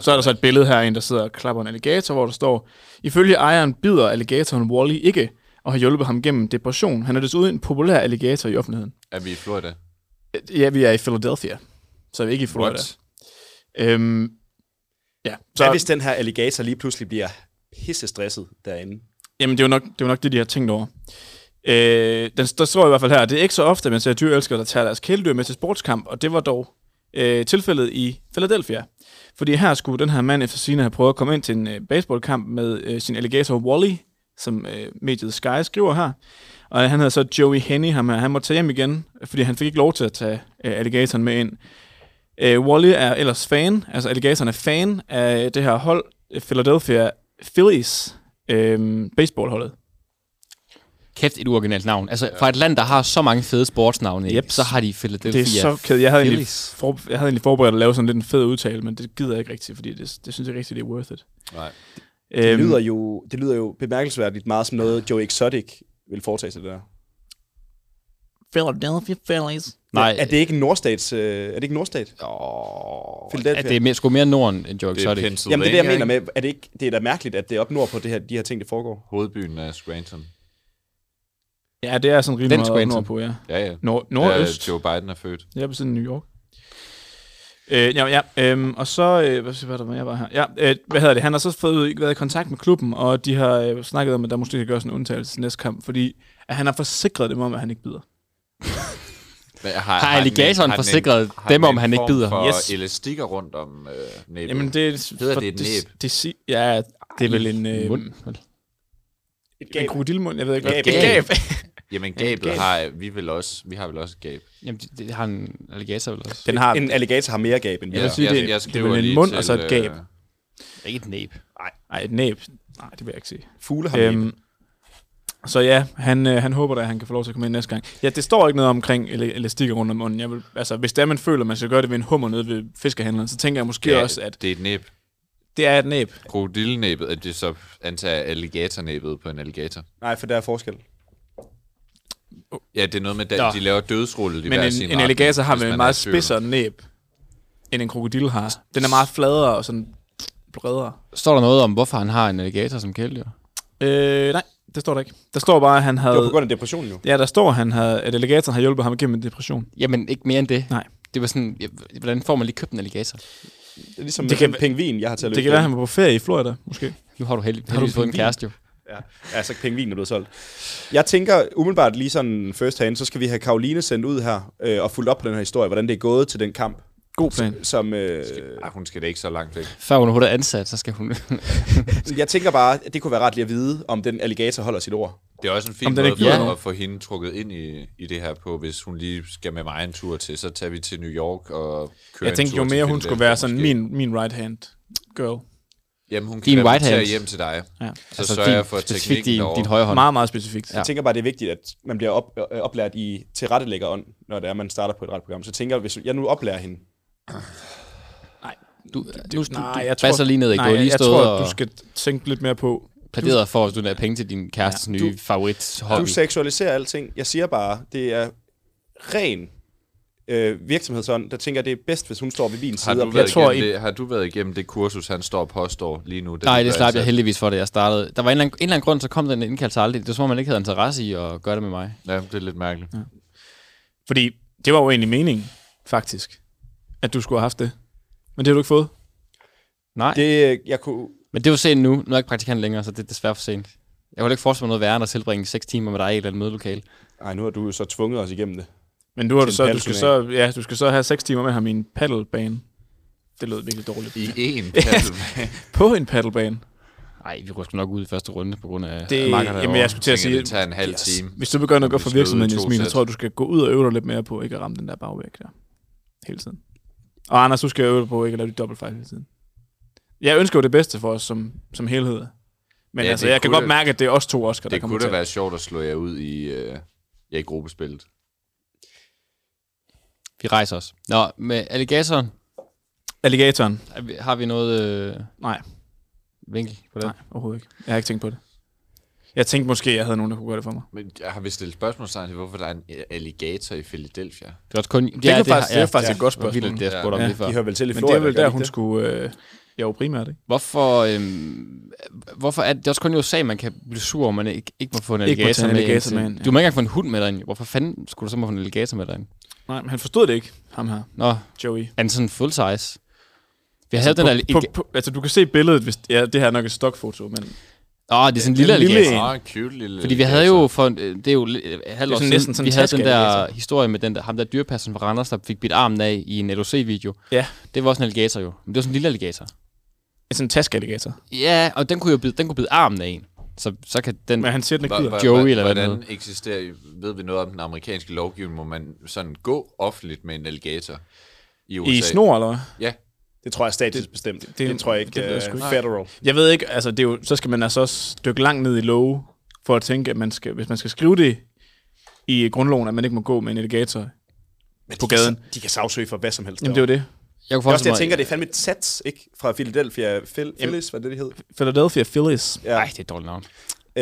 [SPEAKER 10] Så er der så et billede her, af en der sidder og klapper en alligator, hvor der står, ifølge ejeren bider alligatoren Wally ikke, og har hjulpet ham gennem depression. Han er desuden en populær alligator i offentligheden. Øh,
[SPEAKER 8] Er vi i Florida?
[SPEAKER 10] Ja, vi er i Philadelphia, så er vi ikke i Florida.
[SPEAKER 4] What?
[SPEAKER 10] Øhm, ja,
[SPEAKER 4] Så Hvad hvis den her alligator lige pludselig bliver pissestresset derinde?
[SPEAKER 10] Jamen, det er jo nok det, er jo nok det de har tænkt over. Øh, den, der står i hvert fald her, det er ikke så ofte, man ser dyrelskere, der tager deres kæledyr med til sportskamp, og det var dog øh, tilfældet i Philadelphia. Fordi her skulle den her mand efter sine have prøvet at komme ind til en øh, baseballkamp med øh, sin alligator Wally, som øh, mediet Sky skriver her. Og han hedder så Joey Henny, ham her. Han måtte tage hjem igen, fordi han fik ikke lov til at tage øh, alligatoren med ind. Øh, Wally er ellers fan, altså alligatoren er fan af det her hold, øh, Philadelphia Phillies, øh, baseballholdet.
[SPEAKER 6] Kæft et uoriginalt navn. Altså, fra et land, der har så mange fede sportsnavne, yep. så har de Philadelphia.
[SPEAKER 10] Det er så kæd. Jeg havde, egentlig
[SPEAKER 6] Phillies.
[SPEAKER 10] for, jeg havde egentlig forberedt at lave sådan lidt en fed udtale, men det gider jeg ikke rigtigt, fordi det, det synes jeg ikke rigtigt, det er worth it. Øhm,
[SPEAKER 8] Nej.
[SPEAKER 4] Det, det, lyder jo, det lyder jo bemærkelsesværdigt meget som noget, Joe Exotic vil foretage sig der.
[SPEAKER 10] Philadelphia Phillies.
[SPEAKER 6] Nej.
[SPEAKER 4] Er det ikke en nordstats... Øh, er det ikke en nordstat?
[SPEAKER 6] Oh,
[SPEAKER 4] Philadelphia.
[SPEAKER 6] Er det mere, sgu mere Norden end Joe
[SPEAKER 8] Det er
[SPEAKER 6] Exotic?
[SPEAKER 8] Pennsylvania,
[SPEAKER 4] Jamen det er det, jeg
[SPEAKER 8] ikke?
[SPEAKER 4] mener med, er det, ikke, det er da mærkeligt, at det er op nord på det her, de her ting, det foregår.
[SPEAKER 8] Hovedbyen er Scranton.
[SPEAKER 10] Ja, det er sådan rimelig
[SPEAKER 8] Den
[SPEAKER 10] meget
[SPEAKER 8] Scranton.
[SPEAKER 10] nordpå, ja.
[SPEAKER 8] Ja, ja.
[SPEAKER 10] Nord-
[SPEAKER 8] Der
[SPEAKER 10] nordøst.
[SPEAKER 8] Joe Biden er født.
[SPEAKER 10] Ja, på siden af New York. Øh, ja, ja øhm, og så, øh, hvad, hvad, der var, jeg var her? Ja, øh, hvad hedder det? Han har så fået, været i kontakt med klubben, og de har øh, snakket om, at der måske kan gøres en undtagelse til næste kamp, fordi at han har forsikret dem om, at han ikke bider.
[SPEAKER 8] Men
[SPEAKER 10] Har alligatoren forsikret dem om, han ikke bider?
[SPEAKER 8] For yes.
[SPEAKER 10] Yes.
[SPEAKER 8] elastikker rundt om øh, næbet.
[SPEAKER 10] Jamen, det er...
[SPEAKER 8] Hedder
[SPEAKER 10] for-
[SPEAKER 8] det et næb?
[SPEAKER 10] Det, det, si- ja, det er vel en... Øh,
[SPEAKER 8] mund,
[SPEAKER 10] Et gab. En krokodilmund, jeg ved ikke.
[SPEAKER 8] Et
[SPEAKER 10] hvad-
[SPEAKER 8] gab.
[SPEAKER 10] Et
[SPEAKER 8] *laughs* Jamen,
[SPEAKER 10] Et
[SPEAKER 8] gabet
[SPEAKER 10] gab.
[SPEAKER 8] har vi vel også. Vi har vel også et gab.
[SPEAKER 6] Jamen, det, det har en alligator vel også.
[SPEAKER 10] Den har-
[SPEAKER 4] En alligator har mere gab end
[SPEAKER 10] Jeg vil sige, det,
[SPEAKER 8] jeg
[SPEAKER 10] det er
[SPEAKER 8] skriver
[SPEAKER 10] vel en
[SPEAKER 8] lige
[SPEAKER 10] mund
[SPEAKER 8] til,
[SPEAKER 10] og så et gab.
[SPEAKER 8] øh,
[SPEAKER 6] Ikke et næb.
[SPEAKER 4] Nej,
[SPEAKER 10] nej, et næb. Nej, det vil jeg ikke sige. Øhm,
[SPEAKER 4] Fugle har næb.
[SPEAKER 10] Så ja, han, øh, han håber da, at han kan få lov til at komme ind næste gang. Ja, det står ikke noget omkring el- elastikker rundt om munden. Jeg vil, altså, hvis det er, man føler, man skal gøre det ved en hummer nede ved fiskehandleren, så tænker jeg måske
[SPEAKER 8] Ja,
[SPEAKER 10] også, at
[SPEAKER 8] Det er et næb.
[SPEAKER 10] det er et næb.
[SPEAKER 8] Krokodillenæbet, at det så antager alligatornæbet på en alligator.
[SPEAKER 4] Nej, for der er forskel.
[SPEAKER 8] Ja, det er noget med,
[SPEAKER 10] Nå.
[SPEAKER 8] at de laver dødsrulle i
[SPEAKER 10] Men
[SPEAKER 8] hver
[SPEAKER 10] en,
[SPEAKER 8] sin
[SPEAKER 10] en
[SPEAKER 8] retning,
[SPEAKER 10] alligator har
[SPEAKER 8] hvis
[SPEAKER 10] vel
[SPEAKER 8] man
[SPEAKER 10] en
[SPEAKER 8] er
[SPEAKER 10] meget
[SPEAKER 8] i tvivl.
[SPEAKER 10] spidsere næb, end en krokodil har. Den er meget fladere og sådan bredere.
[SPEAKER 6] Står der noget om, hvorfor han har en alligator som kæledyr?
[SPEAKER 10] Øh, nej, det står der ikke. Der står bare, at han havde...
[SPEAKER 6] Det var på grund af depressionen jo.
[SPEAKER 10] Ja, der står, at, han havde, at alligatoren har hjulpet ham igennem en depression.
[SPEAKER 6] Jamen, ikke mere end det.
[SPEAKER 10] Nej.
[SPEAKER 6] Det var sådan, jeg, hvordan får man lige købt en alligator? Det
[SPEAKER 4] er ligesom Det kan den være- pingvin, jeg har til at
[SPEAKER 10] Det
[SPEAKER 4] løbe
[SPEAKER 10] kan være, at
[SPEAKER 4] den.
[SPEAKER 10] han var på ferie i Florida, måske.
[SPEAKER 6] Nu har du heldig,
[SPEAKER 10] Har du
[SPEAKER 6] heldigvis fået en
[SPEAKER 10] pingvin?
[SPEAKER 6] kæreste jo.
[SPEAKER 4] Ja, altså pengvinen er blevet solgt. Jeg tænker umiddelbart lige sådan first hand, så skal vi have Karoline sendt ud her øh, og fulgt op på den her historie, hvordan det er gået til den kamp.
[SPEAKER 10] God plan.
[SPEAKER 4] Som, øh,
[SPEAKER 8] Ej, hun skal da ikke så langt væk.
[SPEAKER 6] Før hun overhovedet er ansat, så skal hun... *laughs*
[SPEAKER 4] jeg tænker bare, at det kunne være rart lige at vide, om den alligator holder sit ord.
[SPEAKER 8] Det er også en fin
[SPEAKER 4] Om den
[SPEAKER 8] måde
[SPEAKER 4] ikke gjorde
[SPEAKER 8] for
[SPEAKER 4] noget.
[SPEAKER 8] at få hende trukket ind i, i det her på, hvis hun lige skal med mig en tur til, så tager vi til New York og kører
[SPEAKER 10] Jeg tænkte,
[SPEAKER 8] en
[SPEAKER 10] jo
[SPEAKER 8] tur til
[SPEAKER 10] mere hun
[SPEAKER 8] Philadelphia
[SPEAKER 10] skulle være sådan
[SPEAKER 8] måske.
[SPEAKER 10] min, min right hand girl.
[SPEAKER 8] Jamen, hun kan
[SPEAKER 6] Din
[SPEAKER 8] være
[SPEAKER 6] right
[SPEAKER 8] med til at
[SPEAKER 6] hand.
[SPEAKER 8] hjem til dig.
[SPEAKER 10] Ja.
[SPEAKER 8] Så altså, sørger jeg for teknikken derovre.
[SPEAKER 10] Meget, meget specifikt.
[SPEAKER 4] Ja. Jeg tænker bare, det er vigtigt, at man bliver op, øh, oplært i tilrettelæggerånd, når det er, man starter på et radioprogram. Så tænker jeg, hvis jeg nu oplærer hende,
[SPEAKER 6] Du,
[SPEAKER 10] Det-
[SPEAKER 6] nu,
[SPEAKER 10] nej,
[SPEAKER 6] du,
[SPEAKER 10] jeg tror-
[SPEAKER 6] basser lige ned, ikke?
[SPEAKER 10] nej,
[SPEAKER 6] Du har lige
[SPEAKER 10] jeg
[SPEAKER 6] stået
[SPEAKER 10] tror,
[SPEAKER 6] og
[SPEAKER 10] du skal tænke lidt mere på...
[SPEAKER 6] pladeret for at donere penge til din kærestes
[SPEAKER 4] Ja.
[SPEAKER 6] nye
[SPEAKER 4] Du-
[SPEAKER 6] favorit hobby.
[SPEAKER 4] Du seksualiserer alting. Jeg siger bare, det er ren øh, virksomhedsånd, der tænker, at det er bedst, hvis hun står ved min
[SPEAKER 8] Har
[SPEAKER 4] side.
[SPEAKER 8] du,
[SPEAKER 4] og-
[SPEAKER 8] været jeg tror, det, har du været igennem det kursus, han står og påstår lige nu?
[SPEAKER 6] Nej,
[SPEAKER 8] du
[SPEAKER 6] det
[SPEAKER 8] gør
[SPEAKER 6] slap jeg
[SPEAKER 8] altid?
[SPEAKER 6] heldigvis for, da jeg startede. Der var en eller anden, en eller anden grund, så kom den indkaldelse aldrig. Det var som om, man ikke havde interesse i at gøre det med mig.
[SPEAKER 8] Ja, det er lidt mærkeligt. Ja.
[SPEAKER 10] Fordi det var jo egentlig meningen, faktisk, at du skulle have haft det. Men det har du ikke fået.
[SPEAKER 6] Nej.
[SPEAKER 4] Det, øh, jeg kunne...
[SPEAKER 6] Men det er jo sent nu. Nu er jeg ikke praktikant længere, så det er desværre for sent. Jeg kunne ikke forestille mig noget værre, end at tilbringe 6 timer med dig i et eller andet mødelokale.
[SPEAKER 4] Nej, nu har du jo så tvunget os igennem det.
[SPEAKER 10] Men du, har du,
[SPEAKER 4] Til en
[SPEAKER 10] så, du, skal
[SPEAKER 4] paddelturnering.
[SPEAKER 10] så, ja, du skal så have 6 timer med ham i en paddlebane. Det lød virkelig dårligt. *laughs*
[SPEAKER 8] I en
[SPEAKER 10] paddlebane? på en paddlebane.
[SPEAKER 6] Nej, vi rykker nok ud i første runde på grund af
[SPEAKER 10] Det,
[SPEAKER 6] Marker derovre.
[SPEAKER 10] jamen, jeg skulle til at sige,
[SPEAKER 8] det tager en halv time.
[SPEAKER 10] hvis du begynder at gå
[SPEAKER 8] Og vi
[SPEAKER 10] for
[SPEAKER 8] skal ud i
[SPEAKER 10] virksomheden,
[SPEAKER 8] to
[SPEAKER 10] Jasmin, så
[SPEAKER 8] sæt.
[SPEAKER 10] tror jeg, du skal gå ud og øve dig lidt mere på ikke at ramme den der bagvæg der. Hele tiden. Og Anders, du skal øve dig på ikke at lave de dobbeltfejl hele tiden. Jeg ønsker jo det bedste for os som, som helhed. Men ja, altså,
[SPEAKER 8] det
[SPEAKER 10] jeg kan
[SPEAKER 8] kunne
[SPEAKER 10] godt
[SPEAKER 8] da-
[SPEAKER 10] mærke, at det er os to Oscar, der
[SPEAKER 8] Det
[SPEAKER 10] kommer
[SPEAKER 8] kunne
[SPEAKER 10] til.
[SPEAKER 8] da være sjovt at slå jer ud i, øh, ja, i gruppespillet.
[SPEAKER 6] Vi rejser os. Nå, med alligatoren.
[SPEAKER 10] Alligatoren.
[SPEAKER 6] Er vi- Har vi noget... Øh...
[SPEAKER 10] Nej.
[SPEAKER 6] Vinkel på det?
[SPEAKER 10] Nej, overhovedet ikke. Jeg har ikke tænkt på det. Jeg tænkte måske, jeg havde nogen, der kunne gøre det for mig.
[SPEAKER 8] Men jeg har vi stillet spørgsmålstegn til, hvorfor der er en øh, alligator i Philadelphia?
[SPEAKER 6] Det er også kun...
[SPEAKER 10] Det, ja, det, faktisk, har, det er faktisk ja, et godt
[SPEAKER 6] det var
[SPEAKER 10] spørgsmål.
[SPEAKER 6] vildt, det, jeg spurgte om lige før. De hører vel til i
[SPEAKER 10] Men det
[SPEAKER 6] Florida,
[SPEAKER 10] er vel
[SPEAKER 6] gør
[SPEAKER 10] der,
[SPEAKER 6] de
[SPEAKER 10] hun
[SPEAKER 6] ikke
[SPEAKER 10] skulle... Øh, jo, primært, ikke?
[SPEAKER 6] Hvorfor, øhm, hvorfor er det, det er også kun i USA, man kan blive sur, om man ikke, ikke må få en
[SPEAKER 10] Ikke må
[SPEAKER 6] alligator,
[SPEAKER 10] tage en alligator
[SPEAKER 6] ind til-
[SPEAKER 10] med ind, ja.
[SPEAKER 6] Du må ikke engang få en hund med derind. Hvorfor fanden skulle du så må få en alligator med derind?
[SPEAKER 10] Nej, men han forstod det ikke, ham her.
[SPEAKER 6] Nå,
[SPEAKER 10] Joey.
[SPEAKER 6] er den sådan full size? Vi havde den der...
[SPEAKER 10] på, på, på, altså, du kan se billedet, hvis... Ja, det her er nok et stokfoto, men...
[SPEAKER 6] Åh, oh, det er sådan en lille
[SPEAKER 10] Den lille
[SPEAKER 6] alligator.
[SPEAKER 8] Ah,
[SPEAKER 10] en.
[SPEAKER 8] cute lille
[SPEAKER 6] Fordi vi havde jo for, øh, det er jo li- øh, halvt
[SPEAKER 10] Det er
[SPEAKER 6] år
[SPEAKER 10] sådan
[SPEAKER 6] siden,
[SPEAKER 10] næsten sådan
[SPEAKER 6] vi
[SPEAKER 10] en
[SPEAKER 6] havde den der
[SPEAKER 10] taskealligator.
[SPEAKER 6] historie med den der, ham der dyrpassen fra Randers, der fik bidt armen af i en LOC-video.
[SPEAKER 10] Ja.
[SPEAKER 6] Det var også en alligator jo. Men det var sådan en lille alligator.
[SPEAKER 10] Sådan en taskalligator.
[SPEAKER 6] Ja, og den kunne jo bide, den kunne bide armen af en. Så, så kan den... Joey eller hvad
[SPEAKER 8] Hvordan
[SPEAKER 6] den
[SPEAKER 8] eksisterer, ved vi noget om den amerikanske lovgivning, må man sådan gå offentligt med en alligator i USA?
[SPEAKER 10] snor, eller hvad?
[SPEAKER 8] Ja.
[SPEAKER 4] Det tror jeg er statsbestemt. Det, det, det tror jeg ikke
[SPEAKER 10] ved
[SPEAKER 4] det,
[SPEAKER 10] jeg
[SPEAKER 4] det
[SPEAKER 10] sgu
[SPEAKER 4] uh,
[SPEAKER 10] ikke.
[SPEAKER 4] federal.
[SPEAKER 10] Jeg ved ikke, altså det er jo, så skal man altså også dykke langt ned i love, for at tænke, at man skal, hvis man skal skrive det i grundloven, at man ikke må gå med en alligator på
[SPEAKER 4] de
[SPEAKER 10] gaden.
[SPEAKER 4] Kan, de kan sagsøge for hvad som helst.
[SPEAKER 10] Jamen, det er jo det.
[SPEAKER 6] Jeg kunne
[SPEAKER 4] Jeg, også,
[SPEAKER 6] forestille
[SPEAKER 4] jeg
[SPEAKER 6] mig-
[SPEAKER 4] tænker, det er fandme et sats, ikke? Fra Philadelphia Phil, Phillies, var det, det hed?
[SPEAKER 10] Philadelphia Phillies.
[SPEAKER 4] Ja. Nej,
[SPEAKER 6] det er et dårligt navn.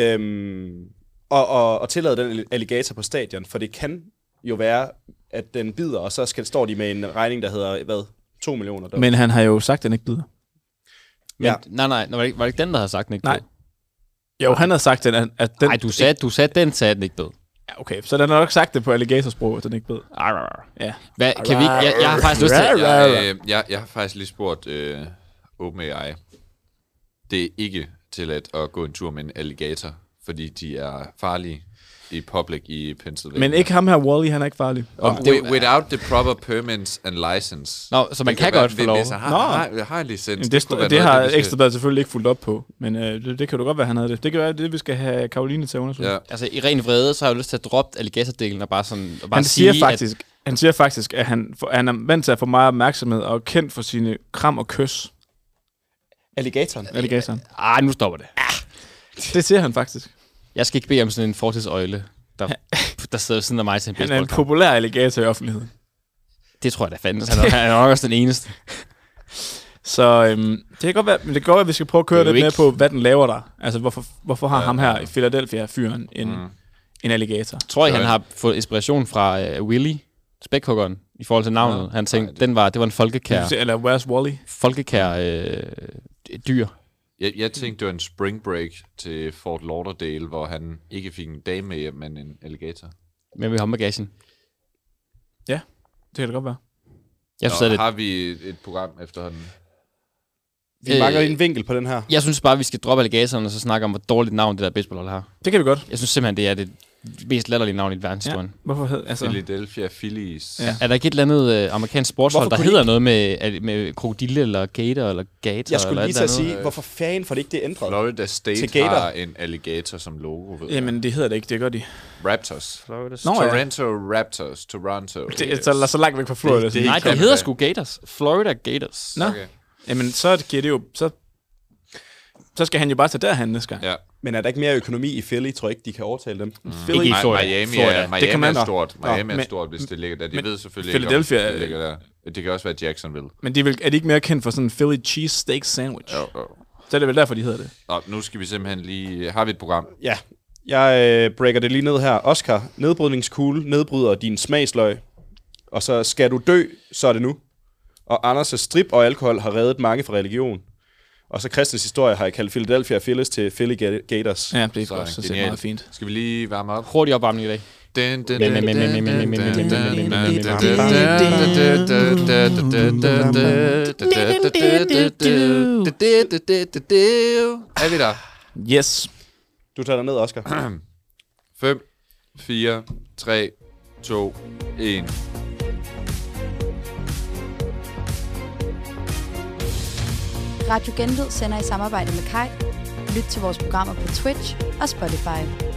[SPEAKER 4] Øhm, og, og, og tillade den alligator på stadion, for det kan jo være, at den bider, og så skal, står de med en regning, der hedder, hvad, 2 millioner dollar.
[SPEAKER 10] Men han har jo sagt, at den ikke bider.
[SPEAKER 6] Ja. Nej, nej, nej, var det, ikke, var det ikke den, der havde sagt, den ikke
[SPEAKER 10] Nej. Jo, han havde sagt, at, han- at den...
[SPEAKER 6] Nej, du sagde, du sagde, den sagde, den ikke bed.
[SPEAKER 10] Ja, okay, så den har nok sagt det på alligatorsprog, at den ikke bed. Ja.
[SPEAKER 6] Hvad, kan vi ikke- jeg- jeg har faktisk lyst til-
[SPEAKER 8] Jeg, øh, jeg, jeg har faktisk lige spurgt øh, OpenAI. Det er ikke tilladt at gå en tur med en alligator, fordi de er farlige i public i Pennsylvania.
[SPEAKER 10] Men ikke ham her, Wally, han er ikke farlig.
[SPEAKER 8] Og wi- without the proper permits and license.
[SPEAKER 6] Nå, så man
[SPEAKER 8] Det
[SPEAKER 6] kan
[SPEAKER 8] være-
[SPEAKER 6] godt få
[SPEAKER 8] hvis-
[SPEAKER 6] lov.
[SPEAKER 8] Hvis jeg har,
[SPEAKER 10] Nå.
[SPEAKER 8] har, har, har en licens,
[SPEAKER 10] Jamen,
[SPEAKER 8] det,
[SPEAKER 10] det,
[SPEAKER 8] kunne
[SPEAKER 10] det,
[SPEAKER 8] være
[SPEAKER 10] det
[SPEAKER 8] noget, af
[SPEAKER 10] har
[SPEAKER 8] vi skal-
[SPEAKER 10] Ekstrabladet selvfølgelig ikke fuldt op på, men øh, det, det kan du godt være, han havde det. Det kan være, det er det, vi skal have Karoline til at undersøge.
[SPEAKER 6] Altså, i ren vrede, så har jeg lyst til at droppe alligatordelen og bare sådan... Og bare
[SPEAKER 10] han siger
[SPEAKER 6] sige,
[SPEAKER 10] faktisk, at... han siger faktisk, at han, for, han er vant til at få meget opmærksomhed og er kendt for sine kram og kys.
[SPEAKER 4] Alligatoren?
[SPEAKER 10] Alligatoren.
[SPEAKER 6] Ah, nu stopper det.
[SPEAKER 10] Det siger han faktisk.
[SPEAKER 6] Jeg skal ikke bede om sådan en fortidsøjle, der, der sidder ved siden af mig til en
[SPEAKER 10] Han er en
[SPEAKER 6] baseball.
[SPEAKER 10] populær alligator i offentligheden.
[SPEAKER 6] Det tror jeg da fandens. Han er, han er nok også den eneste.
[SPEAKER 10] Så øhm, det kan godt være, men det kan godt være, at vi skal prøve at køre
[SPEAKER 6] Det er jo
[SPEAKER 10] lidt mere
[SPEAKER 6] ikke-
[SPEAKER 10] på, hvad den laver der. Altså, hvorfor, hvorfor har
[SPEAKER 6] Ja,
[SPEAKER 10] ham her
[SPEAKER 6] ja.
[SPEAKER 10] i Philadelphia fyren en,
[SPEAKER 6] Mm.
[SPEAKER 10] en alligator?
[SPEAKER 6] Tror jeg, han har fået inspiration fra uh, Willy, spækhuggeren, i forhold til navnet. han tænkte, den var, det var en folkekær,
[SPEAKER 10] Eller Where's Wally?
[SPEAKER 6] folkekær øh, dyr.
[SPEAKER 8] Jeg, jeg tænkte, det var en spring break til Fort Lauderdale, hvor han ikke fik en dame med hjem, men en alligator.
[SPEAKER 6] Men vi har bagagen.
[SPEAKER 10] Ja, det kan det godt være.
[SPEAKER 6] Jeg
[SPEAKER 8] Nå,
[SPEAKER 6] synes, at det-
[SPEAKER 8] har vi et program efterhånden?
[SPEAKER 6] Øh,
[SPEAKER 4] Vi mangler lige en vinkel på den her.
[SPEAKER 6] Jeg synes bare, vi skal droppe alligatoren og så snakke om, hvor dårligt navn det der baseballhold har.
[SPEAKER 10] Det kan vi godt.
[SPEAKER 6] Jeg synes simpelthen, det er det mest latterlige navn i verdenshistorien.
[SPEAKER 10] Ja. Hvorfor hed- altså-
[SPEAKER 8] Philadelphia Phillies.
[SPEAKER 6] Ja. Er der ikke et eller andet øh, amerikansk sportshold,
[SPEAKER 4] Hvorfor
[SPEAKER 6] der
[SPEAKER 4] kunne de
[SPEAKER 6] hedder noget med, al- med krokodille eller gator eller gator?
[SPEAKER 4] Jeg skulle
[SPEAKER 6] eller
[SPEAKER 4] lige
[SPEAKER 6] et
[SPEAKER 4] til at
[SPEAKER 6] eller andet?
[SPEAKER 4] sige,
[SPEAKER 8] Øh,
[SPEAKER 4] hvorfor fanden får det ikke det ændret?
[SPEAKER 8] Florida State
[SPEAKER 4] Til Gator.
[SPEAKER 8] har en alligator som logo, ved jeg.
[SPEAKER 10] Jamen, det hedder det ikke, det gør de.
[SPEAKER 8] Raptors.
[SPEAKER 6] Florida
[SPEAKER 10] Nå, ja.
[SPEAKER 8] Toronto Raptors. Toronto.
[SPEAKER 10] Det er så, så langt væk fra Florida.
[SPEAKER 8] Det- det er
[SPEAKER 6] Nej,
[SPEAKER 8] ikke
[SPEAKER 6] det
[SPEAKER 8] Tampa
[SPEAKER 6] hedder
[SPEAKER 8] Bay.
[SPEAKER 6] sgu Gators. Florida Gators.
[SPEAKER 10] Nå. Okay. Jamen, så giver det jo... Så, så skal han jo bare tage derhen næste gang.
[SPEAKER 8] Ja.
[SPEAKER 4] Men er der ikke mere økonomi i Philly? Tror jeg ikke, de kan overtale dem. Mm.
[SPEAKER 10] Philly. Ikke i Florida.
[SPEAKER 8] Miami,
[SPEAKER 10] Florida.
[SPEAKER 8] Er, Miami
[SPEAKER 10] Det kan man-
[SPEAKER 8] er stort.
[SPEAKER 10] Nå.
[SPEAKER 8] Miami er
[SPEAKER 10] Men-
[SPEAKER 8] stort, hvis det ligger der. De
[SPEAKER 10] men
[SPEAKER 8] ved selvfølgelig ikke, om
[SPEAKER 10] Philadelphia-
[SPEAKER 8] det ligger der. Det kan også være Jacksonville.
[SPEAKER 10] Men de vil, er de ikke mere kendt for sådan en Philly cheese steak sandwich?
[SPEAKER 8] Jo, jo.
[SPEAKER 10] Så er det vel derfor, de hedder det.
[SPEAKER 8] Nå, nu skal vi simpelthen lige... Har vi et program?
[SPEAKER 4] Ja. Jeg øh, breaker det lige ned her. Oscar, nedbrydningskugle nedbryder din smagsløg. Og så skal du dø, så er det nu. Og Anders' strip og alkohol har reddet mange fra religion. Og så Christians historie har jeg kaldt Philadelphia Phillies til Philly Ga- Gators.
[SPEAKER 10] Ja, det er godt. Så ser det
[SPEAKER 8] genialt.
[SPEAKER 10] meget fint.
[SPEAKER 8] Skal vi lige varme op?
[SPEAKER 6] Hurtig opvarmning i dag.
[SPEAKER 8] Er vi der?
[SPEAKER 10] Yes.
[SPEAKER 4] Du tager dig ned, Oscar.
[SPEAKER 8] 5, 4, 3, 2, 1.
[SPEAKER 1] Radio Genlyd sender i samarbejde med Kai. Lyt til vores programmer på Twitch og Spotify.